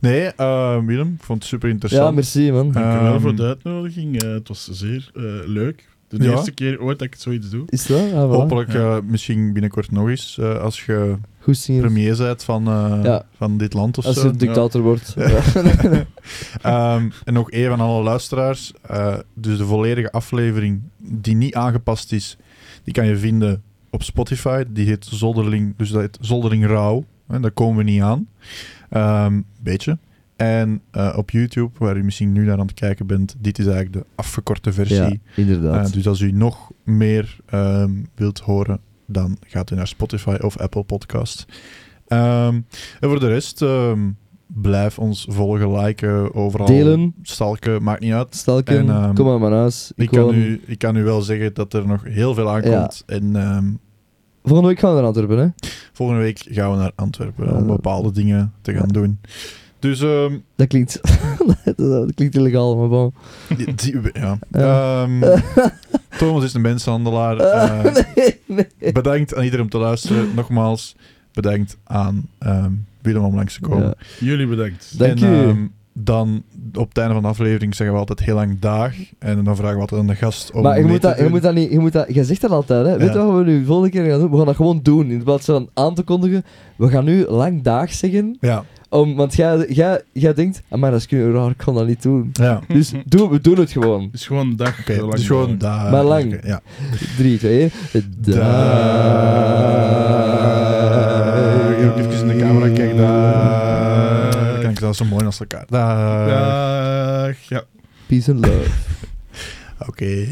Speaker 1: Nee, eh, Willem, ik vond het super
Speaker 2: Ja,
Speaker 1: interessant.
Speaker 2: merci, man.
Speaker 3: Dankjewel
Speaker 1: Ehm,
Speaker 3: voor de uitnodiging. eh, het was zeer eh, leuk. De
Speaker 1: Ja.
Speaker 3: eerste keer ooit dat ik zoiets doe.
Speaker 2: Is dat? Ah, voilà.
Speaker 1: Hopelijk eh, misschien binnenkort nog eens, eh, als je
Speaker 2: Goed zingen.
Speaker 1: premier bent van, eh,
Speaker 2: Ja.
Speaker 1: van dit land of
Speaker 2: Als
Speaker 1: zo.
Speaker 2: je dictator wordt. Ja.
Speaker 1: Ehm, en nog even aan alle luisteraars. eh, dus de volledige aflevering die niet aangepast is, die kan je vinden op Spotify. Die heet Zoldering, dus dat heet Zoldering Rauw. En daar komen we niet aan. Ehm beetje. En eh, op YouTube, waar u misschien nu naar aan het kijken bent, dit is eigenlijk de afgekorte versie.
Speaker 2: Ja, inderdaad.
Speaker 1: Eh, dus als u nog meer ehm, wilt horen, dan gaat u naar Spotify of Apple Podcast. Ehm, en voor de rest, ehm, blijf ons volgen, liken, overal.
Speaker 2: Delen.
Speaker 1: Stalken, maakt niet uit.
Speaker 2: Stelken,
Speaker 1: En, ehm,
Speaker 2: kom aan mijn huis.
Speaker 1: Ik
Speaker 2: woon-
Speaker 1: kan, u, ik kan u wel zeggen dat er nog heel veel aankomt. En ehm,
Speaker 2: Volgende week gaan we naar Antwerpen, hè?
Speaker 1: volgende week gaan we naar Antwerpen om
Speaker 2: Ja.
Speaker 1: bepaalde dingen te gaan doen. Dus ehm,
Speaker 2: Dat klinkt, dat klinkt illegaal, maar bon.
Speaker 1: die- die- ja.
Speaker 2: Ja.
Speaker 1: Ehm, Thomas is een mensenhandelaar.
Speaker 2: Eh,
Speaker 1: eh,
Speaker 2: nee, nee.
Speaker 1: Bedankt aan iedereen om te luisteren. Nogmaals, bedankt aan ehm, Willem om langs te komen.
Speaker 2: Ja.
Speaker 3: Jullie bedankt.
Speaker 2: Dank
Speaker 1: en,
Speaker 2: u.
Speaker 1: ehm, dan op het einde van de aflevering zeggen we altijd heel lang dag. En dan vragen we altijd aan de gast om
Speaker 2: maar je
Speaker 1: mee
Speaker 2: moet,
Speaker 1: te
Speaker 2: dat, je
Speaker 1: doen.
Speaker 2: moet dat niet, je moet dat, jij zegt dat altijd, hè. Weet je
Speaker 1: Ja.
Speaker 2: wat we nu de volgende keer gaan doen? We gaan dat gewoon doen, in plaats van aan te kondigen. We gaan nu lang dag zeggen,
Speaker 1: Ja,
Speaker 2: om, want jij, jij, jij denkt, "Ah, maar dat is kun- raar, ik kan dat niet doen.
Speaker 1: ja. oké.
Speaker 2: Dus doe, we doen het gewoon.
Speaker 3: Het is gewoon een dag. zo lang
Speaker 1: dus gewoon
Speaker 3: mogelijk.
Speaker 1: dag.
Speaker 2: Maar lang.
Speaker 1: Oké, ja.
Speaker 2: 3, 2, 1.
Speaker 1: Dag. Ook even in de camera kijken. Daar.
Speaker 3: Dag.
Speaker 1: Kan ik dat zo mooi als elkaar. Dag.
Speaker 3: Dag. Ja.
Speaker 2: Peace and love.
Speaker 1: Oké.